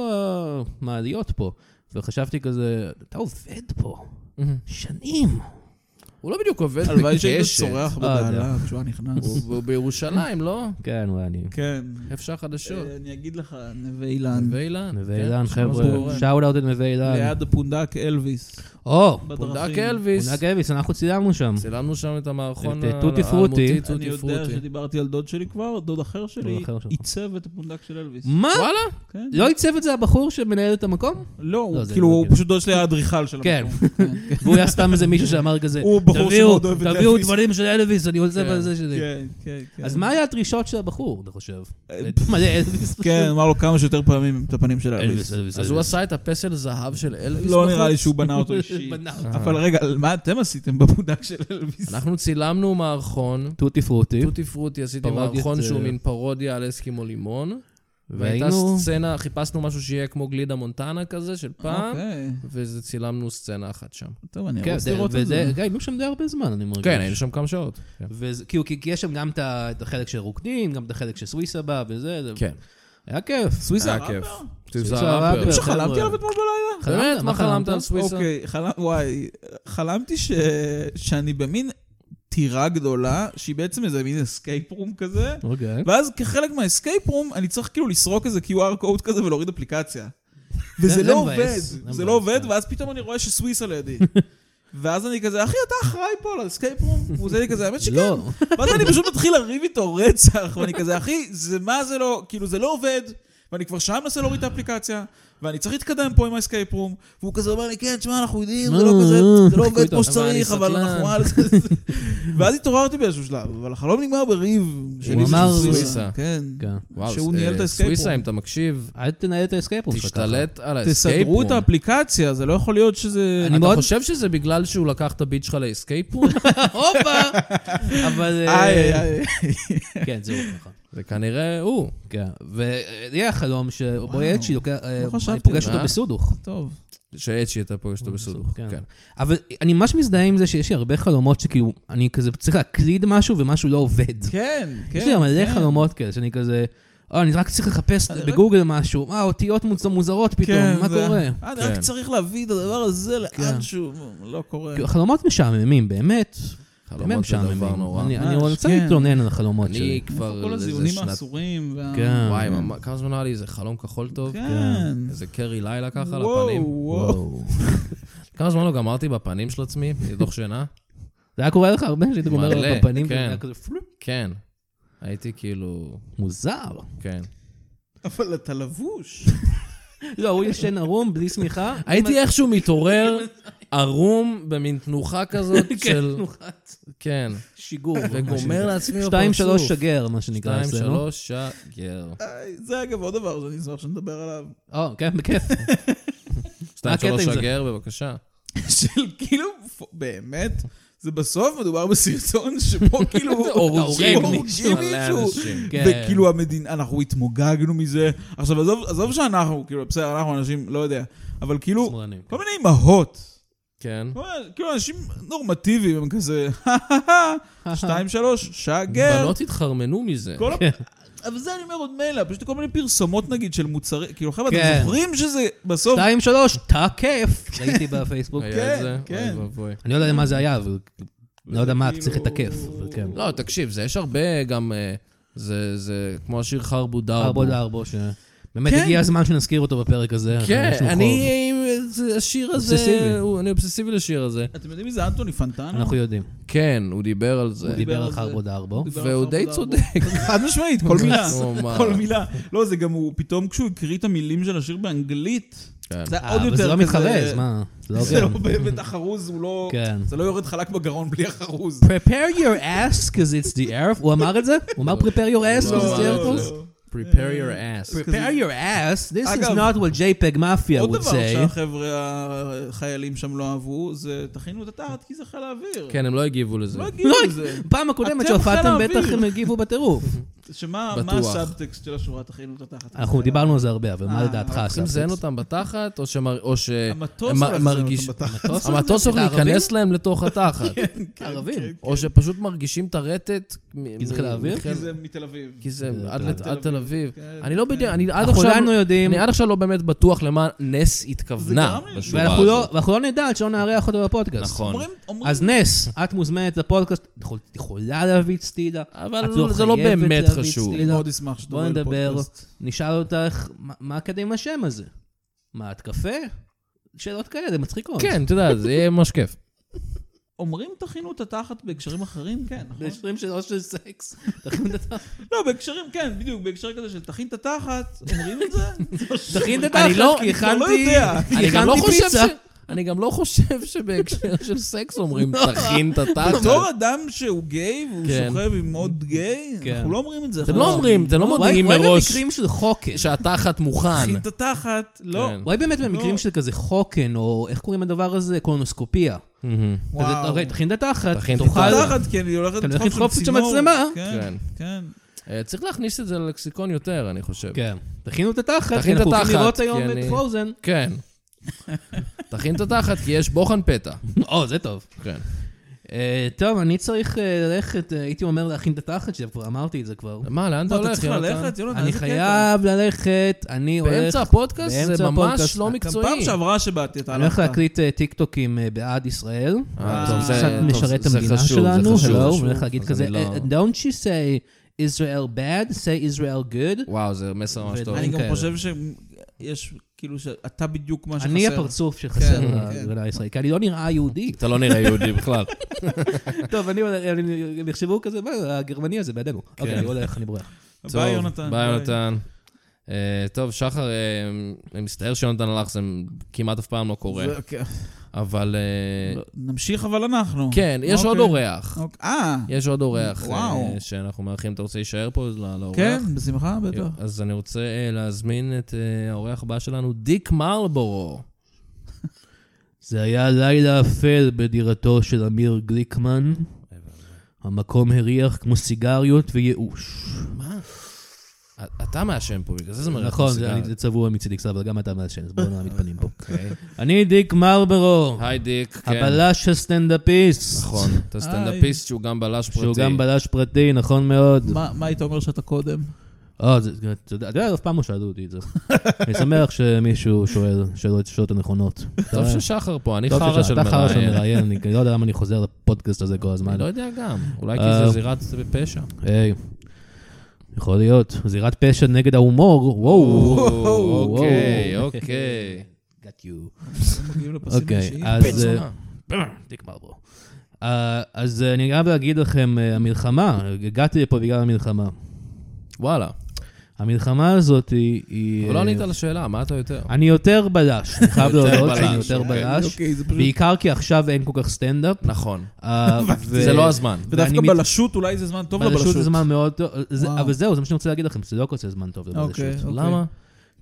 Speaker 2: המעליות פה? וחשבתי כזה, אתה עובד פה שנים.
Speaker 1: הוא לא בדיוק עובד
Speaker 3: הלוואי שהיית
Speaker 1: בקשת.
Speaker 3: צורח
Speaker 2: אה, יודע.
Speaker 3: בדעלה כשהוא היה נכנס.
Speaker 1: הוא- הוא בירושלים, לא?
Speaker 2: כן, אולי אני...
Speaker 3: כן.
Speaker 1: אפשר חדשות.
Speaker 3: אה, אני אגיד לך, נווה אילן.
Speaker 1: נווה אילן.
Speaker 2: נווה
Speaker 1: כן,
Speaker 2: אילן,
Speaker 1: שמע,
Speaker 2: חבר'ה,
Speaker 1: זה קורה.
Speaker 2: שאול אאוט את נווה אילן.
Speaker 3: ליד הפונדק אלוויס.
Speaker 2: או,
Speaker 1: פונדק
Speaker 3: בדרכים.
Speaker 1: אלוויס.
Speaker 2: פונדק אביס, אנחנו צילמנו שם.
Speaker 1: צילמנו שם את המערכון
Speaker 2: את, אה,
Speaker 1: ה-
Speaker 2: טוטי פרוטי.
Speaker 1: האלמותי,
Speaker 3: אני
Speaker 1: טוטי
Speaker 3: יודע
Speaker 1: פרוטי.
Speaker 3: שדיברתי על דוד שלי כבר, דוד אחר שלי
Speaker 2: אחר שלך.
Speaker 3: עיצב את הפונדק של אלוויס.
Speaker 2: מה?
Speaker 1: וואלה,
Speaker 3: כן.
Speaker 2: לא עיצב את זה הבחור שמנהל את המקום?
Speaker 3: לא, הוא
Speaker 2: זה
Speaker 3: כאילו,
Speaker 2: לא
Speaker 3: הוא
Speaker 2: כאילו.
Speaker 3: פשוט דוד שלי היה אדריכל של
Speaker 2: כן.
Speaker 3: המקום. כן.
Speaker 2: והוא היה סתם איזה מישהו שאמר כזה,
Speaker 3: הוא בחור
Speaker 2: תביאו,
Speaker 3: שמאוד אוהב את
Speaker 2: תביאו
Speaker 3: אלוויס.
Speaker 2: דברים של אלוויס, אני עוזב
Speaker 1: כן,
Speaker 2: על זה שלי.
Speaker 3: כן, כן, כן.
Speaker 2: אז מה היה הדרישות של הבחור, אתה חושב?
Speaker 3: אה,
Speaker 2: מלא אלוויס.
Speaker 3: כן, אמר לו כמה שיותר פעמים עם את הפנים של אלוויס.
Speaker 2: אלוויס, אלוויס.
Speaker 1: אז הוא עשה את הפסל זהב של אלוויס?
Speaker 3: לא
Speaker 1: בחוץ?
Speaker 3: נראה לי שהוא בנה אותו אישית.
Speaker 1: אה.
Speaker 3: אבל רגע, על מה אתם עשיתם בפונדק של אלוויס?
Speaker 1: אנחנו צילמנו מערכון,
Speaker 2: טוטי פרוטי.
Speaker 1: טוטי פרוטי, עשיתי
Speaker 2: פרודיה
Speaker 1: מערכון
Speaker 2: זה-
Speaker 1: שהוא מין פרודיה על אסקימו לימון. והייתה
Speaker 2: והיינו...
Speaker 1: סצנה, חיפשנו משהו שיהיה כמו גלידה מונטנה כזה של פעם,
Speaker 3: אוקיי.
Speaker 1: וזה צילמנו סצנה אחת שם.
Speaker 3: טוב, אני
Speaker 2: כן,
Speaker 3: רוצה
Speaker 2: זה-
Speaker 3: לראות את
Speaker 2: וזה-
Speaker 3: זה.
Speaker 2: גם היינו שם די הרבה זמן, אני מרגיש.
Speaker 1: כן, היינו שם כמה שעות. כן.
Speaker 2: וזה- כאילו, כי כי יש שם גם את ה- את החלק של רוקדין, גם את החלק של סוויסה בא וזה. זה-
Speaker 1: כן.
Speaker 2: היה כיף.
Speaker 3: סוויסה
Speaker 1: היה כיף.
Speaker 3: ראפר?
Speaker 1: סוויסה
Speaker 2: סוויסה
Speaker 1: ראפר.
Speaker 2: ראפר.
Speaker 3: אה, מישהו
Speaker 2: חבר'ה.
Speaker 3: חלמתי עליו אתמול בלילה?
Speaker 1: באמת, מה חלמת על סוויסה?
Speaker 3: אוקיי, חלם- וואי, חלמתי ש- שאני במין טירה גדולה, שהיא בעצם איזה מין אסקייפ רום כזה,
Speaker 2: אוקיי.
Speaker 3: ואז כחלק מהאסקייפ רום, אני צריך כאילו לסרוק איזה QR קוד כזה ולהוריד אפליקציה. וזה
Speaker 2: זה
Speaker 3: לא
Speaker 2: מבאס,
Speaker 3: עובד,
Speaker 2: זה מבאס,
Speaker 3: זה לא עובד,
Speaker 2: כן.
Speaker 3: ואז פתאום אני רואה שסוויסה לידי. ואז אני כזה, אחי, אתה אחראי פה על האסקייפ רום? הוא עושה לי כזה, האמת שכן.
Speaker 2: לא.
Speaker 3: ואז אני פשוט מתחיל לריב איתו רצח, ואני כזה, אחי, זה מה זה לא, כאילו, זה לא עובד, ואני כבר שעה מנסה להוריד את האפליקציה, ואני צריך להתקדם פה עם האסקייפ רום, והוא כזה אומר לי, כן, תשמע, אנחנו יודעים,
Speaker 2: נו,
Speaker 3: זה לא כזה,
Speaker 2: נו,
Speaker 3: זה לא עובד
Speaker 1: איתו,
Speaker 3: כמו
Speaker 1: אבל אני
Speaker 3: שצריך, אבל
Speaker 1: סבלן."
Speaker 3: אנחנו על זה. ואז התעוררתי באיזשהו שלב, אבל החלום נגמר בריב. שלי
Speaker 2: הוא
Speaker 3: ושל
Speaker 2: אמר-
Speaker 1: סוויסה.
Speaker 3: כן.
Speaker 2: כן.
Speaker 1: וואו,
Speaker 3: שהוא
Speaker 1: אה,
Speaker 3: ניהל את האסקייפ רום.
Speaker 1: סוויסה, אם אתה מקשיב,
Speaker 2: אל תנהל את האסקייפ רום שלך ככה.
Speaker 1: תשתלט על האסקייפ
Speaker 3: תסדרו
Speaker 1: רום.
Speaker 3: את האפליקציה, זה לא יכול להיות שזה...
Speaker 2: אני מאוד-
Speaker 1: אתה חושב שזה בגלל שהוא לקח את הביט שלך לאסקייפ רום?
Speaker 2: הופה! אבל... אה,
Speaker 3: איי, איי, איי.
Speaker 2: כן, זהו ככה.
Speaker 1: זה כנראה הוא.
Speaker 2: כן. ויהיה החלום שבויאצ'י לוקח... אה, אני
Speaker 3: לא חשבתי
Speaker 2: פוגש
Speaker 1: על
Speaker 2: אותו
Speaker 1: זה.
Speaker 2: בסודוך.
Speaker 3: טוב.
Speaker 1: שאצ'י אתה פוגש אותו בסודו.
Speaker 2: כן.
Speaker 1: כן.
Speaker 2: אבל אני ממש מזדהה עם זה שיש לי הרבה חלומות שכאילו, אני כזה צריך להקליד משהו ומשהו לא עובד.
Speaker 3: כן, כן.
Speaker 2: יש לי מלא
Speaker 3: כן.
Speaker 2: חלומות כאלה, שאני כזה, אה, אני רק צריך לחפש בגוגל משהו, מה, אותיות מוז- מוזרות פתאום,
Speaker 3: כן,
Speaker 2: מה
Speaker 3: זה-
Speaker 2: קורה?
Speaker 3: אה, אני רק
Speaker 1: כן.
Speaker 3: צריך להביא את הדבר הזה
Speaker 2: כן.
Speaker 3: לאן שהוא לא קורה.
Speaker 2: כאילו, חלומות משעממים, באמת. באמת
Speaker 1: חלומות זה דבר
Speaker 2: משעממים.
Speaker 1: נורא.
Speaker 2: אני- אני
Speaker 3: ממש,
Speaker 2: רוצה
Speaker 3: כן.
Speaker 2: להתלונן על החלומות
Speaker 1: אני
Speaker 2: שלי.
Speaker 1: כבר...
Speaker 3: כל
Speaker 1: איזה
Speaker 3: הזיונים
Speaker 1: שנת-
Speaker 3: האסורים. וה-
Speaker 2: כן.
Speaker 1: וואי, ממש- כמה זמן היה לי איזה חלום כחול טוב?
Speaker 3: כן.
Speaker 1: איזה קרי לילה ככה על
Speaker 3: וואו,
Speaker 1: הפנים.
Speaker 3: וואו.
Speaker 1: כמה זמן לא גמרתי בפנים של עצמי? לדוח שינה?
Speaker 2: זה היה קורה לך הרבה, שהיית גומר
Speaker 1: מלא,
Speaker 2: על הפנים,
Speaker 1: כן.
Speaker 2: וזה היה כזה פלופ.
Speaker 1: כן. הייתי כאילו...
Speaker 2: מוזר.
Speaker 1: כן.
Speaker 3: אבל אתה לבוש.
Speaker 2: לא, הוא ישן ערום, בלי שמיכה.
Speaker 1: הייתי איכשהו מתעורר ערום במין תנוחה כזאת של... כן.
Speaker 2: שיגור.
Speaker 1: וגומר לעצמי בפרצוף.
Speaker 2: שתיים, שלוש שגר, לא? מה שנקרא
Speaker 1: שתיים,
Speaker 2: אצלנו.
Speaker 1: שלוש, שגר.
Speaker 3: איי, זה אגב עוד דבר שאני אשמח שנדבר עליו.
Speaker 2: או, כן, בכיף.
Speaker 1: שתיים,
Speaker 2: הקטע עם
Speaker 1: שלוש,
Speaker 2: זה?
Speaker 1: שגר, בבקשה.
Speaker 3: של כאילו, פ- באמת, זה בסוף מדובר בסרטון שבו כאילו
Speaker 2: הורגים
Speaker 1: מישהו. מלא אנשים,
Speaker 2: כן.
Speaker 3: וכאילו המדינה, אנחנו התמוגגנו מזה. עכשיו, עזוב- עזוב שאנחנו, כאילו, בסדר, אנחנו אנשים, לא יודע, אבל כאילו,
Speaker 2: שמאלנים.
Speaker 3: כל מיני אימהות.
Speaker 1: כן.
Speaker 3: כל מיני- כאילו, אנשים נורמטיביים, הם כזה, "אה, שתיים, שלוש, שגר.
Speaker 1: בנות התחרמנו מזה.
Speaker 3: כל
Speaker 2: כן.
Speaker 3: ה- אבל זה אני אומר עוד מילא, פשוט כל מיני פרסומות נגיד של מוצרים, כאילו חבר'ה,
Speaker 2: כן.
Speaker 3: אתם זוכרים שזה בסוף...
Speaker 2: שתיים, שלוש, תקף. ראיתי בפייסבוק.
Speaker 1: היה את זה?
Speaker 3: כן, כן.
Speaker 1: אוי ואבוי.
Speaker 2: אני לא יודע מה זה היה, אבל לא יודע מה, אתה צריך
Speaker 3: כאילו-
Speaker 2: לתקף. אבל כן.
Speaker 1: לא, תקשיב, זה יש הרבה גם... אה, זה, זה כמו השיר חרבו דרבו.
Speaker 2: ארבו לארבו, ש... באמת
Speaker 3: כן.
Speaker 2: הגיע הזמן שנזכיר אותו בפרק הזה.
Speaker 1: כן,
Speaker 2: יש לנו
Speaker 1: אני... אה, זה- השיר
Speaker 2: אובססיבי.
Speaker 1: הזה... הוא- אני אובססיבי לשיר הזה.
Speaker 3: אתם יודעים מי זה אנטוני
Speaker 2: חוב.
Speaker 3: פנטנו?
Speaker 2: אנחנו יודעים.
Speaker 1: כן, הוא דיבר על זה.
Speaker 2: הוא
Speaker 3: דיבר
Speaker 2: דיבר על
Speaker 3: על זה.
Speaker 2: חרבו דארבו.
Speaker 3: דיבר על
Speaker 1: והוא
Speaker 3: חרבו
Speaker 1: די
Speaker 3: דרבו.
Speaker 1: צודק.
Speaker 3: חד משמעית, כל מילה.
Speaker 2: Oh,
Speaker 1: הוא אמר.
Speaker 3: כל מילה. לא, זה גם הוא, פתאום כשהוא הקריא את המילים של השיר באנגלית,
Speaker 1: כן.
Speaker 3: זה היה
Speaker 2: אה,
Speaker 3: עוד
Speaker 2: אבל
Speaker 3: יותר
Speaker 2: זה לא
Speaker 3: כזה-
Speaker 2: מתחרז, מה? זה לא
Speaker 3: זה לא
Speaker 2: הוגן.
Speaker 3: באמת החרוז, הוא לא...
Speaker 2: כן. לא,
Speaker 3: זה לא יורד חלק בגרון בלי החרוז.
Speaker 2: prepare your ass because it's the earth. הוא אמר את זה? הוא אמר prepare your ass
Speaker 1: לא,
Speaker 2: because it's the
Speaker 1: לא,
Speaker 2: earth?
Speaker 1: לא. prepare your ass.
Speaker 2: prepare your ass, this is
Speaker 3: אגב,
Speaker 2: not what JPEG Mafia
Speaker 3: עוד
Speaker 2: would
Speaker 3: דבר
Speaker 2: say.
Speaker 3: שהחבר'ה החיילים שם לא אהבו, זה תכינו את התחת כי זה חיל האוויר.
Speaker 1: כן, הם לא הגיבו לזה.
Speaker 3: לא
Speaker 2: לא,
Speaker 3: הגיעו לזה.
Speaker 2: פעם הקודמת
Speaker 3: אתם חיל
Speaker 2: שהופעתם
Speaker 3: האוויר.
Speaker 2: בטח הם הגיבו בטירוף.
Speaker 3: שמה
Speaker 1: בטוח.
Speaker 3: מה הסאבטקסט של השורה תכינו את התחת?
Speaker 2: אנחנו דיברנו על זה הרבה, אבל מה
Speaker 3: אה,
Speaker 2: לדעתך
Speaker 3: אבל
Speaker 1: צריכים
Speaker 2: הסאבטקסט?
Speaker 1: לזיין אותם בתחת, או שמר- או ש...
Speaker 3: המטוס
Speaker 1: הם
Speaker 3: הולך לזיין
Speaker 1: מרגיש- כן,
Speaker 3: אותם בתחת.
Speaker 2: המטוס הולך
Speaker 1: המטוס הולך
Speaker 2: לזיין את הערבים?
Speaker 1: להיכנס להם לתוך התחת.
Speaker 3: כן,
Speaker 2: ערבים.
Speaker 1: או שפשוט מרגישים את הרטט. מ-
Speaker 2: כי זה
Speaker 1: מ-
Speaker 2: חיל האוויר?
Speaker 1: מחיל-
Speaker 3: כי זה מתל אביב.
Speaker 1: כן. כי זה
Speaker 2: זה
Speaker 1: עד
Speaker 2: תל
Speaker 1: לת-
Speaker 3: אביב.
Speaker 1: עד תל אביב.
Speaker 3: כן,
Speaker 1: אני לא בדיוק, אני עד
Speaker 2: אנחנו
Speaker 1: עכשיו...
Speaker 2: עדיין לא יודעים.
Speaker 1: אני עד עכשיו לא באמת בטוח למה נס התכוונה
Speaker 3: זה גרם לי-
Speaker 1: בשורה
Speaker 2: ואנחנו לא-
Speaker 1: הזאת.
Speaker 2: ואנחנו לא נדע עד שלא נארח אותו בפודקאסט.
Speaker 1: נכון.
Speaker 3: אומרים, אומרים,
Speaker 2: אז נס, את מוזמנת לפודקאסט, את יכול- את יכולה להביא את סטידה,
Speaker 1: אבל
Speaker 2: את לא
Speaker 1: זה לא
Speaker 2: חייבת
Speaker 1: באמת
Speaker 2: להביא את
Speaker 1: חשוב.
Speaker 3: אני
Speaker 2: סטידה.
Speaker 3: מאוד אשמח שתבוא
Speaker 2: בואי
Speaker 3: לפודקאסט.
Speaker 2: נדבר, נשאל אותך, מה- מה קדם השם הזה? מה, את קפה? שאלות כאלה, מצחיקות.
Speaker 1: כן, אתה יודע, זה יהיה ממש כיף.
Speaker 3: אומרים תכינו את התחת בהקשרים אחרים, כן, נכון?
Speaker 2: ב-20 שאלות של סקס. תכין את התחת.
Speaker 3: לא, בהקשרים, כן, בדיוק, בהקשר כזה של תכין את התחת, אומרים את
Speaker 1: נכון.
Speaker 3: זה?
Speaker 2: תכין את
Speaker 1: אני לא-
Speaker 2: התחת, כי
Speaker 1: אני
Speaker 3: כבר לא
Speaker 2: הכנתי
Speaker 3: יודע.
Speaker 2: כי
Speaker 1: אני גם לא
Speaker 2: הכנתי
Speaker 1: חושב
Speaker 2: פיצה.
Speaker 1: ש... אני גם לא חושב שבהקשר של סקס אומרים,
Speaker 2: לא.
Speaker 1: תכין את
Speaker 3: בתור
Speaker 1: התחת.
Speaker 3: אדם שהוא גיי והוא
Speaker 1: כן.
Speaker 3: שוכב עם עוד גיי,
Speaker 2: כן.
Speaker 3: אנחנו לא אומרים את זה.
Speaker 1: אתם לא אומרים, אתם לא
Speaker 2: וואי,
Speaker 1: מודיעים
Speaker 2: וואי
Speaker 1: מראש
Speaker 2: במקרים של חוקן.
Speaker 1: שהתחת מוכן.
Speaker 3: תכין את התחת, לא.
Speaker 1: כן.
Speaker 2: וואי באמת במקרים
Speaker 3: לא.
Speaker 2: של כזה חוקן, או איך קוראים לדבר הזה? קולונוסקופיה.
Speaker 1: מהמם.
Speaker 2: כזה,
Speaker 3: וואו.
Speaker 2: אוקיי, תכין את התחת,
Speaker 1: תכין את
Speaker 2: תאכל...
Speaker 3: התחת, כי אני כן, הולכת
Speaker 2: אתה הולך
Speaker 3: לדחוף
Speaker 2: לדחוף
Speaker 3: שם
Speaker 2: את
Speaker 3: צינור.
Speaker 2: המצלמה?
Speaker 3: כן, כן.
Speaker 1: אה, צריך להכניס את זה ללקסיקון יותר, אני חושב.
Speaker 2: כן. תכינו את התחת, כי
Speaker 1: תכין את
Speaker 2: אנחנו הולכים
Speaker 1: התחת,
Speaker 2: לראות
Speaker 1: כי
Speaker 2: היום
Speaker 1: אני-
Speaker 2: את פרוזן.
Speaker 1: כן. תכין את התחת, כי יש בוחן פתע.
Speaker 2: או, זה טוב.
Speaker 1: כן.
Speaker 2: אה, טוב, אני צריך אה, ללכת, אה, הייתי אומר להכין את התחת, שכבר אמרתי את זה כבר.
Speaker 1: מה, לאן אתה
Speaker 3: מה,
Speaker 1: לא הולך,
Speaker 3: אתה צריך
Speaker 1: יונתן?
Speaker 3: ללכת, יונתן?
Speaker 2: אני
Speaker 3: איזה קטע.
Speaker 2: חייב ללכת, אני הולך...
Speaker 1: באמצע הפודקאסט?
Speaker 2: באמצע
Speaker 1: זה ממש
Speaker 2: הפודקאסט.
Speaker 1: לא
Speaker 2: גם
Speaker 3: גם
Speaker 1: מקצועי.
Speaker 3: פעם שעברה שבאתי, אתה לא
Speaker 2: אני הולך
Speaker 3: הלכת.
Speaker 2: להקליט אה, טיקטוקים אה, בעד ישראל.
Speaker 1: אה,
Speaker 3: אה,
Speaker 1: טוב,
Speaker 2: קצת
Speaker 1: זה- טוב,
Speaker 2: משרת את
Speaker 1: זה
Speaker 2: המדינה
Speaker 1: חשוב, זה
Speaker 2: שלנו,
Speaker 1: חשוב,
Speaker 2: hello,
Speaker 1: חשוב.
Speaker 2: הוא הולך להגיד
Speaker 1: אז
Speaker 2: כזה,
Speaker 1: אני לא-
Speaker 2: "Eh, don't you say Israel bad, say Israel good.
Speaker 1: וואו, זה מסר ממש
Speaker 2: ו-
Speaker 1: טוב.
Speaker 3: אני
Speaker 2: דברים
Speaker 3: גם
Speaker 2: כאלה.
Speaker 3: חושב שיש, כאילו, שאתה בדיוק מה שחסר.
Speaker 2: אני הפרצוף שחסר
Speaker 3: כן,
Speaker 2: לגדולה הישראלית, כי אני לא נראה יהודי.
Speaker 1: אתה לא נראה יהודי בכלל.
Speaker 2: טוב, אני הולך, אני- כן. הם יחשבו כזה, מה, הגרמני הזה בידינו. אוקיי, אני הולך, אני בורח.
Speaker 3: ביי, יונתן.
Speaker 1: ביי, יונתן. אה, טוב, שחר, אה, אני מצטער שיונתן הלך, זה כמעט אף פעם לא קורה.
Speaker 3: זה- כן.
Speaker 1: אבל... אה,
Speaker 3: לא, נמשיך אבל אנחנו.
Speaker 1: כן, יש עוד
Speaker 3: אוקיי.
Speaker 1: אורח.
Speaker 3: אוקיי. אה,
Speaker 1: יש עוד אורח. אה,
Speaker 3: וואו.
Speaker 1: שאנחנו מארחים, אתה רוצה להישאר פה לא- לאורח?
Speaker 3: כן,
Speaker 2: אה,
Speaker 3: בשמחה, בטח.
Speaker 1: יו, אז אני רוצה אה, להזמין את אה, האורח הבא שלנו, דיק מרלבורו.
Speaker 2: זה היה לילה אפל בדירתו של אמיר גליקמן. המקום הריח כמו סיגריות וייאוש.
Speaker 1: מה? אתה מעשן פה, בגלל זה זה מריח
Speaker 2: נכון, זה-
Speaker 1: סיגריות.
Speaker 2: אני- זה צבוע מצידי קצת, אבל גם אתה מעשן, אז בואו נעמיד פנים פה.
Speaker 1: אוקיי.
Speaker 2: אני דיק מרברו,
Speaker 1: היי דיק, כן.
Speaker 2: הבלש הסטנדאפיסט.
Speaker 1: נכון, אתה סטנדאפיסט שהוא גם בלש פרטי.
Speaker 2: שהוא גם בלש פרטי, נכון מאוד.
Speaker 3: מה מה היית אומר שאתה קודם?
Speaker 2: אה, זה- זה- אתה יודע, אתה יודע, אף פעם לא שאלו אותי את זה. אני שמח שמישהו שואל שאלות את השאלות הנכונות.
Speaker 1: טוב ששחר פה, אני
Speaker 2: אה. טוב
Speaker 1: חרא
Speaker 2: ששאל,
Speaker 1: של
Speaker 2: אתה חרא של
Speaker 1: מראיין.
Speaker 2: מראיין, אני לא יודע למה אני חוזר לפודקאסט הזה כל הזמן.
Speaker 1: אני לא יודע גם, אולי כי
Speaker 2: אה.
Speaker 1: זה זירת פשע.
Speaker 2: היי, יכול להיות. זירת פשע נגד ההומור, וואו. וואו.
Speaker 1: אוקיי, אוקיי.
Speaker 2: Got you.
Speaker 3: מגיעים לפסים
Speaker 2: אוקיי,
Speaker 3: אישיים? כן,
Speaker 2: אז... אה, תגמר בו. אה, אז אה, אני חייב להגיד לכם, אה, המלחמה, הגעתי לפה בגלל המלחמה.
Speaker 1: וואלה.
Speaker 2: המלחמה הזאת היא... היא,
Speaker 1: אבל לא
Speaker 2: אה,
Speaker 1: ענית על השאלה, מה אתה יותר?
Speaker 2: אני יותר בלש, אני חייב
Speaker 1: יותר
Speaker 2: להודות שאני
Speaker 1: בלש,
Speaker 2: יותר
Speaker 1: אוקיי.
Speaker 2: בלש.
Speaker 3: אוקיי, זה פשוט...
Speaker 2: בעיקר כי עכשיו אין כל כך סטנדאפ.
Speaker 1: נכון.
Speaker 2: אה, ו-
Speaker 1: זה לא הזמן.
Speaker 3: ודווקא
Speaker 2: ואני מת-
Speaker 3: בלשות אולי זה זמן טוב לבלשות.
Speaker 2: בלשות זה זמן מאוד טוב, זה-
Speaker 3: וואו.
Speaker 2: אבל זהו, זה מה שאני רוצה להגיד לכם, זה לא כל כך זמן טוב
Speaker 3: אוקיי,
Speaker 2: לבלשות.
Speaker 3: אוקיי. אה,
Speaker 1: למה?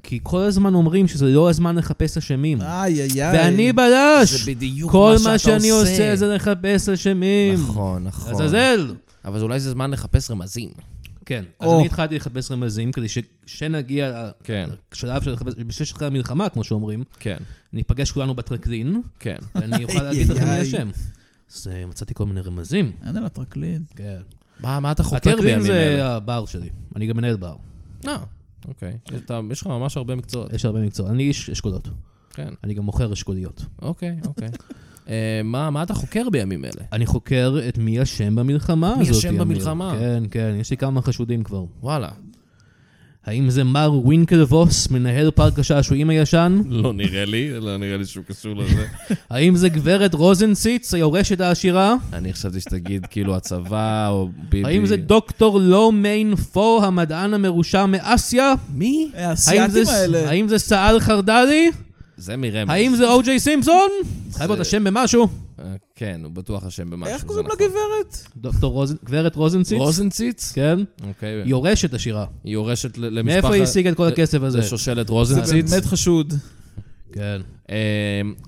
Speaker 2: כי כל הזמן אומרים שזה לא הזמן לחפש אשמים.
Speaker 3: איי, איי, איי.
Speaker 2: ואני בלש!
Speaker 1: בדיוק
Speaker 2: כל מה שאני עושה זה לחפש אשמים.
Speaker 1: נכון, נכון.
Speaker 2: עזאזל!
Speaker 1: אבל אולי זה זמן לחפש רמזים.
Speaker 2: כן, אז
Speaker 3: או.
Speaker 2: אני התחלתי לחפש רמזים כדי ש- שנגיע
Speaker 1: כן,
Speaker 2: לשלב של לחפש, בשש אחרי המלחמה, כמו שאומרים,
Speaker 1: כן,
Speaker 2: ניפגש כולנו בטרקלין,
Speaker 1: כן.
Speaker 2: ואני אוכל להגיד לכם מי
Speaker 3: איי.
Speaker 2: אשם. אז אה, מצאתי כל מיני רמזים.
Speaker 3: אין על הטרקלין.
Speaker 2: כן.
Speaker 1: מה מה אתה חוקר
Speaker 2: הטרקלין
Speaker 1: בימים
Speaker 2: זה
Speaker 1: אלה?
Speaker 2: הבר שלי, אני גם מנהל בר.
Speaker 1: אה, אוקיי. אתה- יש לך ממש הרבה מקצועות.
Speaker 2: יש הרבה מקצועות, אני איש אשכולות,
Speaker 1: כן,
Speaker 2: אני גם מוכר אשכוליות.
Speaker 1: אוקיי, אוקיי. אה, מה מה אתה חוקר בימים אלה?
Speaker 2: אני חוקר את מי אשם במלחמה
Speaker 1: מי
Speaker 2: הזאת.
Speaker 1: אשם
Speaker 2: אמיר.
Speaker 1: במלחמה?
Speaker 2: כן, כן, יש לי כמה חשודים כבר.
Speaker 1: וואלה.
Speaker 2: האם זה מר וינקלבוס, מנהל פארק השעשועים הישן?
Speaker 1: לא נראה לי, לא נראה לי שהוא קשור לזה.
Speaker 2: האם זה גברת רוזנציץ, היורשת העשירה?
Speaker 1: אני חשבתי שתגיד כאילו הצבא או ביבי.
Speaker 2: האם זה דוקטור לואו מיין פו, המדען המרושע מאסיה?
Speaker 1: מי?
Speaker 3: אה,
Speaker 2: האם זה-
Speaker 3: האסייתים האלה.
Speaker 2: האם זה סאל חרדלי?
Speaker 1: זה מרמז.
Speaker 2: האם זה או.ג'יי סימפסון? חייב להיות אשם במשהו.
Speaker 1: אה, כן, הוא בטוח אשם במשהו.
Speaker 3: איך
Speaker 1: זה
Speaker 3: קוראים
Speaker 1: נכון.
Speaker 3: לגברת?
Speaker 2: דוקטור רוז- גברת רוזנציץ?
Speaker 1: רוזנציץ?
Speaker 2: כן.
Speaker 1: אוקיי.
Speaker 2: יורשת עשירה.
Speaker 1: היא יורשת ל- למשפחה...
Speaker 2: מאיפה היא השיגה את כל הכסף הזה?
Speaker 1: לשושלת
Speaker 3: זה
Speaker 1: רוזנציץ.
Speaker 3: באמת חשוד.
Speaker 2: כן.
Speaker 1: אה,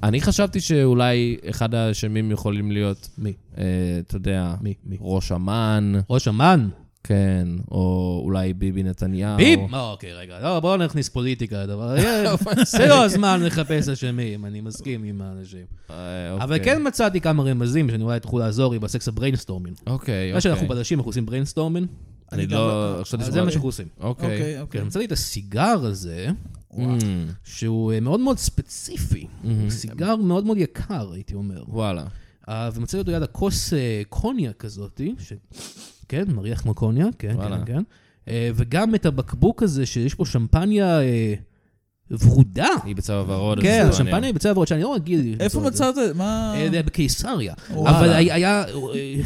Speaker 1: אני חשבתי שאולי אחד האשמים יכולים להיות,
Speaker 2: מי?
Speaker 1: אה, אתה יודע,
Speaker 2: מי? מי?
Speaker 1: ראש אמ"ן,
Speaker 2: ראש אמ"ן?
Speaker 1: כן, או אולי ביבי נתניהו.
Speaker 2: ביב? אה, אוקיי, רגע. לא, בואו נכניס פוליטיקה לדבר. אה, זה לא הזמן לחפש אשמים, אני מסכים עם האנשים.
Speaker 1: אה, אוקיי.
Speaker 2: אבל כן מצאתי כמה רמזים שאני אולי תוכלו לעזור לי בסקס הבריינסטורמינג.
Speaker 1: אוקיי,
Speaker 2: מה
Speaker 1: אוקיי.
Speaker 2: שאנחנו בלשים, אנחנו עושים בריינסטורמינג,
Speaker 1: אני
Speaker 3: אני גם
Speaker 1: לא...
Speaker 3: לא-
Speaker 1: עכשיו
Speaker 2: אז
Speaker 1: נשמע
Speaker 2: זה מה
Speaker 1: לי.
Speaker 2: שאנחנו עושים.
Speaker 1: אוקיי.
Speaker 3: אוקיי, אוקיי.
Speaker 2: כן, מצאתי את הסיגר הזה,
Speaker 1: Mm,
Speaker 2: שהוא אה, מאוד מאוד ספציפי. הוא סיגר מאוד מאוד יקר, הייתי אומר.
Speaker 1: וואלה.
Speaker 2: אה, ומצאתי אותו ליד הכוס אה, קוניה כזאתי, ש... כן, מריח כמו קוניה, כן,
Speaker 1: וואלה.
Speaker 2: כן, כן. אה, וגם את הבקבוק הזה שיש בו שמפניה אה, ורודה.
Speaker 1: היא בצבע ורוד. אז
Speaker 2: כן,
Speaker 1: זה מעניין.
Speaker 2: שמפניה בצבע ורוד, שאני לא רגיל.
Speaker 3: איפה
Speaker 2: למצוא את זה.
Speaker 3: מצאת? מה...
Speaker 2: אה, זה היה בקיסריה.
Speaker 3: וואלה.
Speaker 2: אבל היה- היה... אה,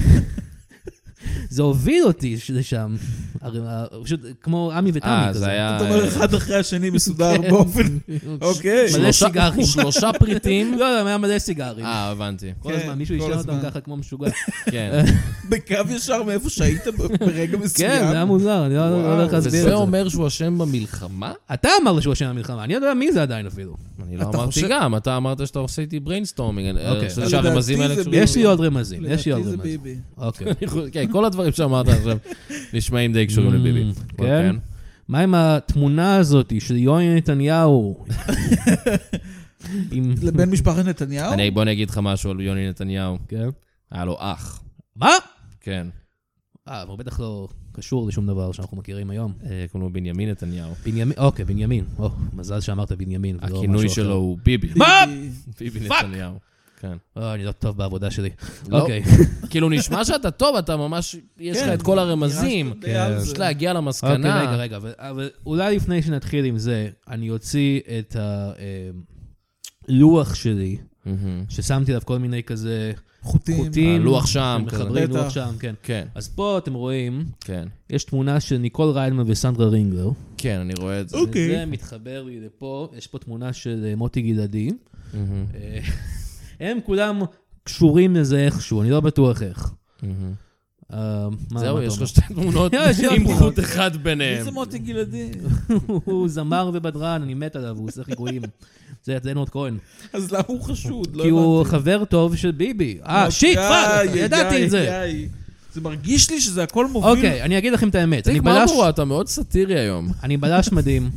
Speaker 2: זה הוביל אותי לשם. הרי, אה, פשוט כמו עמי ותמי
Speaker 1: אה,
Speaker 2: כזה.
Speaker 1: זה היה...
Speaker 3: אתה אומר
Speaker 1: אה,
Speaker 3: אחד אחרי השני מסודר באופן... אוקיי.
Speaker 2: כן. מלא
Speaker 1: שלושה-
Speaker 2: סיגרים.
Speaker 1: שלושה פריטים.
Speaker 2: לא, לא, היה מלא סיגרים.
Speaker 1: אה, הבנתי.
Speaker 2: כל
Speaker 3: כן,
Speaker 2: הזמן, מישהו
Speaker 3: כל
Speaker 2: השאיר אותם
Speaker 3: הזמן.
Speaker 2: ככה כמו משוגע.
Speaker 1: כן.
Speaker 3: בקו ישר מאיפה שהיית ב- ברגע מסוים.
Speaker 2: כן, זה היה מוזר, אני לא לא יודע איך להסביר
Speaker 1: וזה
Speaker 2: את זה.
Speaker 1: אומר שהוא אשם במלחמה?
Speaker 2: אתה אמרת שהוא אשם במלחמה, אני לא יודע מי זה עדיין אפילו.
Speaker 1: אני לא
Speaker 3: אתה
Speaker 1: אמרתי
Speaker 3: חושב-
Speaker 1: גם, אתה אמרת שאתה עושה איתי אה, בריינסטורמינג.
Speaker 2: אוקיי.
Speaker 1: אני חושב
Speaker 3: אבל
Speaker 1: שהרמזים
Speaker 3: לדעתי
Speaker 1: האלה
Speaker 3: זה
Speaker 1: קשורים.
Speaker 2: יש לי עוד רמזים, יש לי עוד
Speaker 3: לדעתי זה
Speaker 2: רמזים.
Speaker 3: ביבי.
Speaker 2: אוקיי.
Speaker 1: אני חושב- כן, כל הדברים שאמרת עכשיו נשמעים די קשורים לביבי.
Speaker 2: Mm,
Speaker 1: אבל
Speaker 2: כן? מה עם התמונה הזאת של יוני נתניהו? עם...
Speaker 3: לבן משפחת נתניהו?
Speaker 1: אני- בוא אני אגיד לך משהו על יוני נתניהו.
Speaker 2: כן.
Speaker 1: היה לו אח.
Speaker 2: מה?
Speaker 1: כן.
Speaker 2: אה, אבל הוא בטח לא קשור לשום דבר שאנחנו מכירים היום.
Speaker 1: אה, קוראים לו בנימין נתניהו.
Speaker 2: בנימין, אוקיי, בנימין. או, מזל שאמרת בנימין. ולא
Speaker 1: הכינוי
Speaker 2: לא משהו
Speaker 1: שלו
Speaker 2: אחר.
Speaker 1: הוא ביבי.
Speaker 2: מה?
Speaker 3: ביבי.
Speaker 1: ביבי
Speaker 2: פאק!
Speaker 1: נתניהו. כן.
Speaker 2: אה, אני לא טוב בעבודה שלי.
Speaker 1: לא.
Speaker 2: אוקיי.
Speaker 1: כאילו, נשמע שאתה טוב, אתה ממש, יש לך
Speaker 3: כן,
Speaker 1: את כל
Speaker 3: נראה
Speaker 1: הרמזים.
Speaker 3: שאתה די על זה.
Speaker 1: פשוט להגיע
Speaker 2: כן. אוקיי,
Speaker 1: למסקנה.
Speaker 2: רגע, רגע, אבל- אבל אולי לפני שנתחיל עם זה, אני אוציא אה, את הלוח שלי,
Speaker 1: מהמם.
Speaker 2: ששמתי עליו כל מיני כזה
Speaker 3: חוטים.
Speaker 2: חוטים.
Speaker 1: הלוח שם,
Speaker 2: מחברי
Speaker 3: כזה.
Speaker 2: לוח
Speaker 3: בטח.
Speaker 2: שם, כן.
Speaker 1: כן,
Speaker 2: אז פה אתם רואים,
Speaker 1: כן.
Speaker 2: יש תמונה של ניקול ריילמן וסנדרה רינגלר.
Speaker 1: כן, אני רואה את זה.
Speaker 3: אוקיי.
Speaker 2: וזה מתחבר לי לפה, יש פה תמונה של אה, מוטי גלעדי.
Speaker 1: מהמם,
Speaker 2: אה, הם כולם קשורים לזה איכשהו, אני לא בטוח איך.
Speaker 1: מהמם.
Speaker 2: אה, מה-
Speaker 1: זהו,
Speaker 2: מה אתה
Speaker 1: יש
Speaker 2: אומר?
Speaker 1: לך שתי תמונות
Speaker 2: יש שתי
Speaker 1: עם
Speaker 2: תמונות.
Speaker 1: חוט אחד
Speaker 3: מי
Speaker 1: ביניהם.
Speaker 3: זה מוטי גלעדי?
Speaker 2: הוא זמר ובדרן, אני מת עליו, הוא עושה חיקויים. זה אצלנו עוד כהן.
Speaker 3: אז למה הוא חשוד? לא
Speaker 2: כי הוא
Speaker 3: הבנתי. לא, אוקיי,
Speaker 2: חבר טוב של ביבי. אה,
Speaker 3: די,
Speaker 2: שיט, פאק,
Speaker 3: די,
Speaker 2: ידעתי את זה.
Speaker 3: די. זה מרגיש לי שזה הכל מוביל.
Speaker 2: אוקיי, אני אגיד לכם את האמת. אני
Speaker 1: תיק
Speaker 2: בלש-
Speaker 1: מרמורה, אתה מאוד סאטירי היום.
Speaker 2: אני בלש מדהים,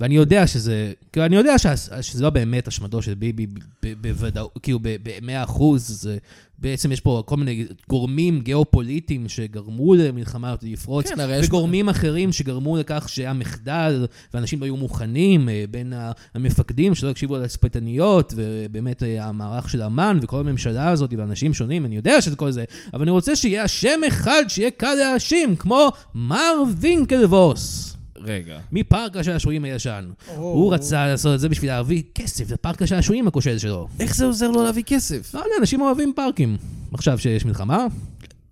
Speaker 2: ואני יודע שזה, כאילו, אני יודע שהס- שזה לא באמת אשמתו של ביבי ב- ב- בוודאות, כאילו, ב-100 אחוז, זה- בעצם יש פה כל מיני גורמים גיאופוליטיים שגרמו למלחמה הזאת לפרוץ,
Speaker 1: כן, הרי יש-
Speaker 2: וגורמים אחרים שגרמו לכך שהיה מחדל, ואנשים לא היו מוכנים, אה, בין ה- המפקדים שלא הקשיבו להספטניות, ובאמת אה, המערך של אמ"ן, וכל הממשלה הזאת, ואנשים שונים, אני יודע שזה כל זה, אבל אני רוצה שיהיה השם אחד שיהיה קל להאשים, כמו מר וינקלבוס.
Speaker 1: רגע.
Speaker 2: מפארק השעשועים הישן. הוא רצה לעשות את זה בשביל להביא כסף לפארק השעשועים הכושל שלו.
Speaker 1: איך זה עוזר לו להביא כסף?
Speaker 2: לא יודע, אנשים אוהבים פארקים. עכשיו שיש מלחמה?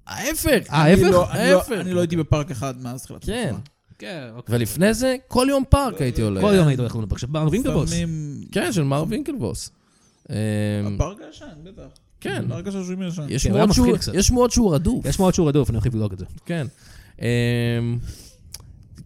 Speaker 1: ההפך.
Speaker 2: אה,
Speaker 3: אני
Speaker 2: ההפך?
Speaker 3: לא- אני לא-
Speaker 1: ההפך.
Speaker 3: אני לא הייתי בפארק אחד מאז תחילת
Speaker 1: כן.
Speaker 3: המלחמה.
Speaker 2: כן, אוקיי.
Speaker 1: ולפני זה, כל יום פארק הייתי עולה.
Speaker 2: כל יום היית הולך לנו עכשיו, מר וינקלבוס.
Speaker 3: לפעמים...
Speaker 1: כן, של מר וינקלבוס. אמ,
Speaker 3: הפארק הישן, בטח.
Speaker 1: כן.
Speaker 3: הפארק השעשועים הישן.
Speaker 1: יש
Speaker 2: כן, הוא היה
Speaker 1: שמועות שהוא-
Speaker 2: מפחיד קצת.
Speaker 1: יש שמועות שהוא רדוף.
Speaker 2: יש מאוד שהוא רדוף, אני הולך לבדוק את זה.
Speaker 1: כן. אמ,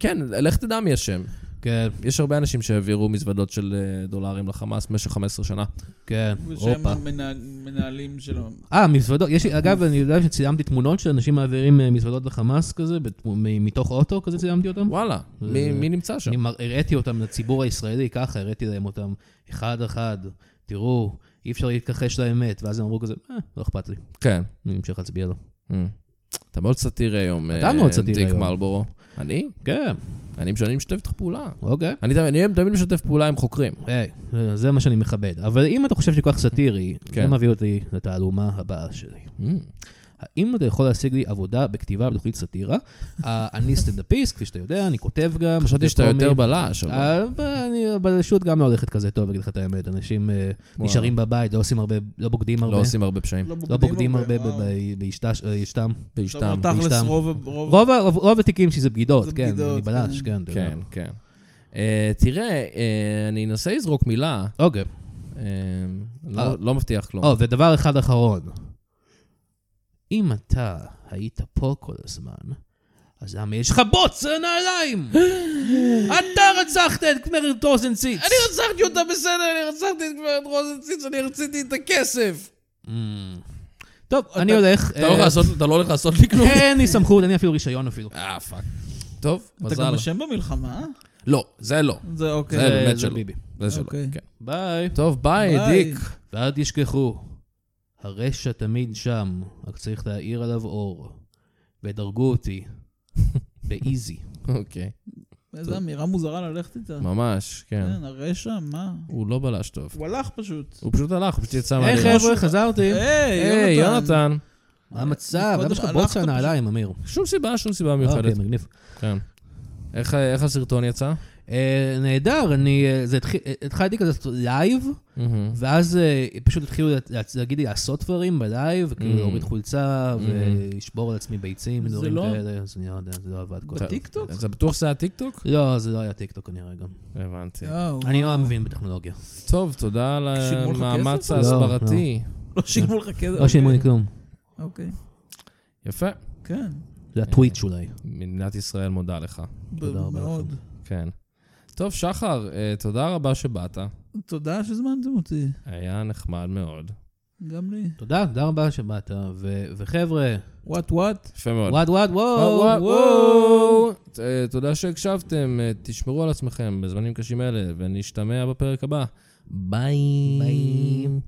Speaker 1: כן, לך תדע מי אשם.
Speaker 2: כן,
Speaker 1: יש הרבה אנשים שהעבירו מזוודות של אה, דולרים לחמאס במשך 15 שנה.
Speaker 2: כן,
Speaker 3: ושהם
Speaker 2: הופה.
Speaker 3: המנה- מנהלים של... ה-
Speaker 2: אה, מזוודות, יש לי, אגב, אני יודע שצילמתי תנות של אנשים מעבירים אה, מזוודות לחמאס כזה, בת- מ- מתוך אוטו כזה צילמתי אותם.
Speaker 1: וואלה, מי אה, מי נמצא שם?
Speaker 2: אני מר- הראיתי אותם לציבור הישראלי, ככה הראיתי להם אותם, אחד-אחד, תראו, אי אפשר להתכחש לאמת, ואז הם אמרו כזה, אה, לא אכפת לי,
Speaker 1: כן.
Speaker 2: אני אמשיך להצביע לו.
Speaker 1: אמ. אתה מאוד סאטירי היום,
Speaker 2: אתה
Speaker 1: אה,
Speaker 2: מאוד סאטירי
Speaker 1: דיק
Speaker 2: היום.
Speaker 1: מרלבורו. אני?
Speaker 2: כן,
Speaker 1: אני משנה, אני משתף איתך פעולה.
Speaker 2: אוקיי.
Speaker 1: אני תמיד- אני תמיד משתף פעולה עם חוקרים.
Speaker 2: היי, זה- זה מה שאני מכבד. אבל אם אתה חושב שכל כך סאטירי, זה
Speaker 1: כן.
Speaker 2: מביא אותי לתעלומה הבאה שלי.
Speaker 1: אמ.
Speaker 2: האם אתה יכול להשיג לי עבודה בכתיבה בתוכנית סאטירה? אה, אני סטנדאפיסט, כפי שאתה יודע, אני כותב גם.
Speaker 1: חשבתי
Speaker 2: כותב
Speaker 1: שאתה יותר
Speaker 2: קומי.
Speaker 1: בלש, אבל...
Speaker 2: אה, אבל אני- הבלשות גם לא הולכת כזה טוב, אגיד לך את האמת. אנשים אה,
Speaker 1: וואו.
Speaker 2: נשארים בבית, לא עושים הרבה, לא בוגדים הרבה.
Speaker 1: לא עושים הרבה פשעים.
Speaker 2: לא בוגדים הרבה ב-
Speaker 3: וואו.
Speaker 2: ב- באשתש- אה, אשתם.
Speaker 3: טוב, אבל
Speaker 1: באשתם.
Speaker 2: באשתם.
Speaker 3: תכלס, רוב- רוב...
Speaker 2: רוב ה- רוב- רוב התיקים שזה בגידות,
Speaker 3: זה
Speaker 2: כן,
Speaker 3: בגידות,
Speaker 2: אני בלש,
Speaker 3: כן.
Speaker 2: כן. אתה יודע.
Speaker 1: כן, כן. אה, תראה, אה, אני אנסה לזרוק מילה,
Speaker 2: אוקיי.
Speaker 1: אה, לא-
Speaker 2: אה.
Speaker 1: לא מבטיח כלום.
Speaker 2: או, ודבר אחד אחרון. אם אתה היית פה כל הזמן, אז למה יש לך בוץ על הנעליים? אתה רצחת את גברת רוזנציץ!
Speaker 1: אני רצחתי אותה בסדר, אני רצחתי את גברת רוזנציץ, אני רציתי את הכסף.
Speaker 2: Mm. טוב, אני הולך. אה,
Speaker 1: אתה לא הולך לעשות- אתה לא הולך לעשות לי כלום?
Speaker 2: אין לי סמכות, אין לי אפילו רישיון אפילו.
Speaker 1: אה, פאק. טוב,
Speaker 3: אתה
Speaker 1: מזל.
Speaker 3: גם אשם במלחמה? אה?
Speaker 1: לא, זה לא.
Speaker 3: זה אוקיי.
Speaker 1: זה
Speaker 2: זה-
Speaker 1: באמת
Speaker 2: זה
Speaker 1: שלא.
Speaker 2: ביבי.
Speaker 1: זה שלא,
Speaker 3: אוקיי.
Speaker 1: כן.
Speaker 2: אה, ביי.
Speaker 1: טוב, ביי,
Speaker 3: ביי.
Speaker 1: דיק.
Speaker 2: ואל תשכחו, הרשע תמיד שם, רק צריך להאיר עליו אור. ודרגו אותי באיזי.
Speaker 1: אוקיי,
Speaker 3: איזו אמירה מוזרה ללכת איתה.
Speaker 1: ממש, כן.
Speaker 3: כן, הרשע, מה?
Speaker 1: הוא לא בלש טוב.
Speaker 3: הוא הלך פשוט.
Speaker 1: הוא פשוט הלך, הוא פשוט יצא
Speaker 2: היי
Speaker 1: מהדירה.
Speaker 2: חבר'ה, חזרתי.
Speaker 1: היי,
Speaker 3: היי, יונתן. אה,
Speaker 1: יונתן.
Speaker 2: מה כן. המצב? למה
Speaker 3: קודם
Speaker 2: יש לך
Speaker 3: הלכת
Speaker 2: בוץ על הנעליים, אמיר?
Speaker 1: שום סיבה, שום סיבה
Speaker 2: אוקיי,
Speaker 1: מיוחדת.
Speaker 2: מגניב.
Speaker 1: כן. איך ה- איך הסרטון יצא?
Speaker 2: אה, נהדר, אני... אה, זה התחיל... אה, התחלתי כזה לעשות לייב, ואז אה, פשוט התחילו לה- לה- להגיד לי לעשות דברים בלייב, כאילו
Speaker 1: Mm.
Speaker 2: להוריד חולצה
Speaker 1: Mm.
Speaker 2: ולשבור על עצמי ביצים,
Speaker 3: זה
Speaker 2: דברים
Speaker 3: לא-
Speaker 2: כאלה, אז אני לא יודע, זה לא עבד כל כך.
Speaker 3: בטיקטוק?
Speaker 1: אתה בטוח שזה היה טיקטוק?
Speaker 2: לא, זה לא היה טיקטוק כנראה גם.
Speaker 1: הבנתי.
Speaker 3: יואו.
Speaker 2: אני לא מבין בטכנולוגיה.
Speaker 1: טוב, תודה על
Speaker 3: שילמו לך
Speaker 1: המאמץ
Speaker 3: כסף?
Speaker 1: ההסברתי.
Speaker 3: לא שילמו לך כזה.
Speaker 2: לא שילמו לי כלום.
Speaker 3: אוקיי.
Speaker 1: יפה.
Speaker 3: כן.
Speaker 2: זה
Speaker 1: אה.
Speaker 2: הטוויץ' אולי.
Speaker 1: מדינת ישראל מודה לך.
Speaker 2: תודה רבה
Speaker 3: מאוד.
Speaker 1: כן. טוב, שחר, אה, תודה רבה שבאת.
Speaker 3: תודה שהזמנתם אותי.
Speaker 1: היה נחמד מאוד.
Speaker 3: גם לי.
Speaker 2: תודה, תודה רבה שבאת, ו- וחבר'ה,
Speaker 3: וואט וואט.
Speaker 1: יפה מאוד.
Speaker 2: וואד וואד וואו,
Speaker 1: וואו,
Speaker 2: וואו.
Speaker 1: וואו. אה, תודה שהקשבתם, אה, תשמרו על עצמכם בזמנים קשים אלה, ונשתמע בפרק הבא. ביי.
Speaker 2: ביי.